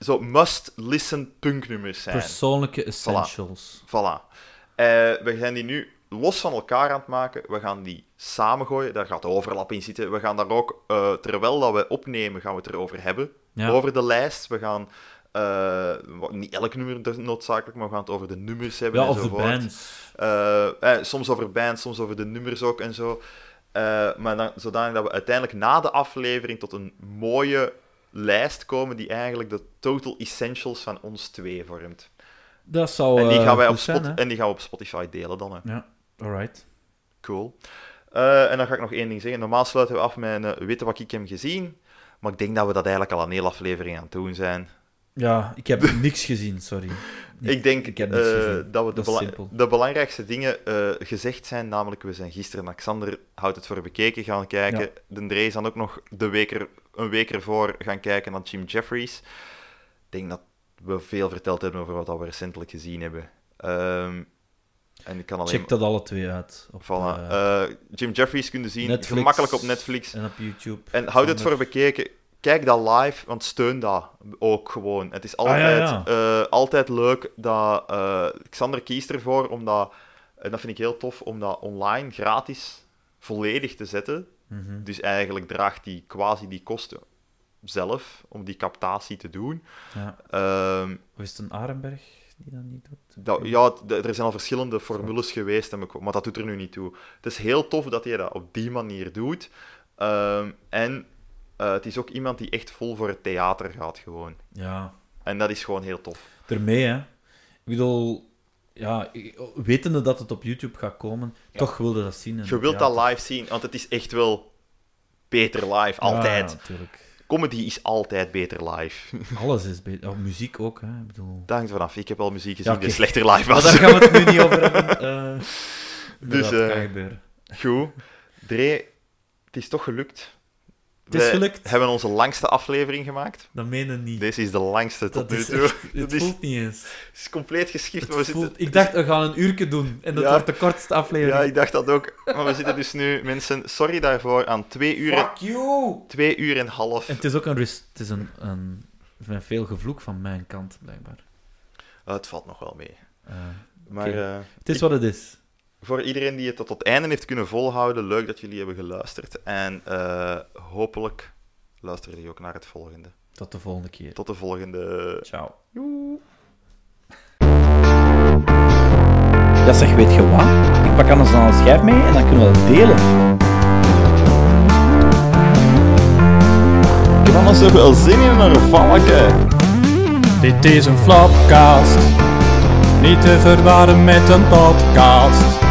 S2: zo must-listen punknummers zijn.
S1: persoonlijke essentials.
S2: Voilà. Eh, we zijn die nu los van elkaar aan het maken. We gaan die samengooien. Daar gaat overlap in zitten. We gaan daar ook, eh, terwijl dat we opnemen, gaan we het erover hebben.
S1: Ja.
S2: Over de lijst. We gaan eh, wa- niet elk nummer noodzakelijk, maar we gaan het over de nummers hebben.
S1: Ja,
S2: en
S1: of de
S2: enzovoort.
S1: bands.
S2: Eh, eh, soms over bands, soms over de nummers ook en zo. Eh, maar dan, zodanig dat we uiteindelijk na de aflevering tot een mooie lijst komen die eigenlijk de total essentials van ons twee vormt.
S1: Dat zou
S2: en, die
S1: eh,
S2: gaan wij
S1: goed
S2: op
S1: zijn,
S2: Spot-
S1: hè?
S2: en die gaan we op Spotify delen dan. Hè.
S1: Ja, alright.
S2: Cool. Eh, en dan ga ik nog één ding zeggen. Normaal sluiten we af met een eh, witte wat ik hem gezien. Maar ik denk dat we dat eigenlijk al een hele aflevering aan het doen zijn.
S1: Ja, ik
S2: <laughs>
S1: heb niks gezien, sorry. Nee,
S2: ik denk
S1: ik heb niks
S2: eh,
S1: gezien.
S2: dat we de,
S1: Dat is
S2: bela-
S1: simpel.
S2: de belangrijkste dingen eh, gezegd zijn. Namelijk, we zijn gisteren naar Xander, houdt het voor bekeken, gaan kijken.
S1: Ja.
S2: De Dre is dan ook nog de week er, een week ervoor gaan kijken naar Jim Jeffries. Ik denk dat we veel verteld hebben over wat we recentelijk gezien hebben. Ehm, en ik kan alleen
S1: Check dat alle twee uit. Op,
S2: Voilà.
S1: eh,
S2: Eh, Jim Jeffries kunnen zien,
S1: Netflix.
S2: gemakkelijk op Netflix.
S1: en op YouTube.
S2: En houd het
S1: Sander.
S2: voor bekeken. Kijk dat live, want steun dat ook gewoon. Het is altijd,
S1: Ah, ja,
S2: eh, altijd leuk dat eh, Xander kiest ervoor om dat, en dat vind ik heel tof, om dat online gratis volledig te zetten.
S1: Mhm.
S2: Dus eigenlijk draagt hij quasi die kosten zelf om die captatie te doen.
S1: Ja.
S2: Ehm,
S1: Of is het een Arenberg die dat niet doet?
S2: dat, ja, d- er zijn al verschillende formules geweest, heb ik- maar dat doet er nu niet toe. Het is heel tof dat hij dat op die manier doet. Ehm, en eh, het is ook iemand die echt vol voor het theater gaat, gewoon.
S1: Ja,
S2: En dat is gewoon heel tof.
S1: ermee, hè. Ik bedoel, ja, ik- wetende dat het op YouTube gaat komen, toch wilde dat zien. en-
S2: Je wilt
S1: ja,
S2: dat live zien, want het is echt wel beter live,
S1: ja,
S2: altijd.
S1: Ja, natuurlijk.
S2: Comedy is altijd beter live. <laughs>
S1: Alles is beter. Oh, muziek ook, hè. Ik bedoel...
S2: Dat hangt vanaf. Ik heb al muziek gezien
S1: Ja, oké.
S2: die slechter live
S1: Maar
S2: was. <laughs>
S1: daar gaan we het nu niet over hebben. eh dus,
S2: eh,
S1: dat kan gebeuren.
S2: Goed. Dre, het is toch gelukt.
S1: Het is
S2: We
S1: gelukt.
S2: hebben onze langste aflevering gemaakt.
S1: Dat menen niet.
S2: Deze is de langste tot
S1: dat
S2: nu
S1: is
S2: toe. <laughs>
S1: echt, het
S2: Dat is-
S1: voelt niet eens.
S2: Het is compleet geschift,
S1: Het
S2: maar we zitten...
S1: voelt- ik dacht, we gaan een uurtje doen. En dat
S2: Ja.
S1: wordt de kortste aflevering.
S2: Ja, ik dacht dat ook. Maar we zitten dus nu, mensen, sorry daarvoor, aan twee uur, en-
S1: Fuck you!
S2: twee uur en half.
S1: En het is ook een rust. Het is een, een, een veel gevloek van mijn kant, blijkbaar.
S2: Ah, het valt nog wel mee.
S1: Eh,
S2: Maar
S1: Oké.
S2: eh,
S1: het is wat het is.
S2: voor iedereen die het tot het einde heeft kunnen volhouden, leuk dat jullie hebben geluisterd. En eh, hopelijk luisteren jullie ook naar het volgende.
S1: Tot de volgende keer.
S2: Tot de volgende.
S1: Ciao.
S4: Ja, zeg, weet je wat? Ik pak anders dan een schijf mee en dan kunnen we dat delen.
S2: Mannen hebben wel zin in een valken.
S3: Dit is een flopcast. Niet te verwarren met een podcast.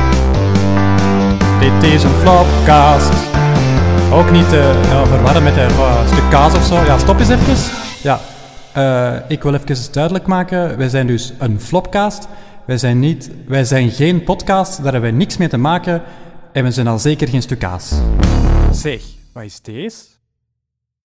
S3: Dit is een flopcast. Ook niet te ja, verwarren met een eh, stuk kaas of zo. Ja, stop eens even. Ja, eh, ik wil even duidelijk maken. Wij zijn dus een flopcast. Wij zijn, niet, wij zijn geen podcast. Daar hebben wij niks mee te maken. En we zijn al zeker geen stuk kaas. Zeg, wat is deze?